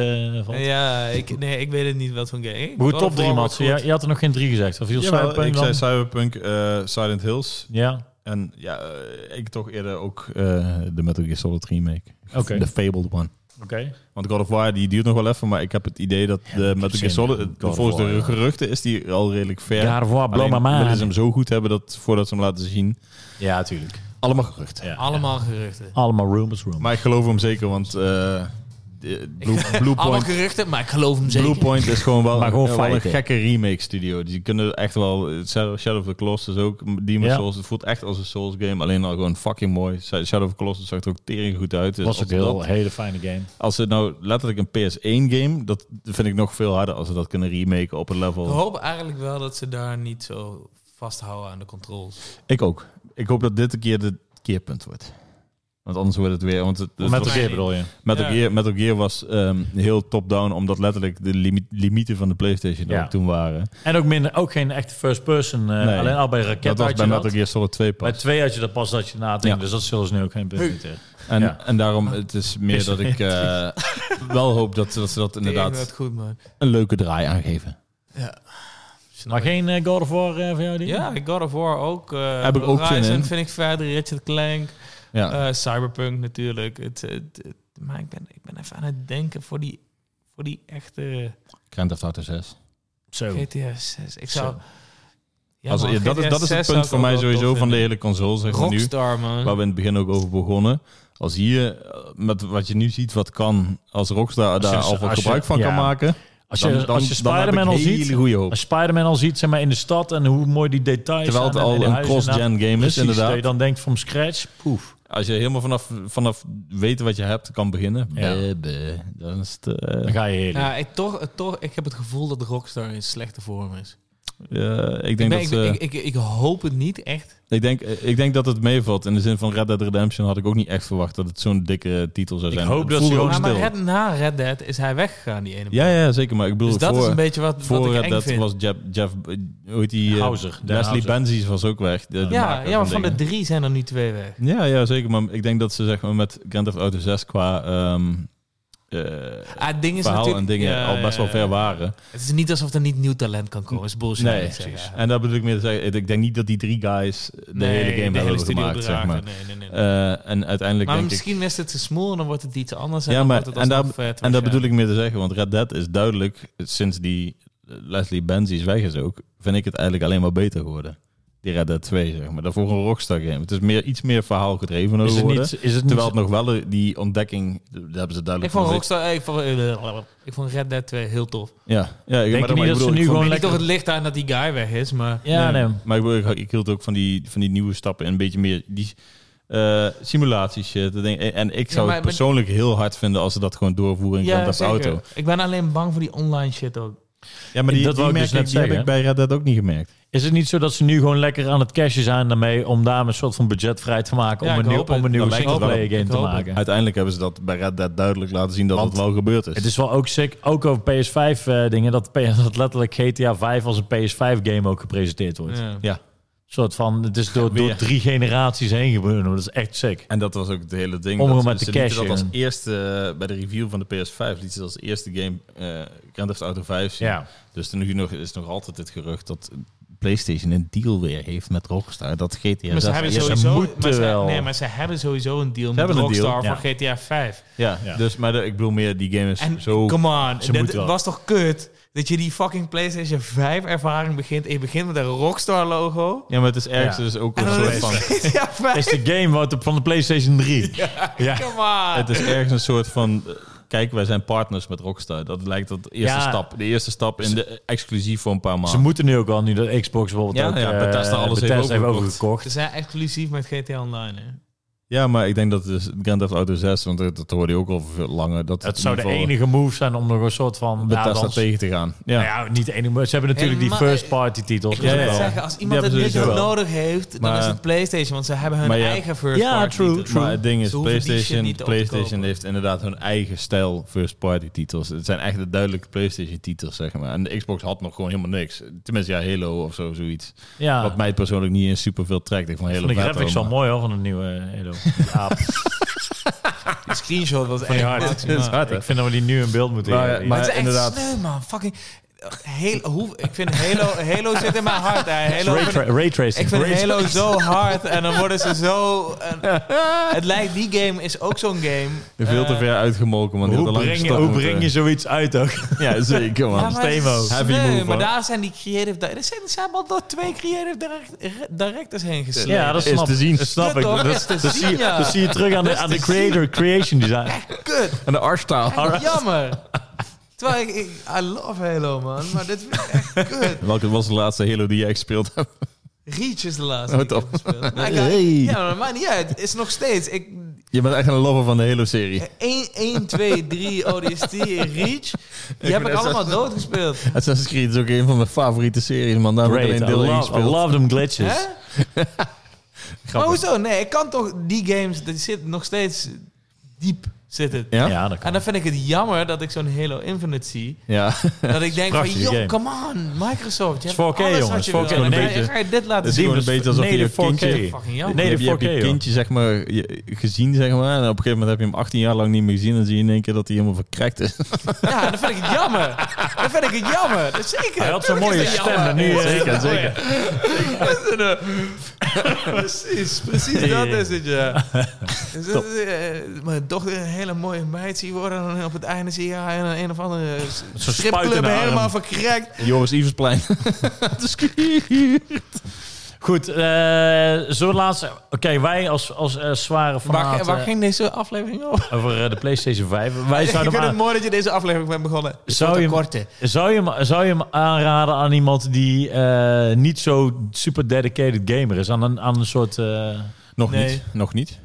Speaker 2: valt.
Speaker 4: Ja, ik, nee, ik weet het niet wat van game.
Speaker 2: Hoe
Speaker 4: God
Speaker 2: top
Speaker 4: of
Speaker 2: 3,
Speaker 4: War
Speaker 2: Mats?
Speaker 4: wordt
Speaker 2: Je,
Speaker 4: goed.
Speaker 2: je had er nog geen 3 gezegd. Of je
Speaker 3: Jawel,
Speaker 2: Cyberpunk
Speaker 3: ik
Speaker 2: dan?
Speaker 3: zei Cyberpunk, eh, Silent Hills.
Speaker 2: Ja,
Speaker 3: En ja, eh, ik toch eerder ook eh, de Metal Gear Solid remake.
Speaker 2: Oké.
Speaker 3: The Fabled One. Want God of War die duurt nog wel even, maar ik heb het idee dat de
Speaker 2: heb
Speaker 3: Metal
Speaker 2: zin
Speaker 3: Gear
Speaker 2: in
Speaker 3: Solid, het-
Speaker 2: God of
Speaker 3: volgens
Speaker 2: War,
Speaker 3: de
Speaker 2: ja.
Speaker 3: geruchten is die al redelijk ver.
Speaker 2: Ja, of War, blow
Speaker 3: Alleen
Speaker 2: my
Speaker 3: willen ze hem
Speaker 2: mind.
Speaker 3: zo goed hebben dat voordat ze hem laten zien.
Speaker 2: Ja, natuurlijk.
Speaker 3: Allemaal geruchten.
Speaker 2: Ja,
Speaker 4: Allemaal geruchten.
Speaker 2: ja. Allemaal rumors, rumors.
Speaker 3: Maar ik geloof hem zeker, want eh, de- Blue, Blue
Speaker 4: Allemaal
Speaker 3: Point,
Speaker 4: geruchten, maar ik geloof hem zeker.
Speaker 3: Bluepoint is gewoon wel,
Speaker 2: Maar gewoon
Speaker 3: wel een
Speaker 2: feiten.
Speaker 3: gekke remake studio. Die kunnen echt wel eh, Shadow Shadow of the Colossus ook Demon
Speaker 2: Ja.
Speaker 3: Souls. Het voelt echt als een Souls game, alleen al gewoon fucking mooi. Sha- Shadow of the Colossus zag er ook tering goed uit. Dus
Speaker 2: was
Speaker 3: als
Speaker 2: ook
Speaker 3: ze
Speaker 2: heel
Speaker 3: dat-
Speaker 2: hele fijne game.
Speaker 3: Als het nou letterlijk een PS1 game, dat vind ik nog veel harder als ze dat kunnen remaken op een level.
Speaker 4: Ik hoop eigenlijk wel dat ze daar niet zo vasthouden aan de controls.
Speaker 3: Ik ook. Ik hoop dat dit een keer de keerpunt wordt. Want anders wordt het weer. Want het,
Speaker 2: Met
Speaker 3: het was-
Speaker 2: de
Speaker 4: was-
Speaker 2: Gear bedoel je?
Speaker 3: Metal,
Speaker 4: Ja.
Speaker 3: Gear, Metal Gear was ehm, heel top-down, omdat letterlijk de limi- limieten van de PlayStation er
Speaker 2: Ja.
Speaker 3: ook toen waren.
Speaker 2: En ook, minder, ook geen echte first person. eh,
Speaker 3: Nee.
Speaker 2: Alleen al bij raket
Speaker 3: dat was
Speaker 2: had
Speaker 3: bij
Speaker 2: je
Speaker 3: Metal
Speaker 2: dat.
Speaker 3: Gear Solid 2
Speaker 2: Bij
Speaker 3: pas.
Speaker 2: twee had je dat pas dat je nadenkt.
Speaker 3: Ja.
Speaker 2: Dus dat zullen ze nu ook geen punt meer
Speaker 3: En,
Speaker 2: ja.
Speaker 3: en daarom, het is meer dat ik eh, wel hoop dat, ze- dat ze dat
Speaker 4: Dat
Speaker 3: inderdaad
Speaker 4: goed, man.
Speaker 3: een leuke draai aangeven.
Speaker 4: Ja.
Speaker 2: Maar geen eh, God of War eh, voor jou, die?
Speaker 4: Ja, God of War ook. eh,
Speaker 3: Heb ik ook zin
Speaker 4: Horizon
Speaker 3: in.
Speaker 4: vind ik verder. Richard Clank.
Speaker 3: Ja.
Speaker 4: eh, Cyberpunk natuurlijk. Het, het- het- maar ik ben, ik ben even aan het denken voor die, voor die echte
Speaker 3: Grand Theft Auto 6.
Speaker 2: Zo.
Speaker 4: GTA 6. Ik
Speaker 2: Zo.
Speaker 4: zou... Ja,
Speaker 3: Oh. Als-
Speaker 4: man,
Speaker 3: dat, is,
Speaker 4: GTA
Speaker 3: dat is
Speaker 4: 6
Speaker 3: het
Speaker 4: zou
Speaker 3: punt
Speaker 4: ik
Speaker 3: voor
Speaker 4: ook
Speaker 3: mij
Speaker 4: wel tof
Speaker 3: sowieso van de
Speaker 4: vinden.
Speaker 3: hele console, zeg maar nu.
Speaker 4: Rockstar, man.
Speaker 3: Waar we in het begin ook over begonnen. Als hier, eh, met wat je nu ziet, wat kan, als Rockstar daar
Speaker 2: Als je-
Speaker 3: al wat
Speaker 2: als je-
Speaker 3: gebruik van
Speaker 2: ja.
Speaker 3: kan maken.
Speaker 2: Als je, als je
Speaker 3: dan heb
Speaker 2: Spider-Man
Speaker 3: ik
Speaker 2: al
Speaker 3: hele
Speaker 2: ziet...
Speaker 3: goede hoop.
Speaker 2: Als je Spider-Man al ziet, zeg maar, in de stad en hoe mooi die details
Speaker 3: Terwijl het
Speaker 2: zijn en- en
Speaker 3: al
Speaker 2: die
Speaker 3: een
Speaker 2: huizen
Speaker 3: cross-gen
Speaker 2: en-
Speaker 3: game is,
Speaker 2: Precies,
Speaker 3: inderdaad.
Speaker 2: Dat je dan denkt van scratch, poef.
Speaker 3: Als je helemaal vanaf, vanaf weten wat je hebt kan beginnen,
Speaker 2: Ja.
Speaker 3: beh, beh, dan is het... eh,
Speaker 2: Dan ga je heel.
Speaker 4: Ja, ik, toch, toch, ik heb het gevoel dat Rockstar in slechte vorm is.
Speaker 3: eh, ik,
Speaker 4: Ik,
Speaker 3: denk
Speaker 4: ben-
Speaker 3: dat,
Speaker 4: ik,
Speaker 3: ze-
Speaker 4: ik, ik, ik hoop het niet echt.
Speaker 3: ik, denk, eh, ik denk dat het meevalt. In de zin van Red Dead Redemption had ik ook niet echt verwacht dat het zo'n dikke titel zou
Speaker 2: Ik
Speaker 3: zijn.
Speaker 2: hoop
Speaker 3: Het
Speaker 2: dat
Speaker 3: voelde
Speaker 2: ze
Speaker 3: ook
Speaker 4: Maar,
Speaker 2: gewoon-
Speaker 4: maar
Speaker 3: stil.
Speaker 4: Red, na Red Dead is hij weggegaan, die ene.
Speaker 3: Ja, ja, zeker. Maar ik bedoel,
Speaker 4: dus dat
Speaker 3: voor,
Speaker 4: is een beetje wat, wat
Speaker 3: voor
Speaker 4: ik
Speaker 3: Red
Speaker 4: eng
Speaker 3: Dead
Speaker 4: vind.
Speaker 3: was Jeff, Jeff eh, hoe heet die? eh,
Speaker 2: Houser, Dan
Speaker 3: Leslie
Speaker 2: Houser.
Speaker 3: Benzies was ook weg. de- de
Speaker 4: ja,
Speaker 3: maker
Speaker 4: ja, maar van de
Speaker 3: dingen.
Speaker 4: drie zijn er nu twee weg.
Speaker 3: Ja, ja, zeker. Maar ik denk dat ze zeg maar, met Grand Theft Auto 6 qua ehm, eh,
Speaker 4: Ah, het ding is
Speaker 3: verhaal en
Speaker 4: natuurlijk-
Speaker 3: dingen
Speaker 4: ja,
Speaker 3: al best wel
Speaker 4: ja,
Speaker 3: ver
Speaker 4: ja.
Speaker 3: waren.
Speaker 4: Het is niet alsof er niet nieuw talent kan komen. is bullshit.
Speaker 3: Nee,
Speaker 4: ik zeg,
Speaker 3: precies.
Speaker 4: ja.
Speaker 3: En dat bedoel ik meer te zeggen. Ik denk niet dat die drie guys de
Speaker 4: Nee,
Speaker 3: hele game hebben
Speaker 4: studio
Speaker 3: gemaakt, zeg
Speaker 4: dragen.
Speaker 3: maar.
Speaker 4: Nee, nee, nee.
Speaker 3: Eh, en uiteindelijk
Speaker 4: maar
Speaker 3: denk ik...
Speaker 4: misschien is het te smoel en dan wordt het iets anders. En
Speaker 3: Ja,
Speaker 4: dan
Speaker 3: maar-
Speaker 4: wordt het
Speaker 3: en daar-
Speaker 4: alsnog vet,
Speaker 3: En dat bedoel
Speaker 4: waarschijnlijk.
Speaker 3: ik meer te zeggen, want Red Dead is duidelijk, sinds die Leslie Benzies weg is ook, vind ik het eigenlijk alleen maar beter geworden. Die Red Dead 2, zeg maar. Daarvoor een Rockstar game. Het is meer, iets meer verhaal gedreven
Speaker 2: Is het
Speaker 3: geworden.
Speaker 2: niet... Is het niet
Speaker 3: Terwijl het nog wel eh, die ontdekking, dat hebben ze duidelijk
Speaker 4: Ik vond
Speaker 3: van
Speaker 4: Rockstar, ik vond, ik vond Red Dead 2 heel tof.
Speaker 3: zich- Ja, ja ik,
Speaker 2: Denk
Speaker 3: maar
Speaker 2: je
Speaker 3: dat-
Speaker 2: niet
Speaker 3: maar ik
Speaker 2: dat ze
Speaker 3: bedoel, ik
Speaker 2: nu
Speaker 3: vond-
Speaker 2: gewoon
Speaker 4: Ik toch
Speaker 2: lekker...
Speaker 4: het licht aan dat die guy weg is, maar
Speaker 2: Ja,
Speaker 3: Nee,
Speaker 2: nee.
Speaker 3: Maar ik, bedoel, ik, ik hield ook van die, van die nieuwe stappen en een beetje meer die eh simulatie shit. Dat ding- En ik
Speaker 4: Ja,
Speaker 3: zou
Speaker 4: maar-
Speaker 3: het
Speaker 4: maar-
Speaker 3: persoonlijk heel hard vinden als ze dat gewoon doorvoeren in Grand Theft
Speaker 4: zeker.
Speaker 3: Auto.
Speaker 4: Ik ben alleen bang voor die online shit ook.
Speaker 3: Ja, maar die,
Speaker 2: Dat
Speaker 3: die,
Speaker 2: wou ik
Speaker 3: merk
Speaker 2: dus
Speaker 3: ik-
Speaker 2: net
Speaker 3: die heb
Speaker 2: zeggen.
Speaker 3: ik bij Red Dead ook niet gemerkt.
Speaker 2: Is het niet zo dat ze nu gewoon lekker aan het cashen zijn daarmee om daar een soort van budget vrij te maken
Speaker 4: Ja,
Speaker 2: om,
Speaker 4: ik
Speaker 2: een nieuw,
Speaker 4: hoop het.
Speaker 2: om een nieuwe
Speaker 3: Dat lijkt het wel.
Speaker 2: singleplayer game
Speaker 4: Ik
Speaker 2: te
Speaker 4: hoop het.
Speaker 2: maken?
Speaker 3: Uiteindelijk hebben ze dat bij Red Dead duidelijk laten zien dat
Speaker 2: Want
Speaker 3: het wel gebeurd is.
Speaker 2: Het is wel ook sick, ook over PS5 eh, dingen, dat, PS, dat letterlijk GTA 5 als een PS5 game ook gepresenteerd wordt.
Speaker 4: Ja.
Speaker 2: soort van, het is door, door
Speaker 3: Weer.
Speaker 2: drie generaties heen gebeurd. hoor. Dat is echt sick.
Speaker 3: En dat was ook het hele ding.
Speaker 2: Om
Speaker 3: dat
Speaker 2: hem
Speaker 3: ze-
Speaker 2: maar te
Speaker 3: ze lieten
Speaker 2: cashen.
Speaker 3: Dat als eerste, eh, bij de review van de PS5 liet ze als eerste game eh Grand Theft Auto 5 zien.
Speaker 2: Ja.
Speaker 3: Dus nu nog, is nog altijd het gerucht dat PlayStation een deal weer heeft met Rockstar. Dat GTA
Speaker 4: maar ze
Speaker 3: 6
Speaker 4: hebben
Speaker 3: eerst-
Speaker 4: sowieso,
Speaker 2: moeten
Speaker 4: maar ze,
Speaker 2: wel.
Speaker 4: nee, maar ze hebben sowieso een deal met
Speaker 3: hebben een deal,
Speaker 4: Rockstar
Speaker 2: ja.
Speaker 4: voor GTA 5.
Speaker 3: Ja,
Speaker 2: Ja.
Speaker 3: dus maar de- ik bedoel meer, die game is
Speaker 4: En
Speaker 3: zo...
Speaker 4: come on,
Speaker 2: ze
Speaker 4: dat
Speaker 2: moeten wel.
Speaker 4: was toch kut dat je die fucking PlayStation 5 ervaring begint en je begint met een Rockstar logo.
Speaker 3: Ja, maar het is ergens
Speaker 2: Ja.
Speaker 3: dus ook
Speaker 4: En
Speaker 3: een
Speaker 4: dan
Speaker 3: soort
Speaker 4: is
Speaker 3: van...
Speaker 4: GTA 5.
Speaker 2: Is de game wat op- van de PlayStation 3. Ja.
Speaker 4: Come on.
Speaker 3: Het is ergens een soort van... eh, Kijk, wij zijn partners met Rockstar. Dat lijkt dat de eerste
Speaker 2: Ja.
Speaker 3: stap. De eerste stap in de exclusief voor een paar maanden.
Speaker 2: Ze moeten nu ook al, nu dat Xbox bijvoorbeeld
Speaker 3: Ja,
Speaker 2: ook
Speaker 3: ja,
Speaker 2: eh,
Speaker 3: Bethesda alles heeft Dus
Speaker 2: Bethesda heeft
Speaker 3: overgekocht.
Speaker 2: overgekocht.
Speaker 4: Ze zijn exclusief met GTA Online. Hè?
Speaker 3: Ja, maar ik denk dat dus Grand Theft Auto 6, want dat, dat hoorde je ook al veel langer. Dat
Speaker 2: Het zou de
Speaker 3: in ieder
Speaker 2: enige move zijn om nog een soort van...
Speaker 3: geval Bethesda
Speaker 2: ja, dan-
Speaker 3: tegen te gaan. Ja.
Speaker 2: Nou ja, niet de enige move. Ze hebben natuurlijk
Speaker 4: Hey,
Speaker 2: die
Speaker 4: maar-
Speaker 2: first party titels.
Speaker 4: Ik
Speaker 2: Dat
Speaker 4: wil
Speaker 2: is
Speaker 4: net
Speaker 2: wel-
Speaker 4: zeggen, als iemand
Speaker 3: Die
Speaker 4: het niet
Speaker 3: hebben sowieso wel.
Speaker 4: nodig heeft,
Speaker 3: Maar-
Speaker 4: dan is het PlayStation. Want ze hebben hun
Speaker 3: Maar ja.
Speaker 4: eigen first
Speaker 2: Ja,
Speaker 4: party.
Speaker 2: true,
Speaker 4: titel.
Speaker 2: true.
Speaker 3: Maar het ding is,
Speaker 4: Ze hoeven die shit
Speaker 3: PlayStation,
Speaker 4: niet op te
Speaker 3: PlayStation
Speaker 4: kopen.
Speaker 3: heeft inderdaad hun eigen stijl first-party titels. Het zijn echt de duidelijke PlayStation titels, zeg maar. En de Xbox had nog gewoon helemaal niks. Tenminste, ja, Halo of zo, zoiets.
Speaker 2: Ja.
Speaker 3: Wat mij persoonlijk niet in superveel trekt. Ik vond Halo
Speaker 2: Van Ah. de
Speaker 3: vet,
Speaker 2: graphics
Speaker 3: hoor,
Speaker 2: wel mooi hoor, van een nieuwe eh, Halo. Ja,
Speaker 4: Die screenshot was
Speaker 2: van die
Speaker 4: echt
Speaker 2: hard.
Speaker 4: maximaal.
Speaker 2: Ik vind dat we die nu in beeld moeten
Speaker 3: Maar-
Speaker 2: hebben.
Speaker 3: maar-
Speaker 4: het is echt
Speaker 3: inderdaad.
Speaker 4: sneu, man. Fucking, eh, Heel, hoe, ik vind Halo, Halo zit in mijn hart. Hè. Halo vind ik-
Speaker 2: Raytra- Raytracing.
Speaker 4: ik vind
Speaker 2: Ray-
Speaker 4: Halo zo hard en dan worden ze zo... en- het lijkt, die game is ook zo'n game.
Speaker 3: Veel te
Speaker 4: Eh,
Speaker 3: ver uitgemolken, man. Die
Speaker 2: Hoe
Speaker 3: had al lang
Speaker 2: breng, je,
Speaker 3: gestopt
Speaker 2: hoe
Speaker 3: moeten-
Speaker 2: breng je zoiets uit ook?
Speaker 3: Ja, zeker, man.
Speaker 4: Ja, maar, het is
Speaker 2: Stemo.
Speaker 3: Heavy
Speaker 4: sneu,
Speaker 3: move,
Speaker 4: maar
Speaker 3: hoor.
Speaker 4: daar zijn die creative... di- Er zijn, er zijn al door twee creative direct- directors heen gesleept.
Speaker 2: Ja, dat
Speaker 3: Is
Speaker 2: snap,
Speaker 3: te zien.
Speaker 2: dat snap
Speaker 4: Ja,
Speaker 2: ik.
Speaker 4: toch?
Speaker 2: Dat,
Speaker 4: Is te
Speaker 2: dat
Speaker 3: Dus
Speaker 2: zie je,
Speaker 4: zien, ja.
Speaker 2: dat zie je terug aan de, aan de creator creation design.
Speaker 4: Kut.
Speaker 3: En de artstyle.
Speaker 4: Echt Jammer. Terwijl ik, ik... I love Halo, man. Maar dit vind ik echt kut.
Speaker 3: Welke was de laatste Halo die jij gespeeld hebt?
Speaker 4: Reach is de laatste
Speaker 3: Oh,
Speaker 4: die ik
Speaker 3: top.
Speaker 4: heb gespeeld. Maar ik-
Speaker 3: Hey.
Speaker 4: Ja, maar maakt niet uit. Het is nog steeds... Ik,
Speaker 3: Je bent echt een lover van de Halo-serie.
Speaker 4: 1, 1, 2, 3, ODST, Reach. Die heb
Speaker 3: ben
Speaker 4: ik
Speaker 3: echt
Speaker 4: allemaal doodgespeeld.
Speaker 3: Assassin's Creed is ook een van mijn favoriete series, man. Daar heb ik
Speaker 2: Great.
Speaker 3: alleen
Speaker 2: I
Speaker 3: deel 1
Speaker 2: love, I
Speaker 3: gespeeld.
Speaker 2: love them glitches.
Speaker 4: Hè? Maar hoezo? Nee, ik kan toch die games, dat zit nog steeds diep zit het.
Speaker 3: Ja?
Speaker 2: Ja, dat kan.
Speaker 4: En dan vind ik het jammer dat ik zo'n Halo Infinite zie.
Speaker 3: Ja.
Speaker 4: Dat ik denk van,
Speaker 2: Prachtige
Speaker 4: joh,
Speaker 2: game.
Speaker 4: come on, Microsoft. Je
Speaker 2: Het is
Speaker 4: hebt
Speaker 2: 4K,
Speaker 4: alles
Speaker 2: jongens,
Speaker 4: Wat
Speaker 2: 4K
Speaker 4: je wil.
Speaker 2: een
Speaker 4: En dan
Speaker 2: beetje.
Speaker 4: ga je dit laten
Speaker 3: is
Speaker 4: zien.
Speaker 3: gewoon een
Speaker 2: dus-
Speaker 3: beetje alsof
Speaker 2: nee,
Speaker 3: je
Speaker 2: de
Speaker 3: een kindje-
Speaker 4: Fucking jammer.
Speaker 2: Nee,
Speaker 3: je,
Speaker 2: de
Speaker 3: hebt- je
Speaker 2: 4K.
Speaker 3: hebt je
Speaker 2: joh.
Speaker 3: kindje zeg maar, je- gezien, zeg maar. En op een gegeven moment heb je hem 18 jaar lang niet meer gezien. En dan zie je in één keer dat hij helemaal verkrekt is.
Speaker 4: Ja, dan vind ik het jammer. Dan vind ik het jammer. Dat is zeker.
Speaker 2: Hij had zo'n mooie
Speaker 4: Tuurlijk is dat
Speaker 2: stem.
Speaker 4: jammer.
Speaker 2: En nu, eh,
Speaker 3: Zeker, zeker.
Speaker 4: precies, precies dat is het, ja. Dus dat is, eh, mijn dochter een hele mooie meid zie worden... en dan op het einde zie je haar in een, een of andere
Speaker 2: Zo'n spuit in
Speaker 4: stripclub
Speaker 2: de arm.
Speaker 4: helemaal verkrekt.
Speaker 3: Joris Iversplein.
Speaker 2: Goed, eh zo laatst. Oké, wij als, als eh, zware
Speaker 4: Waar,
Speaker 2: fanaten
Speaker 4: waar ging deze aflevering over?
Speaker 2: over eh, de PlayStation 5. Wij zouden
Speaker 4: Ik vind
Speaker 2: hem
Speaker 4: het
Speaker 2: aan-
Speaker 4: mooi dat je deze aflevering bent begonnen. Het
Speaker 2: Zou
Speaker 4: wordt
Speaker 2: je
Speaker 4: een
Speaker 2: hem-
Speaker 4: korte.
Speaker 2: zou, je hem, zou je hem aanraden aan iemand die eh, niet zo super dedicated gamer is? Aan een, aan een soort. eh,
Speaker 3: Nog
Speaker 4: Nee.
Speaker 3: niet. Nog niet.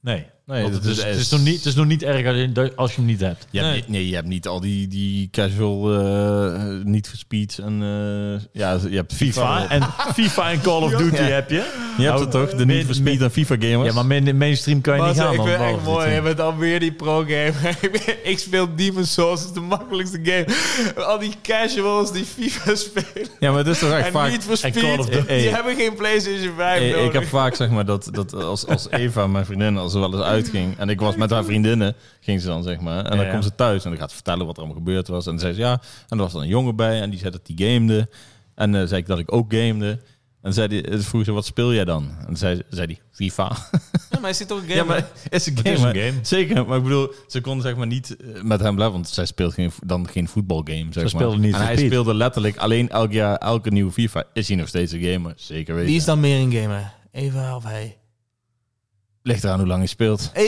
Speaker 2: nee.
Speaker 3: Nee,
Speaker 2: Want het,
Speaker 3: dat
Speaker 2: is,
Speaker 3: is-
Speaker 2: het, is nog niet, het is nog niet erg als je, als je hem niet hebt.
Speaker 3: Je hebt,
Speaker 4: Nee.
Speaker 3: niet- nee, je hebt niet al die, die casual, eh, niet for speed en eh, ja, je hebt FIFA.
Speaker 2: FIFA en, FIFA en Call of Duty
Speaker 3: Ja.
Speaker 2: heb je.
Speaker 3: Je hebt het toch, de
Speaker 2: Min-
Speaker 3: niet for speed en FIFA gamers.
Speaker 2: Ja, maar main- mainstream kan je
Speaker 4: Maar
Speaker 2: niet gaan.
Speaker 4: ik
Speaker 2: man,
Speaker 4: vind het
Speaker 2: behalve dit,
Speaker 4: echt mooi.
Speaker 2: ja.
Speaker 4: Je bent alweer die pro-gamer. ik speel Demon's Souls. Het is de makkelijkste game. Al die casuals die FIFA spelen.
Speaker 3: ja, maar het is toch echt
Speaker 4: en
Speaker 3: vaak...
Speaker 4: niet voor
Speaker 2: en
Speaker 4: Speed.
Speaker 2: Call of Duty.
Speaker 4: Die
Speaker 3: Hey.
Speaker 4: hebben geen PlayStation 5
Speaker 3: Hey,
Speaker 4: nodig.
Speaker 3: ik heb vaak zeg maar dat, dat als, als Eva, mijn vriendin, als ze wel eens uitging en ik was met haar vriendinnen, ging ze dan zeg maar. En dan
Speaker 2: Ja.
Speaker 3: komt ze thuis en dan gaat ze vertellen wat er allemaal gebeurd was. En dan zei ze ja, en er was dan een jongen bij en die zei dat die gamede. En eh, zei ik dat ik ook gamede. En dan zei die, eh, vroeg ze wat speel jij dan? En dan zei, zei die FIFA.
Speaker 4: Ja, maar hij zit toch een game.
Speaker 3: Ja, maar is een
Speaker 2: Het
Speaker 3: game.
Speaker 2: is een
Speaker 3: maar-
Speaker 2: game.
Speaker 3: Zeker, maar ik bedoel, ze kon zeg maar niet eh, met hem blijven, want zij speelt geen, dan geen voetbalgame. Zeg maar.
Speaker 2: speelde niet
Speaker 3: En
Speaker 2: voor
Speaker 3: hij
Speaker 2: Piet.
Speaker 3: speelde letterlijk alleen elk jaar, elke nieuwe FIFA. Is hij nog steeds een gamer? Zeker weten.
Speaker 4: Wie is dan meer een gamer? Eva of hij?
Speaker 3: Ligt eraan hoe lang hij speelt.
Speaker 4: Hey,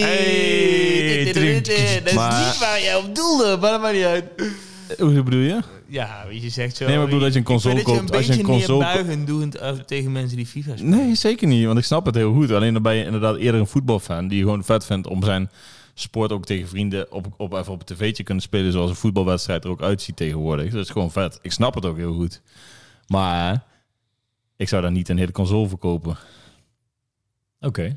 Speaker 2: Hey,
Speaker 4: dit- dit- dit- dit- Dat is
Speaker 3: Maar-
Speaker 4: niet waar jij op doelde, maar dat maakt niet uit.
Speaker 2: Eh,
Speaker 3: Hoe bedoel je?
Speaker 4: Ja, weet je zegt zo.
Speaker 3: Nee, maar ik bedoel dat je een console
Speaker 4: ik vind
Speaker 3: koopt.
Speaker 4: Dat
Speaker 3: Als
Speaker 4: je
Speaker 3: je
Speaker 4: een
Speaker 3: een
Speaker 4: beetje
Speaker 3: console
Speaker 4: neerbuigend doet eh, tegen mensen die FIFA spelen.
Speaker 3: Nee, zeker niet. Want ik snap het heel goed. Alleen dan ben je inderdaad eerder een voetbalfan die gewoon vet vindt om zijn sport ook tegen vrienden op, op, even op tv te kunnen spelen. Zoals een voetbalwedstrijd er ook uitziet tegenwoordig. Dat is gewoon vet. Ik snap het ook heel goed. Maar ik zou daar niet een hele console voor kopen.
Speaker 2: Oké.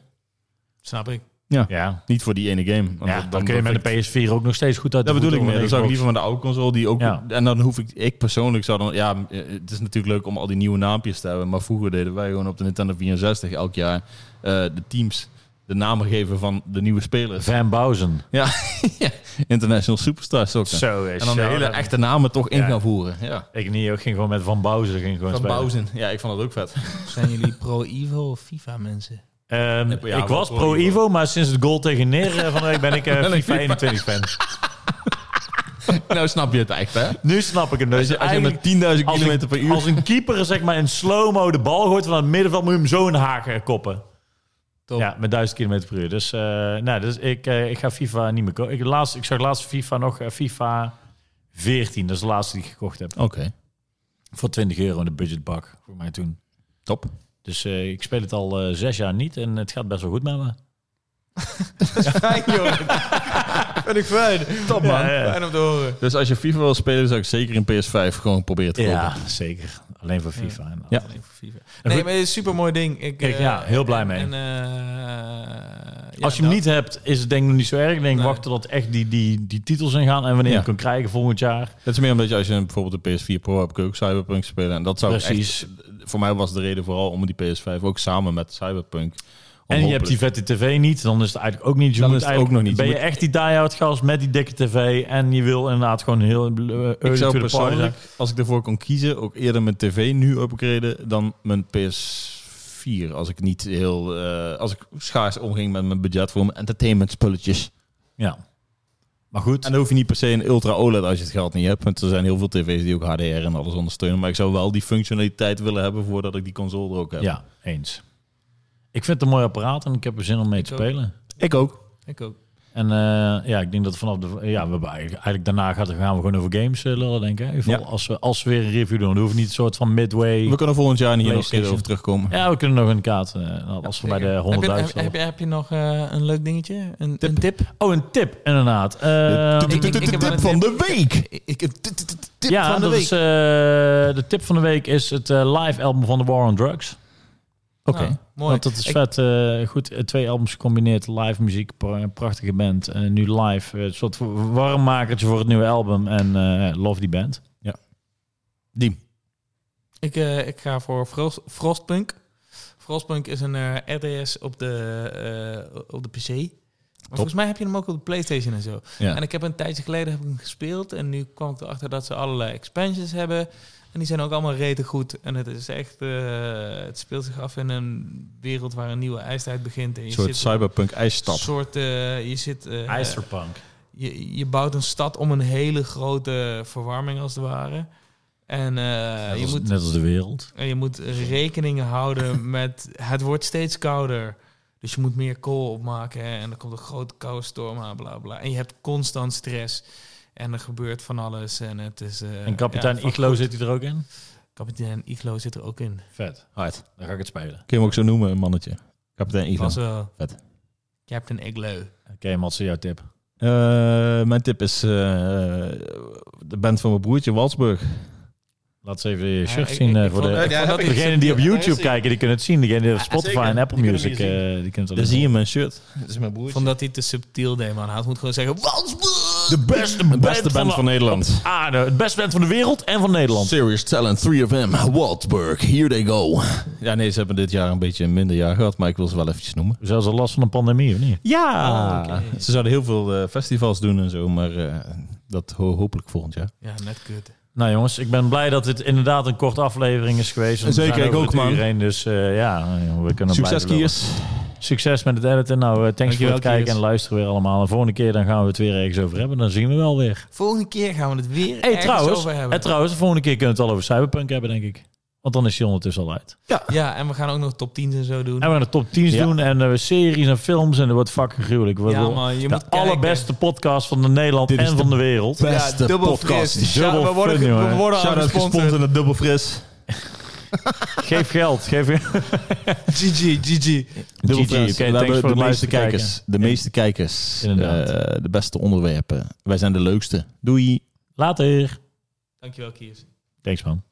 Speaker 4: Snap ik.
Speaker 2: Ja.
Speaker 3: Niet voor die ene game. Want
Speaker 2: Ja,
Speaker 3: dat-
Speaker 2: dan kun je met
Speaker 3: dat-
Speaker 2: de PS4 ook nog steeds goed uit de
Speaker 3: Dat bedoel ik
Speaker 2: voeten
Speaker 3: meer.
Speaker 2: onder
Speaker 3: Dan
Speaker 2: de
Speaker 3: zou ik
Speaker 2: Xbox.
Speaker 3: liever met de oude console die ook...
Speaker 2: Ja.
Speaker 3: En dan hoef ik... Ik persoonlijk zou dan... Ja, eh, het is natuurlijk leuk om al die nieuwe naampjes te hebben. Maar vroeger deden wij gewoon op de Nintendo 64 elk jaar eh, de teams de namen geven van de nieuwe spelers.
Speaker 2: Van Bouzen.
Speaker 3: Ja, ja. International Superstar Soccer.
Speaker 2: Zo,
Speaker 3: en dan de hele echte namen toch in
Speaker 2: Ja.
Speaker 3: gaan voeren. Ja.
Speaker 2: Ik niet, ik ging gewoon met Van Bouzen. Ging gewoon
Speaker 3: Van
Speaker 2: spelen.
Speaker 3: Bouzen. Ja, ik vond dat ook vet.
Speaker 4: Zijn jullie pro-Evo of FIFA mensen?
Speaker 2: Ehm,
Speaker 3: Ja,
Speaker 2: ik
Speaker 3: wel
Speaker 2: was
Speaker 3: pro
Speaker 2: pro
Speaker 3: Evo.
Speaker 2: Evo, maar sinds het goal tegen Neer eh, van de week ben ik eh, FIFA 21 fan.
Speaker 3: nou snap je het echt, hè?
Speaker 2: Nu snap ik hem. Dus
Speaker 3: Als je, als je met 10.000
Speaker 2: eigenlijk als
Speaker 3: kilometer
Speaker 2: een,
Speaker 3: per uur...
Speaker 2: als een keeper zeg maar in slow-mo de bal gooit van het middenveld, moet je hem zo in de haak eh, koppen.
Speaker 4: Top.
Speaker 2: Ja, met 1000 km per uur. Dus, eh, nou, dus ik, eh, ik ga FIFA niet meer kopen. Ik, laatst, ik zag laatst FIFA nog, eh, FIFA 14. Dat is de laatste die ik gekocht heb.
Speaker 3: Oké,
Speaker 2: Voor 20 euro in de budgetbak, voor mij toen.
Speaker 3: top.
Speaker 2: Dus eh, ik speel het al eh, zes jaar niet en het gaat best wel goed met me.
Speaker 4: Fijn, joh. Vind ik fijn. Top, man.
Speaker 2: Ja, ja.
Speaker 4: Fijn om te horen.
Speaker 3: Dus als je FIFA wil spelen, zou ik zeker een PS5 gewoon proberen te kopen.
Speaker 2: Ja, zeker. Alleen voor FIFA. en-
Speaker 3: Ja.
Speaker 4: Alleen voor FIFA.
Speaker 2: En
Speaker 4: Nee,
Speaker 2: goed-
Speaker 4: maar het is een super mooi ding. Ik,
Speaker 2: Kijk,
Speaker 4: eh,
Speaker 2: ja, heel blij mee.
Speaker 4: En, eh, ja,
Speaker 2: Als je hem
Speaker 4: dat-
Speaker 2: niet hebt, is het denk ik nog niet zo erg. Ik denk,
Speaker 4: Nee.
Speaker 2: wachten tot echt die, die, die titels ingaan. En wanneer
Speaker 3: Ja.
Speaker 2: je hem kan krijgen volgend jaar.
Speaker 3: Dat is meer omdat je als je een- bijvoorbeeld de PS4 Pro hebt, kun je ook Cyberpunk spelen. En dat zou ik
Speaker 2: Precies.
Speaker 3: echt- voor mij was de reden vooral om die PS5 ook samen met Cyberpunk.
Speaker 2: En je hebt die vette tv niet, dan is het eigenlijk ook niet. Je
Speaker 3: Dan
Speaker 2: moet
Speaker 3: is het
Speaker 2: eigenlijk-
Speaker 3: ook nog niet.
Speaker 2: Ben
Speaker 3: Je
Speaker 2: je echt die die-out gast met die dikke tv en je wil inderdaad gewoon heel eh,
Speaker 3: Ik
Speaker 2: early to the
Speaker 3: zou
Speaker 2: party
Speaker 3: persoonlijk,
Speaker 2: zijn.
Speaker 3: als ik ervoor kon kiezen, ook eerder mijn tv nu upgraden dan mijn PS4. Als ik niet heel, eh, als ik schaars omging met mijn budget voor mijn entertainment spulletjes.
Speaker 2: Ja. Maar goed.
Speaker 3: En dan hoef je niet per se een ultra OLED als je het geld niet hebt. Want er zijn heel veel tv's die ook HDR en alles ondersteunen. Maar ik zou wel die functionaliteit willen hebben voordat ik die console er ook heb.
Speaker 2: Ja, eens. Ik vind het een mooi apparaat en ik heb er zin om mee te
Speaker 4: ook.
Speaker 2: spelen.
Speaker 3: Ik ook.
Speaker 4: Ik ook.
Speaker 2: En eh, ja, ik denk dat vanaf de... Ja, we hebben eigenlijk, eigenlijk daarna gaat, gaan we gewoon over games eh, lullen, denk ik. hè? In ieder geval Als, we, als we weer een review doen. Dan hoeft niet een soort van midway...
Speaker 3: We kunnen volgend jaar hier nog een keer
Speaker 2: PlayStation.
Speaker 3: over terugkomen.
Speaker 2: Ja, we kunnen nog een kaart. eh, als we bij de 100.000...
Speaker 4: heb, je, heb, heb je, heb je nog eh, een leuk dingetje? Een tip? Een tip?
Speaker 2: Oh, een tip, inderdaad. Eh,
Speaker 1: Ehm,
Speaker 4: ik- ik- ik heb wel
Speaker 1: Tip
Speaker 4: een
Speaker 1: van
Speaker 4: tip.
Speaker 1: de week. Ik heb t- t- t- tip
Speaker 2: ja,
Speaker 1: van de
Speaker 2: dat
Speaker 1: week.
Speaker 2: Is, eh, de tip van de week is het eh, live album van The War on Drugs.
Speaker 3: Oké.
Speaker 4: Nou, mooi.
Speaker 2: Want dat is
Speaker 4: Ik-
Speaker 2: vet. eh, goed, eh, twee albums gecombineerd. Live muziek, pra- prachtige band. eh, nu live. eh, een soort warmmakertje voor het nieuwe album. En eh, love die band.
Speaker 3: Die.
Speaker 4: Ik, eh, ik ga voor Frost, Frostpunk. Frostpunk is een eh, RDS op de, eh, op de PC. Maar volgens mij heb je hem ook op de PlayStation en zo.
Speaker 3: Ja.
Speaker 4: En ik heb een tijdje geleden heb ik hem gespeeld. En nu kwam ik erachter dat ze allerlei expansions hebben. En die zijn ook allemaal rete goed. En het is echt. eh, het speelt zich af in een wereld waar een nieuwe ijstijd begint. En je
Speaker 3: Een soort
Speaker 4: zit,
Speaker 3: cyberpunk ijsstad.
Speaker 4: soort eh, je zit. eh,
Speaker 2: IJsterpunk.
Speaker 4: je, je bouwt een stad om een hele grote verwarming als het ware. En eh, je moet
Speaker 2: Net als de wereld.
Speaker 4: en je moet rekening houden met het wordt steeds kouder. Dus je moet meer kool opmaken hè, en er komt een grote koude storm aan, bla bla. En je hebt constant stress en er gebeurt van alles. En het is. eh,
Speaker 2: en kapitein
Speaker 4: ja, van
Speaker 2: Iglo
Speaker 4: goed.
Speaker 2: zit hij er ook in.
Speaker 4: Kapitein Iglo zit er ook in.
Speaker 2: Vet.
Speaker 3: Hard.
Speaker 2: Dan ga ik het spelen.
Speaker 3: Kun je hem ook zo noemen, een mannetje. Kapitein Iglo.
Speaker 4: Was wel.
Speaker 3: Vet.
Speaker 4: Captain Iglo.
Speaker 2: Oké, Matze, jouw tip.
Speaker 3: Eh, mijn tip is eh, de band van mijn broertje Walsburg.
Speaker 2: Laat eens even je shirt
Speaker 4: Ja, ik-
Speaker 2: zien
Speaker 4: ik-
Speaker 2: eh,
Speaker 4: ik
Speaker 2: voor
Speaker 4: vond-
Speaker 2: de...
Speaker 4: ik vond dat
Speaker 2: Degenen
Speaker 4: ik-
Speaker 2: Degene die op
Speaker 4: Ja,
Speaker 2: YouTube
Speaker 4: zeker.
Speaker 2: kijken, die kunnen het zien. Degene die op
Speaker 3: Ja,
Speaker 2: Spotify
Speaker 3: zeker.
Speaker 2: en Apple
Speaker 3: Die kunnen
Speaker 2: Music, eh,
Speaker 3: hem
Speaker 2: die kunnen het
Speaker 3: Daar
Speaker 2: alleen
Speaker 3: zie
Speaker 2: maar-
Speaker 3: je mijn shirt. Dat is mijn broertje.
Speaker 4: Vond dat hij te subtiel deed, man. Hij moet gewoon zeggen: Walsburg!
Speaker 1: De beste band,
Speaker 3: de beste band van,
Speaker 1: van
Speaker 3: Nederland.
Speaker 2: Ah, de, het beste band van de wereld en van
Speaker 1: de-
Speaker 2: Nederland.
Speaker 1: Serious Talent 3FM, Waltburg, here they go.
Speaker 3: Ja, nee, ze hebben dit jaar een beetje een minder jaar gehad, maar ik wil ze wel eventjes noemen. Ah,
Speaker 2: Zelfs al last van een pandemie, of niet?
Speaker 3: Ja!
Speaker 4: Oh, oké.
Speaker 3: Ze zouden heel veel eh, festivals doen en zo, maar eh, dat ho- hopelijk volgend jaar.
Speaker 4: Ja, net kut.
Speaker 2: Nou jongens, ik ben blij dat dit inderdaad een korte aflevering is geweest. Want we
Speaker 3: Zeker,
Speaker 2: zijn
Speaker 3: ik
Speaker 2: over
Speaker 3: ook,
Speaker 2: het uur
Speaker 3: man.
Speaker 2: heen, dus eh, ja, we kunnen
Speaker 3: Succes,
Speaker 2: blijven lullen.
Speaker 3: Kiers.
Speaker 2: Succes met het editen. Nou, eh, thanks
Speaker 3: Dankjewel,
Speaker 2: voor het kijken
Speaker 3: Kiers.
Speaker 2: en luisteren weer allemaal. En volgende keer dan gaan we het weer ergens over hebben. Dan zien we wel weer.
Speaker 4: Volgende keer gaan we het weer
Speaker 2: Hey,
Speaker 4: ergens
Speaker 2: trouwens,
Speaker 4: over hebben.
Speaker 2: en trouwens, de volgende keer kunnen we het al over Cyberpunk hebben, denk ik. Want dan is die ondertussen al uit.
Speaker 4: ja, en we gaan ook nog top 10 en zo doen.
Speaker 2: En we gaan de top 10's
Speaker 3: Ja.
Speaker 2: doen en eh, series en films. En dat wordt fucking gruwelijk. We
Speaker 4: ja,
Speaker 2: willen
Speaker 4: man, je
Speaker 2: de
Speaker 4: moet kijken.
Speaker 2: allerbeste podcast van de Nederland
Speaker 1: Dit is
Speaker 2: en
Speaker 1: de
Speaker 2: van de wereld.
Speaker 1: Beste
Speaker 4: dubbel
Speaker 1: podcast.
Speaker 4: fris.
Speaker 2: Dubbel
Speaker 4: Ja, we worden,
Speaker 2: fun, jongen.
Speaker 4: we worden al
Speaker 3: Shout-out
Speaker 4: gesponsord.
Speaker 3: gesponsord en het dubbel fris.
Speaker 2: Geef geld. Geef
Speaker 4: GG, GG.
Speaker 3: Dubbel
Speaker 2: GG, oké,
Speaker 3: fris. We
Speaker 2: thanks voor
Speaker 3: hebben de
Speaker 2: het
Speaker 3: meeste
Speaker 2: luisteren kijken.
Speaker 3: kijkers. De meeste kijkers.
Speaker 2: Inderdaad.
Speaker 3: Eh, de beste onderwerpen. Wij zijn de leukste. Doei!
Speaker 2: Later.
Speaker 4: Dankjewel, Kiers.
Speaker 2: Thanks man.